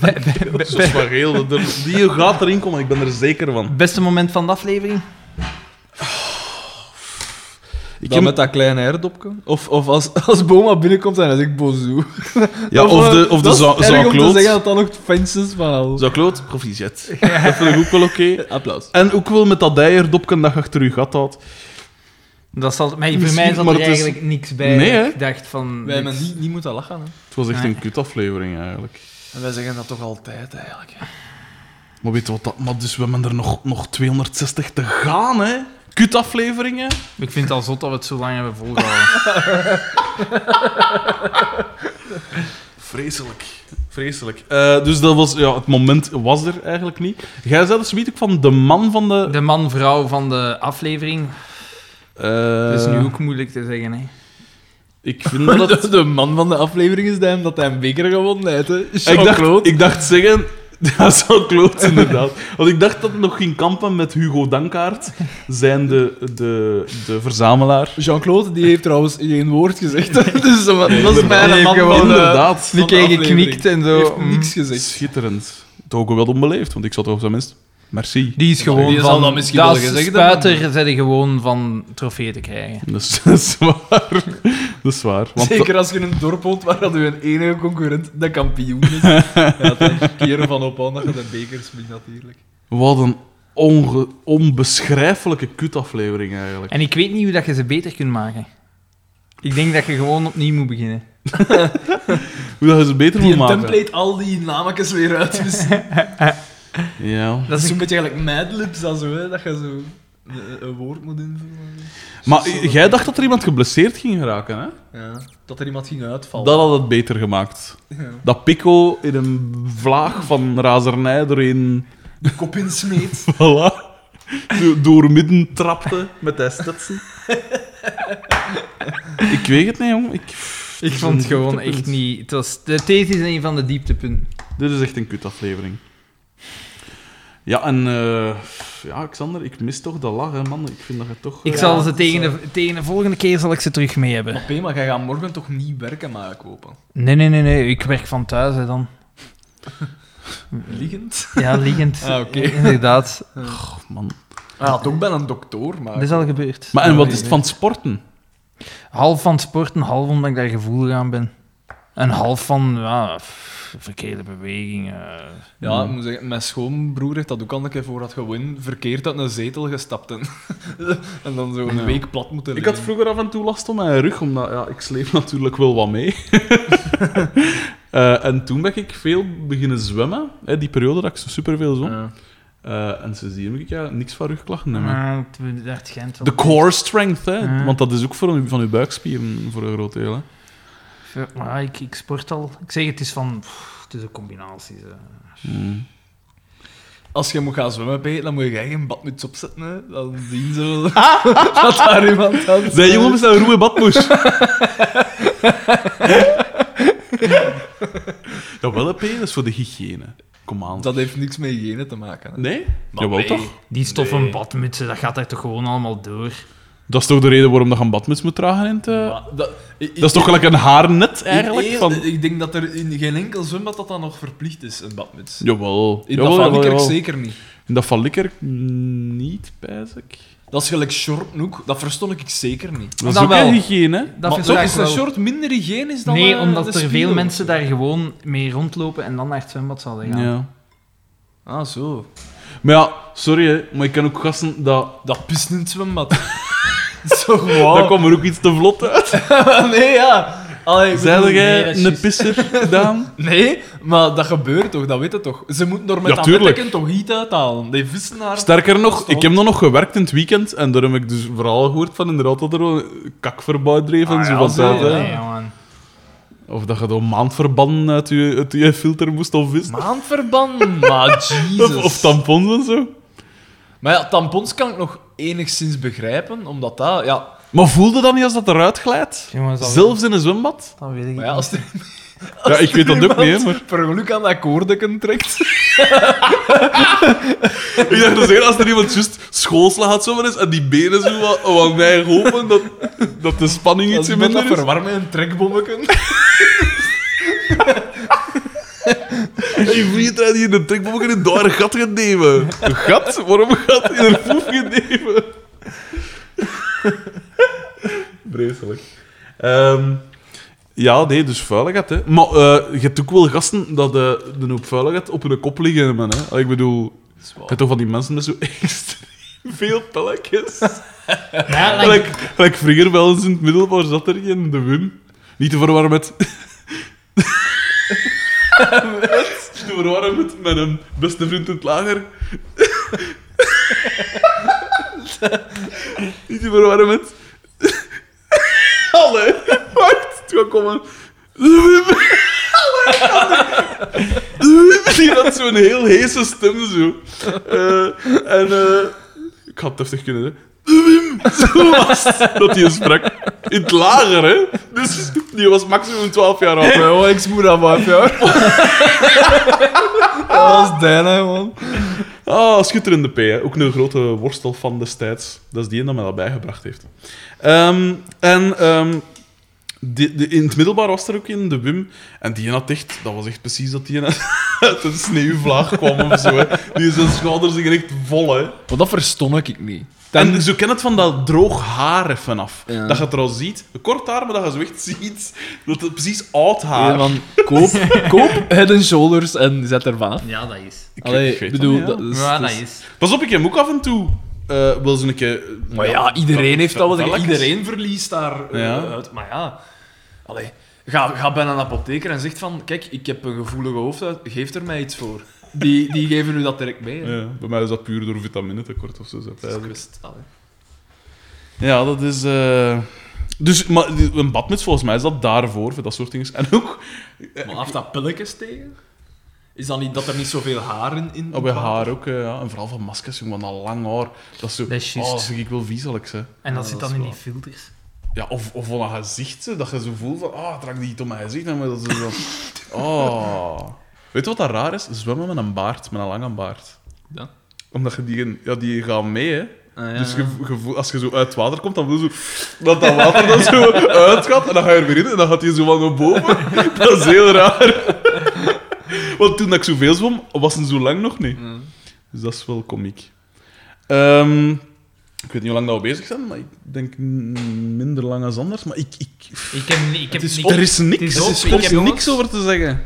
Speaker 3: bij- bij- bij-
Speaker 1: Sos van Geel, dat- dat- die gaat erin komen, ik ben er zeker van.
Speaker 3: het beste moment van de aflevering?
Speaker 5: Ik
Speaker 1: heb-
Speaker 5: met dat kleine herdopje. Of, of als, als Boma binnenkomt en hij zegt bozoe.
Speaker 1: Ja, of de, of de
Speaker 5: eh, dat is
Speaker 1: Jean-
Speaker 5: erg om te
Speaker 1: Jean-Claude.
Speaker 5: zeggen dat dat nog het fijnste is van al.
Speaker 1: Jean-Claude, proficiat. Dat vind ik ook wel oké.
Speaker 5: Applaus.
Speaker 1: En ook wel met dat dijerdopken dat je achter je gat houdt.
Speaker 3: Dat zal, maar voor
Speaker 1: Misschien,
Speaker 3: mij zat
Speaker 1: maar
Speaker 3: er
Speaker 1: het is-
Speaker 3: eigenlijk niks bij.
Speaker 1: Nee, hè?
Speaker 3: Ik dacht van...
Speaker 5: Wij hebben
Speaker 3: dit-
Speaker 5: niet, niet moeten lachen, hè.
Speaker 1: Het was echt
Speaker 3: Nee.
Speaker 1: een kutaflevering eigenlijk.
Speaker 5: En wij zeggen dat toch altijd, eigenlijk. hè.
Speaker 1: Maar weet je wat dat... Maar dus we hebben er nog, nog 260 te gaan, hè. Kutafleveringen.
Speaker 3: Ik vind het al zot dat we het zo lang hebben volgehouden.
Speaker 1: Vreselijk. Vreselijk. Eh, dus dat was... Ja, het moment was er eigenlijk niet. Jij zei dat zoiets ook van de man van de...
Speaker 3: De man-vrouw van de aflevering.
Speaker 1: Eh,
Speaker 3: Dat is nu ook moeilijk te zeggen, hè.
Speaker 1: Ik vind dat het...
Speaker 2: de man van de aflevering is hem dat hij een beker gewonnen heeft. Hè.
Speaker 1: ik, dacht, ik dacht zeggen... Ja, zo kloot, inderdaad. Want ik dacht dat het nog ging kampen met Hugo Dankaert, zijn de, de, de verzamelaar.
Speaker 2: Jean-Claude die heeft trouwens geen woord gezegd. dus dat was
Speaker 3: Die
Speaker 2: mijn
Speaker 3: heeft
Speaker 2: man
Speaker 3: gewoon,
Speaker 2: van de-
Speaker 1: inderdaad.
Speaker 2: van
Speaker 3: Die
Speaker 2: de
Speaker 3: keer
Speaker 2: aflevering.
Speaker 3: geknikt en
Speaker 2: Die
Speaker 3: zo.
Speaker 2: heeft niks
Speaker 3: Mm.
Speaker 2: gezegd.
Speaker 1: Schitterend. Toch ook wel onbeleefd, want ik zat toch op zijn minst... Merci.
Speaker 3: Die is gewoon
Speaker 2: Die zal
Speaker 3: van...
Speaker 2: dat misschien
Speaker 3: dat
Speaker 2: wel
Speaker 3: is
Speaker 2: gezegd hebben,
Speaker 3: spuiter zijn die gewoon van trofee te krijgen.
Speaker 1: Dat is, dat is waar. Dat is waar. Want
Speaker 2: Zeker als je in een dorp woont waar dat je een enige concurrent de kampioen is. ja, dan keren van op aan dat je de bekers wint, natuurlijk.
Speaker 1: eh, Wat een onge- onbeschrijfelijke kutaflevering eigenlijk.
Speaker 3: En ik weet niet hoe dat je ze beter kunt maken. Ik denk dat je gewoon opnieuw moet beginnen.
Speaker 1: Hoe dat je ze beter
Speaker 2: Die
Speaker 1: moet maken.
Speaker 2: template al die namakjes weer uit. Dus
Speaker 1: Ja.
Speaker 2: dat is een beetje eigenlijk Mad Libs, dat, zo, hè, dat je zo een, een woord moet invullen.
Speaker 1: Maar jij dacht dat er iemand geblesseerd ging geraken, hè?
Speaker 2: Ja, dat er iemand ging uitvallen.
Speaker 1: Dat had het beter gemaakt. Dat Pico in een vlaag van razernij erin...
Speaker 2: De kop insmeet.
Speaker 1: Voilà. do- Doormidden trapte met de stetsen. ik weet het niet, jong. Ik,
Speaker 3: Ik vond het gewoon echt niet... Het was, dit is een van de dieptepunten.
Speaker 1: Dit is echt een kutaflevering. Ja, en... eh, ja, Xander, ik mis toch dat lachen, man. Ik vind dat je toch...
Speaker 3: Ik
Speaker 1: eh,
Speaker 3: zal ze tegen de, tegen de volgende keer zal ik ze terug mee hebben.
Speaker 2: Maar P, maar jij gaat morgen toch niet werken, maar kopen?
Speaker 3: Nee, nee, nee, nee. Ik werk van thuis hè, dan.
Speaker 2: Liggend?
Speaker 3: Ja, liggend.
Speaker 2: Ah, oké.
Speaker 3: Inderdaad.
Speaker 1: Goh, man.
Speaker 2: Ah, toch ben een dokter,
Speaker 3: Dat
Speaker 2: maar...
Speaker 3: is al gebeurd.
Speaker 1: Maar en wat is het van het sporten?
Speaker 3: Half van het sporten, half omdat ik daar gevoelig aan ben. En half van ja, f- verkeerde bewegingen.
Speaker 2: Ja,
Speaker 1: Hmm.
Speaker 2: ik moet zeggen, mijn schoonbroer heeft dat ook al een keer voor had gewoon verkeerd uit een zetel gestapt. En, en dan zo een
Speaker 1: Ja.
Speaker 2: week plat moeten
Speaker 1: Ik had
Speaker 2: liggen.
Speaker 1: vroeger af en toe last om mijn rug, omdat ja, ik sleep natuurlijk wel wat mee. Eh, en toen ben ik veel beginnen zwemmen. Hè, die periode dat ik zo superveel zwom.
Speaker 2: Ja.
Speaker 1: Eh, en sindsdien heb ik ja, niks van rugklachten meer.
Speaker 3: Maar het- dat schijnt wel.
Speaker 1: De core strength, hè.
Speaker 3: Ja.
Speaker 1: Want dat is ook voor een- van uw buikspieren voor een groot deel. Hè.
Speaker 3: Ja, Maar ik, ik sport al. Ik zeg, het is van... pff, het is een combinatie. zo.
Speaker 1: Mm.
Speaker 2: Als je moet gaan zwemmen, P, dan moet je geen badmuts opzetten. Hè. Dan zien ze wel
Speaker 1: Ah!
Speaker 2: dat daar iemand aan
Speaker 1: Zijn jongen met zijn roe badmoes. dat wel, hè, P, dat is voor de hygiëne. Kom aan.
Speaker 2: Dat heeft niks met hygiëne te maken. Hè.
Speaker 1: Nee?
Speaker 2: Maar
Speaker 1: Jawel,
Speaker 2: nee.
Speaker 1: toch?
Speaker 3: Die stoffen
Speaker 2: Nee.
Speaker 3: badmutsen, dat gaat daar toch gewoon allemaal door.
Speaker 1: Dat is toch de reden waarom dat je een badmuts moet dragen in het... eh,
Speaker 2: Maar dat, ik- ik-
Speaker 1: Dat is toch gelijk een haarnet, eigenlijk?
Speaker 2: ik-
Speaker 1: Van...
Speaker 2: Ik denk dat er in geen enkel zwembad dat dan nog verplicht is, een badmuts.
Speaker 1: Jawel.
Speaker 2: In
Speaker 1: jawel,
Speaker 2: dat van
Speaker 1: jawel,
Speaker 2: Likkerk
Speaker 1: jawel.
Speaker 2: zeker niet.
Speaker 1: In dat van Likkerk niet, pijs ik.
Speaker 2: Dat is gelijk short ook. Dat verstond ik zeker niet.
Speaker 1: Dat is
Speaker 3: Dat
Speaker 1: ook
Speaker 3: wel.
Speaker 1: een hygiëne. hè?
Speaker 3: Dat
Speaker 2: maar
Speaker 3: vind ik
Speaker 2: toch is
Speaker 3: wel.
Speaker 2: dat short minder hygiënisch dan
Speaker 3: nee,
Speaker 2: eh, de
Speaker 3: omdat er
Speaker 2: spiegel.
Speaker 3: veel mensen daar gewoon mee rondlopen en dan naar het zwembad zouden gaan.
Speaker 1: Ja.
Speaker 2: Ah, zo.
Speaker 1: Maar ja, sorry, hè, maar ik ken ook gasten dat...
Speaker 2: Dat pist in het zwembad. zo gewoon.
Speaker 1: Daar kwam er ook iets te vlot uit.
Speaker 2: nee, ja. Allee, ik
Speaker 1: Zeiden
Speaker 2: bedoel-
Speaker 1: jij
Speaker 2: Nee, dat is
Speaker 1: een
Speaker 2: juist.
Speaker 1: pisser, Daan?
Speaker 2: Nee, maar dat gebeurt toch, dat weet je toch. Ze moeten door met
Speaker 1: Ja,
Speaker 2: dat
Speaker 1: tuurlijk.
Speaker 2: bekken toch niet uithalen. Die vissen haar...
Speaker 1: Sterker nog, ik heb nog nog gewerkt in het weekend en daar heb ik dus verhalen gehoord van inderdaad dat er wel een kakverbouw dreef en zo wat
Speaker 2: zo,
Speaker 1: uit, hè.
Speaker 3: Ah, Nee, man.
Speaker 1: Of dat je door maandverbanden uit je, uit je filter moest of vissen.
Speaker 2: Maandverband, maar
Speaker 1: Of,
Speaker 2: Jesus.
Speaker 1: of tampons en zo.
Speaker 2: Maar ja, tampons kan ik nog enigszins begrijpen, omdat dat... Ja,
Speaker 1: Maar voelde dat niet als dat eruit glijdt?
Speaker 3: Jongens, dat-
Speaker 1: Zelfs in een zwembad?
Speaker 3: Dat weet ik
Speaker 2: maar ja
Speaker 3: niet.
Speaker 2: als er
Speaker 1: Ja, ik weet dat ook niet, hè,
Speaker 2: iemand
Speaker 1: maar...
Speaker 2: per geluk aan dat koordeken trekt...
Speaker 1: Ik dacht dus eerst, als er iemand juist schoolslag had zomaar is en die benen zo wat, wat mij open, dat, dat de spanning
Speaker 2: Als
Speaker 1: ietsje
Speaker 2: iemand dat
Speaker 1: minder is.
Speaker 2: verwarmt met een trekbommeken...
Speaker 1: Die vriendin die in de trekbom in daar een gat gaat nemen. Een gat? Waarom een gat in een poef gaat nemen? Vreselijk. Ehm, ja, nee, dus vuiligheid, hè. Maar eh, je hebt ook wel gasten dat eh, de hoop vuiligheid op hun kop liggen, man, hè. Ik bedoel, je hebt toch van die mensen met zo extreem veel pelletjes.
Speaker 3: Ja, like-
Speaker 1: Gelijk gelijk vroeger bij ons in het middelbaar zat er geen de Wim. Niet te verwarren met... stoer warm met mijn beste vriend in het lager. Niet te verwarren met... Alle. Wacht, het gaat komen. Alle. Die had zo'n heel heese stem zo. Eh, en eh, ik had het heftig kunnen, hè. Zo was het, dat hij sprak. In het lager, hè. Dus die was maximum 12 jaar oud.
Speaker 6: Ja, ik smoer aan mijn jaar. Dat was Dana, man.
Speaker 1: Ah, schitterende P. Hè. Ook een grote worstel van destijds. Dat is die ene dat mij dat bijgebracht heeft. Ehm, en ehm, die- die- in het middelbaar was er ook in de Wim. En die ene had echt... Dat was echt precies dat die ene uit een sneeuwvlaag kwam of zo. Hè. Die zijn schouders gingen echt vol, hè.
Speaker 2: Maar dat verstond ik niet.
Speaker 1: En dus- zo ken het van dat droog haar even af.
Speaker 2: Ja.
Speaker 1: Dat je het er al ziet. Kort haar, maar dat je zo echt ziet dat het precies oud haar...
Speaker 2: Ja, van, koop, koop head and shoulders en zet er vanaf.
Speaker 3: Ja, dat is.
Speaker 1: Ik-
Speaker 2: Allee,
Speaker 1: ik weet dat
Speaker 2: bedoel,
Speaker 1: niet, ja.
Speaker 2: dat is-
Speaker 3: Ja,
Speaker 2: dat
Speaker 3: dat
Speaker 2: is-
Speaker 3: is.
Speaker 1: Pas op, ik heb ook af en toe... eh wil ze een keer...
Speaker 2: Maar ja, iedereen heeft dat wel.
Speaker 1: velletjes.
Speaker 2: Iedereen verliest daar eh,
Speaker 1: Ja.
Speaker 2: uit. Maar ja, allee, ga, ga bij een apotheker en zegt van, kijk, ik heb een gevoelige hoofdhuid, geef er mij iets voor. Die, die geven u dat direct mee. hè.
Speaker 1: Ja, bij mij is dat puur door vitaminetekort of zo. zo,
Speaker 2: Dat is
Speaker 1: eigenlijk.
Speaker 2: kwest- allee.
Speaker 1: Ja, dat is. eh, Dus, maar die- een badmuts, volgens mij is dat daarvoor, voor dat soort dingen. En ook
Speaker 2: Maar af dat pilletjes tegen? Is dat niet dat er niet zoveel haar in... in
Speaker 1: oh, bij
Speaker 2: het water?
Speaker 1: haar ook, eh, ja. en vooral van maskers, jongen, dat lang haar. Dat is zo.
Speaker 3: Dat is
Speaker 1: oh,
Speaker 3: juist.
Speaker 1: dat vind ik wel viezelijk, hè.
Speaker 3: En dat
Speaker 2: Ja, dat
Speaker 3: zit dan
Speaker 2: is
Speaker 3: in
Speaker 2: waar.
Speaker 3: die filters.
Speaker 1: Ja, of, of van haar gezicht, zo, dat je zo voelt van, ah, trek die iets om mijn gezicht. En maar dat is zo. Oh. Weet je wat dat raar is? Zwemmen met een baard, met een lange baard.
Speaker 2: Ja.
Speaker 1: Omdat je die, ja, die gaan mee, hè.
Speaker 2: Ah, ja.
Speaker 1: Dus je, je voelt- als je zo uit het water komt, dan wil je zo, dat dat water dan zo uitgaat. En dan ga je er weer in en dan gaat hij zo van naar boven. Dat is heel raar. Want toen dat ik zoveel zwom, was het zo lang nog niet.
Speaker 2: Ja.
Speaker 1: Dus dat is wel komiek. Ehm, ik weet niet hoe lang dat we bezig zijn, maar ik denk mm, minder lang als anders. Maar ik, ik,
Speaker 3: Ik heb, ik
Speaker 1: ik-
Speaker 3: heb niks.
Speaker 1: er is niks,
Speaker 3: het is op,
Speaker 1: er
Speaker 3: ik
Speaker 1: is
Speaker 3: heb-
Speaker 1: niks over te zeggen.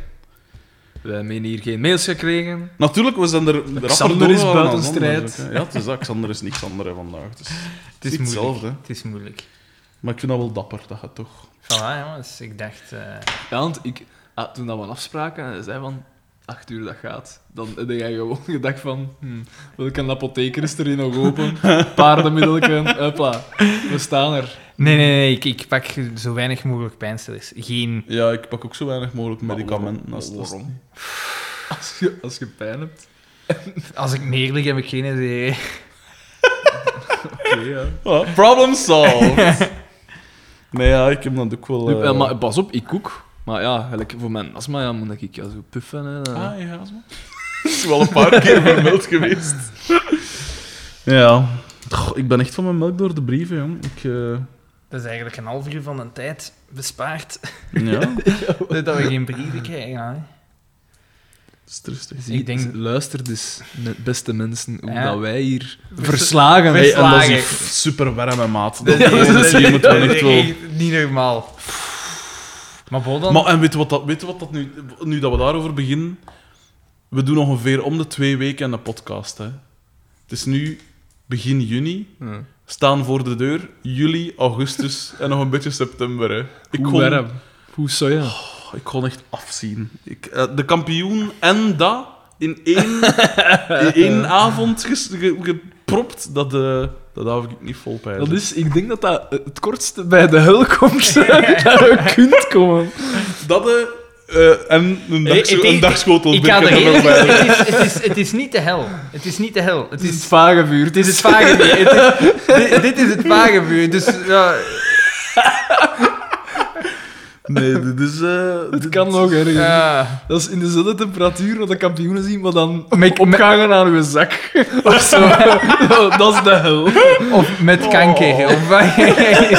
Speaker 2: We hebben hier geen mails gekregen.
Speaker 1: Natuurlijk, we zijn er...
Speaker 2: Xander
Speaker 1: rapper
Speaker 2: is
Speaker 1: doorgegaan
Speaker 2: buiten
Speaker 1: als anders
Speaker 2: strijd.
Speaker 1: ook, dus, hè. Ja, het is dat. Xander is niks anders hè, vandaag. Het is,
Speaker 3: Het is
Speaker 1: niet
Speaker 3: moeilijk.
Speaker 1: hetzelfde.
Speaker 3: Het is moeilijk.
Speaker 1: Maar ik vind dat wel dapper, dat gaat toch...
Speaker 3: Voilà, jongens. Ik dacht... eh,
Speaker 2: Ja, want ik, ah, toen dat we afspraken, hij zei van... Acht uur dat gaat. Dan heb jij gewoon gedacht van... Hm, welke apotheker is er hier nog open? Paardenmiddelken, hopla. We staan er.
Speaker 3: Nee, nee, nee. Ik, ik pak zo weinig mogelijk pijnstillers. Geen...
Speaker 1: Ja, ik pak ook zo weinig mogelijk medicamenten. Als, als-
Speaker 2: Waarom? Als je, als je pijn hebt.
Speaker 3: Als ik meer lig, heb ik geen idee.
Speaker 2: Oké, ja.
Speaker 1: Ah, problem solved. nee, ja, ik heb dat ook wel... eh,
Speaker 2: Ja, maar pas op, ik koek. Maar ja, gelijk voor mijn astma ja, moet ik ja, zo puffen. Hè.
Speaker 1: Ah, ja, astma. Dat is wel een paar keer vermeld geweest. ja. Goh, ik ben echt van mijn melk door de brieven, jong. Ik, eh,
Speaker 3: Dat is eigenlijk een half uur van een tijd bespaard.
Speaker 1: ja,
Speaker 3: dat we geen brieven krijgen. Hè.
Speaker 1: stress.
Speaker 2: Zie,
Speaker 3: Ik denk-
Speaker 2: Luister dus, net beste mensen, hoe
Speaker 3: Ja.
Speaker 2: dat wij hier verslagen.
Speaker 1: Hey, en dat
Speaker 3: Verslagen.
Speaker 1: is super warme maat.
Speaker 3: Dat
Speaker 1: Dat, dat,
Speaker 3: is-
Speaker 1: die moeten we
Speaker 3: dat
Speaker 1: echt
Speaker 3: is
Speaker 1: wel...
Speaker 3: echt niet normaal. Maar Bodan,
Speaker 1: Maar en weet je wat dat, weet je wat dat nu, nu dat we daarover beginnen? We doen ongeveer om de twee weken een podcast. Hè. Het is nu begin juni,
Speaker 2: Ja.
Speaker 1: staan voor de deur juli, augustus en nog een beetje september. Hè. Ik,
Speaker 2: Hoe
Speaker 1: kon,
Speaker 2: warm. Hoe soja.
Speaker 1: ik kon echt afzien. Ik, eh, de kampioen en dat in één, in één avond ges- ge- gepropt, dat, eh dat hou ik niet vol pijn.
Speaker 2: Dat is, ik denk dat dat het kortste bij de hul komt dat je kunt komen.
Speaker 1: Dat, eh, eh, en een, dag,
Speaker 3: Hey, het
Speaker 1: een
Speaker 3: is-
Speaker 1: dagschotel.
Speaker 3: ik ga
Speaker 1: er
Speaker 3: er
Speaker 1: nog bij.
Speaker 3: het, is, het, is, het is niet de hel. Het is niet de hel. Het
Speaker 2: Het is
Speaker 3: is
Speaker 2: het vage vuur. Het
Speaker 3: Dit
Speaker 2: is
Speaker 3: is het vage vuur. Dit, dit- dit is het vage vuur. Dus ja,
Speaker 1: Nee, dit is... eh,
Speaker 2: het kan nog erger.
Speaker 3: ja.
Speaker 2: Dat is in dezelfde temperatuur wat de kampioenen zien, maar dan
Speaker 3: Met-
Speaker 2: opgangen aan uw zak. Of zo. dat is de hel.
Speaker 3: Of met kanker. Of, nee,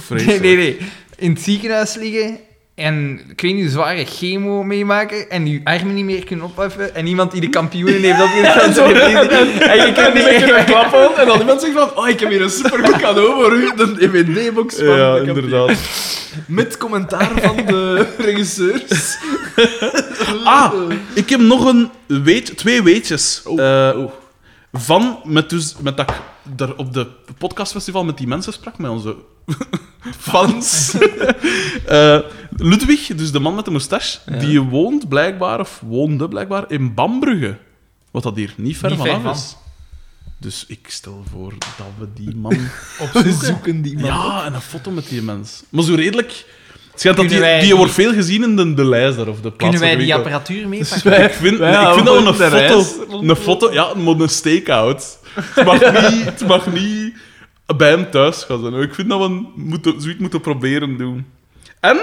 Speaker 1: vreselijk.
Speaker 3: nee, nee. In het ziekenhuis liggen en ik weet niet, zware chemo meemaken en je armen niet meer kunnen opheffen en iemand die de kampioenen heeft dat niet En je kunt niet meer
Speaker 2: klappen en dan iemand zegt van, oh, ik heb hier een supergoed cadeau voor u, de DVD-box van
Speaker 1: Ja,
Speaker 2: de kampioen.
Speaker 1: inderdaad.
Speaker 2: Met commentaar van de regisseurs.
Speaker 1: Ah, ik heb nog een weet, twee weetjes.
Speaker 2: Oh,
Speaker 1: Eh, van, met, dus, met dat ik daar op de podcastfestival met die mensen sprak, met onze fans. Eh, Ludwig, dus de man met de moustache,
Speaker 2: Ja.
Speaker 1: die woont blijkbaar, of woonde blijkbaar, in Bambrugge. Wat dat hier niet ver
Speaker 7: Niet ver
Speaker 1: vanaf
Speaker 7: van.
Speaker 1: is. Dus ik stel voor dat we die man...
Speaker 2: We zoeken die man.
Speaker 1: ja, en een foto met die mens. Maar zo redelijk... Het schijnt dat die,
Speaker 7: Kunnen wij
Speaker 1: die
Speaker 7: die-
Speaker 1: wordt veel gezien in de, de Leizer of de plaats.
Speaker 7: Kunnen wij
Speaker 1: waar
Speaker 7: die
Speaker 1: ik- Dus
Speaker 7: apparatuur meepakken?
Speaker 1: ik vind,
Speaker 2: wij
Speaker 1: ik vind dat we
Speaker 2: houden
Speaker 1: een
Speaker 2: de
Speaker 1: foto, een foto... Ja, maar een stakeout. Het mag niet, het mag niet bij hem thuis gaan zijn. Ik vind dat we moeten, zoiets moeten proberen doen. En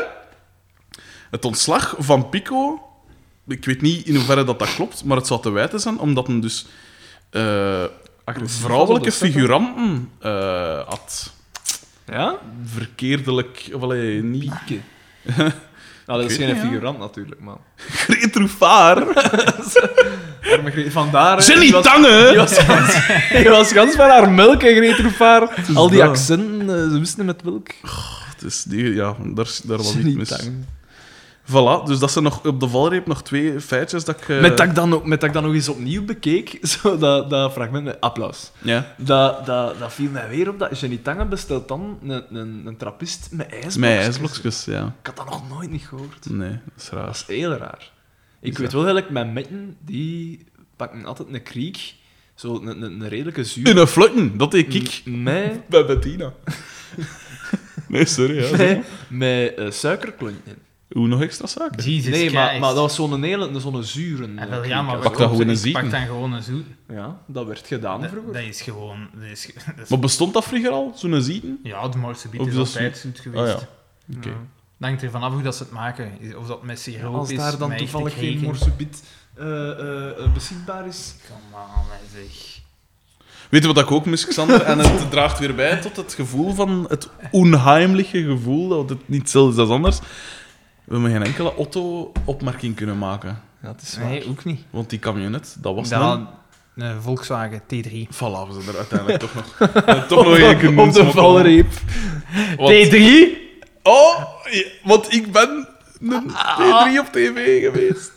Speaker 1: het ontslag van Pico... Ik weet niet in hoeverre dat, dat klopt, maar het zou te wijten zijn, omdat hem dus eh,
Speaker 2: Agressief was op
Speaker 1: vrouwelijke
Speaker 2: de set, hè?
Speaker 1: figuranten eh, had.
Speaker 2: Ja?
Speaker 1: Verkeerdelijk... Of, allee, niet...
Speaker 2: Pieke. Nou, dat is
Speaker 1: Ik weet
Speaker 2: geen
Speaker 1: niet, ja.
Speaker 2: figurant natuurlijk, man.
Speaker 1: Greet Roefaar.
Speaker 2: Arme Gre- Vandaar... hè,
Speaker 1: Jenny
Speaker 2: die was-
Speaker 1: Tange!
Speaker 2: die was gans- Die was gans van haar melk, en Greet Roefaar. Al die
Speaker 1: dat.
Speaker 2: accenten, eh, ze wisten met welk.
Speaker 1: Dus die, ja, daar, daar was
Speaker 2: Jenny
Speaker 1: iets mis.
Speaker 2: Tang.
Speaker 1: Voilà, dus dat zijn nog op de valreep nog twee feitjes dat ik... eh,
Speaker 2: Met dat ik dan ook- met dat ik dan nog eens opnieuw bekeek, zo dat, dat fragment met applaus.
Speaker 1: Ja,
Speaker 2: Dat, dat, dat viel mij weer op. Dat Jenny Tange bestelt dan een, een, een trappist met ijsblokjes.
Speaker 1: mijn ijsblokjes, ja.
Speaker 2: Ik had dat nog nooit niet gehoord.
Speaker 1: Nee, dat is
Speaker 2: Dat
Speaker 1: raar.
Speaker 2: is heel raar. Ik
Speaker 1: Is dat-
Speaker 2: weet wel eigenlijk, mijn metten, die pakken altijd een kriek. Zo een, een, een redelijke zuur.
Speaker 1: In een flutten, dat deed ik.
Speaker 2: Met,
Speaker 1: Hmm. Bij Bettina. nee, sorry. Ja.
Speaker 2: met, met eh, suikerklontje.
Speaker 1: Hoe nog extra zaken?
Speaker 3: Jesus
Speaker 2: Nee, maar,
Speaker 7: Christ.
Speaker 2: maar dat was zo'n hele, zo'n zure...
Speaker 7: Ja,
Speaker 2: eh,
Speaker 7: wel,
Speaker 2: kriek
Speaker 7: ja, maar
Speaker 2: had.
Speaker 1: Pak dat gewoon een zieken.
Speaker 3: Pak dan gewoon een zoet.
Speaker 2: Ja, dat werd gedaan
Speaker 3: Dat,
Speaker 2: vroeger.
Speaker 3: dat is gewoon... Dat is, ge- dat is-
Speaker 1: Maar bestond dat vroeger al, zo'n zieten?
Speaker 3: ja, de Morse biet
Speaker 1: Of
Speaker 3: is
Speaker 1: dat
Speaker 3: altijd zoet
Speaker 1: Ah,
Speaker 3: geweest.
Speaker 1: ja. Oké.
Speaker 3: Ja. Dankt er vanaf hoe dat ze het maken. Is- Of dat met siroop
Speaker 2: Als
Speaker 3: is,
Speaker 2: daar dan
Speaker 3: met echte
Speaker 2: toevallig geen
Speaker 3: kregen.
Speaker 2: morsebit eh, eh, eh, beschikbaar is.
Speaker 3: Come on, hè, zeg.
Speaker 1: Weet je wat ik ook mis, Xander? En het draagt weer bij tot het gevoel van het onheimliche gevoel, dat het niet hetzelfde is als anders. We hebben geen enkele Otto-opmerking kunnen maken.
Speaker 2: Ja, het is waar.
Speaker 3: Nee, ook niet.
Speaker 1: Want die camionet, dat was dan.
Speaker 3: Dan een Volkswagen T3.
Speaker 1: Voilà, we zijn er uiteindelijk toch nog, toch nog één keer
Speaker 2: Op de valreep.
Speaker 1: Want- Oh, ja, want ik ben een
Speaker 2: Ah.
Speaker 1: T3 op tv geweest.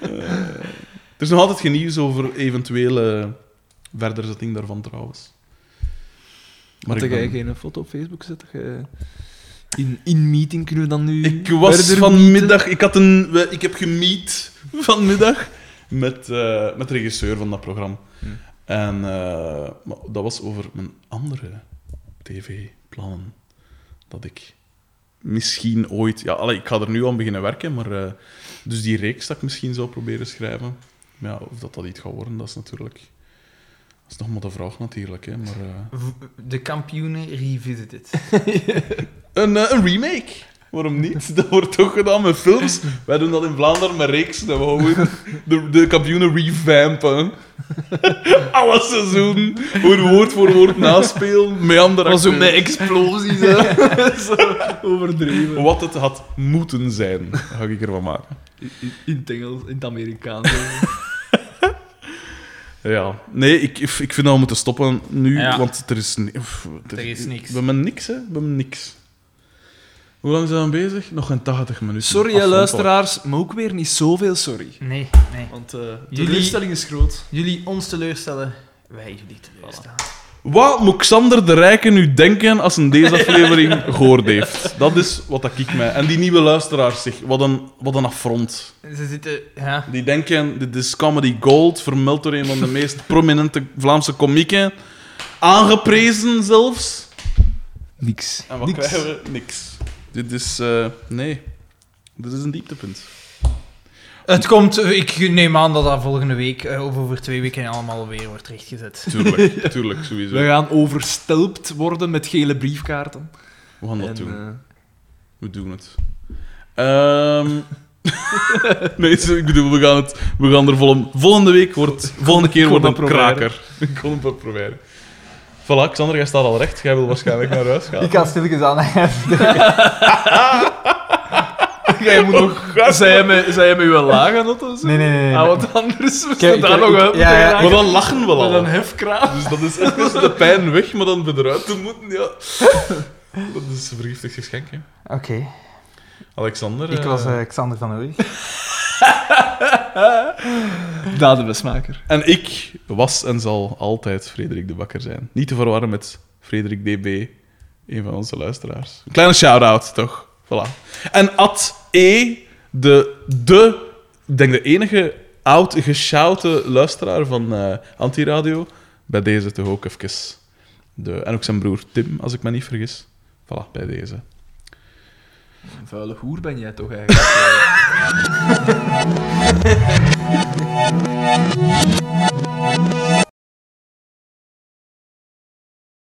Speaker 1: Eh, er is nog altijd geen nieuws over eventuele verderzetting daarvan trouwens.
Speaker 2: Maar
Speaker 1: ik,
Speaker 2: dat
Speaker 1: ben-
Speaker 2: jij geen foto op Facebook zet. dat je- In, in meeting kunnen we dan nu.
Speaker 1: ik was
Speaker 2: verder
Speaker 1: vanmiddag... Ik, had een, we- ik heb gemiet vanmiddag met, eh, met de regisseur van dat programma.
Speaker 2: Hmm.
Speaker 1: En eh, maar dat was over mijn andere tv-plannen. Dat ik misschien ooit... Ja, allee, ik ga er nu aan beginnen werken, maar... eh, dus die reeks dat ik misschien zou proberen schrijven. Maar ja, of dat dat iets gaat worden, dat is natuurlijk... Dat is nog maar de vraag natuurlijk, hè. Maar, eh,
Speaker 3: V- De kampioenen revisited.
Speaker 1: een, eh, een remake. Waarom niet? Dat wordt toch gedaan met films. Wij doen dat in Vlaanderen met reeksen. Dat we gewoon de, de kampioenen revampen. Alle seizoenen. Gewoon woord voor woord naspelen. Met andere
Speaker 2: Als ook
Speaker 1: acteurs.
Speaker 2: met explosies, hè. Zo Overdreven.
Speaker 1: Wat het had moeten zijn, ga ik ervan maken.
Speaker 2: In, in, in het Engels, in het Amerikaans. hè.
Speaker 1: Ja. Nee, ik, ik vind dat we moeten stoppen nu.
Speaker 3: Ja.
Speaker 1: Want er is, ni- pff,
Speaker 3: Er is niks.
Speaker 1: We hebben niks, hè. We hebben niks. Hoe lang zijn we bezig? Nog een 80 minuten.
Speaker 2: Sorry, hè,
Speaker 1: Afronden.
Speaker 2: luisteraars, maar ook weer niet zoveel sorry.
Speaker 3: Nee, nee.
Speaker 2: Want eh, de
Speaker 3: Jullie-
Speaker 2: teleurstelling is groot.
Speaker 3: Jullie ons teleurstellen, wij jullie teleurstellen.
Speaker 1: Wat moet Xander de Rijken nu denken als hij deze aflevering gehoord heeft? Dat is wat dat kiek mij. En die nieuwe luisteraars, zeg, wat een, wat een affront.
Speaker 3: Ze zitten... Ja.
Speaker 1: Die denken, dit is comedy gold, vermeld door een van de meest prominente Vlaamse komieken. Aangeprezen zelfs.
Speaker 2: Niks.
Speaker 1: En wat krijgen we? Niks. Dit is... eh, nee. Dit is een dieptepunt.
Speaker 3: Het komt... Ik neem aan dat dat volgende week eh, of over twee weken allemaal weer wordt rechtgezet.
Speaker 1: Tuurlijk, tuurlijk, sowieso.
Speaker 2: We gaan overstelpt worden met gele briefkaarten.
Speaker 1: We gaan dat
Speaker 2: En,
Speaker 1: doen.
Speaker 2: eh,
Speaker 1: We doen het. Ehm nee, sorry, ik bedoel, we gaan, het, we gaan er volgende, volgende week wordt, volgende keer
Speaker 2: Kom
Speaker 1: wordt een
Speaker 2: maar proberen.
Speaker 1: kraker. Ik kon het wel proberen. Voilà, Xander, jij staat al recht. Jij wil waarschijnlijk naar huis gaan.
Speaker 3: ga stilletjes aan
Speaker 2: Jij moet nog... Zij met, zij met uw lage noten?
Speaker 3: Oh, Nee, nee, nee.
Speaker 2: Ah, want anders we
Speaker 3: Kijk,
Speaker 2: staan daar
Speaker 3: ik-
Speaker 2: nog
Speaker 3: ik-
Speaker 2: uit.
Speaker 3: ja, ja,
Speaker 1: Maar dan lachen we
Speaker 2: Met
Speaker 1: al.
Speaker 2: een hefkraan.
Speaker 1: Dus dat is echt de pijn weg, maar dan weer eruit te moeten, ja. Dat is een vergiftigd geschenk, hè.
Speaker 3: Oké.
Speaker 1: Alexander...
Speaker 3: Ik
Speaker 1: eh,
Speaker 3: was eh, Xander van Ooy.
Speaker 2: Dadenbesmaker.
Speaker 1: En ik was en zal altijd Frederik de Bakker zijn. Niet te verwarren met Frederik DB, Een van onze luisteraars. Een kleine shout-out, toch? Voilà. En Ad E, de, de, ik denk de enige oud geshoute luisteraar van eh, Antiradio, bij deze toch ook even. De, en ook zijn broer Tim, als ik me niet vergis. Voilà, bij deze.
Speaker 5: Een vuile hoer ben jij toch eigenlijk?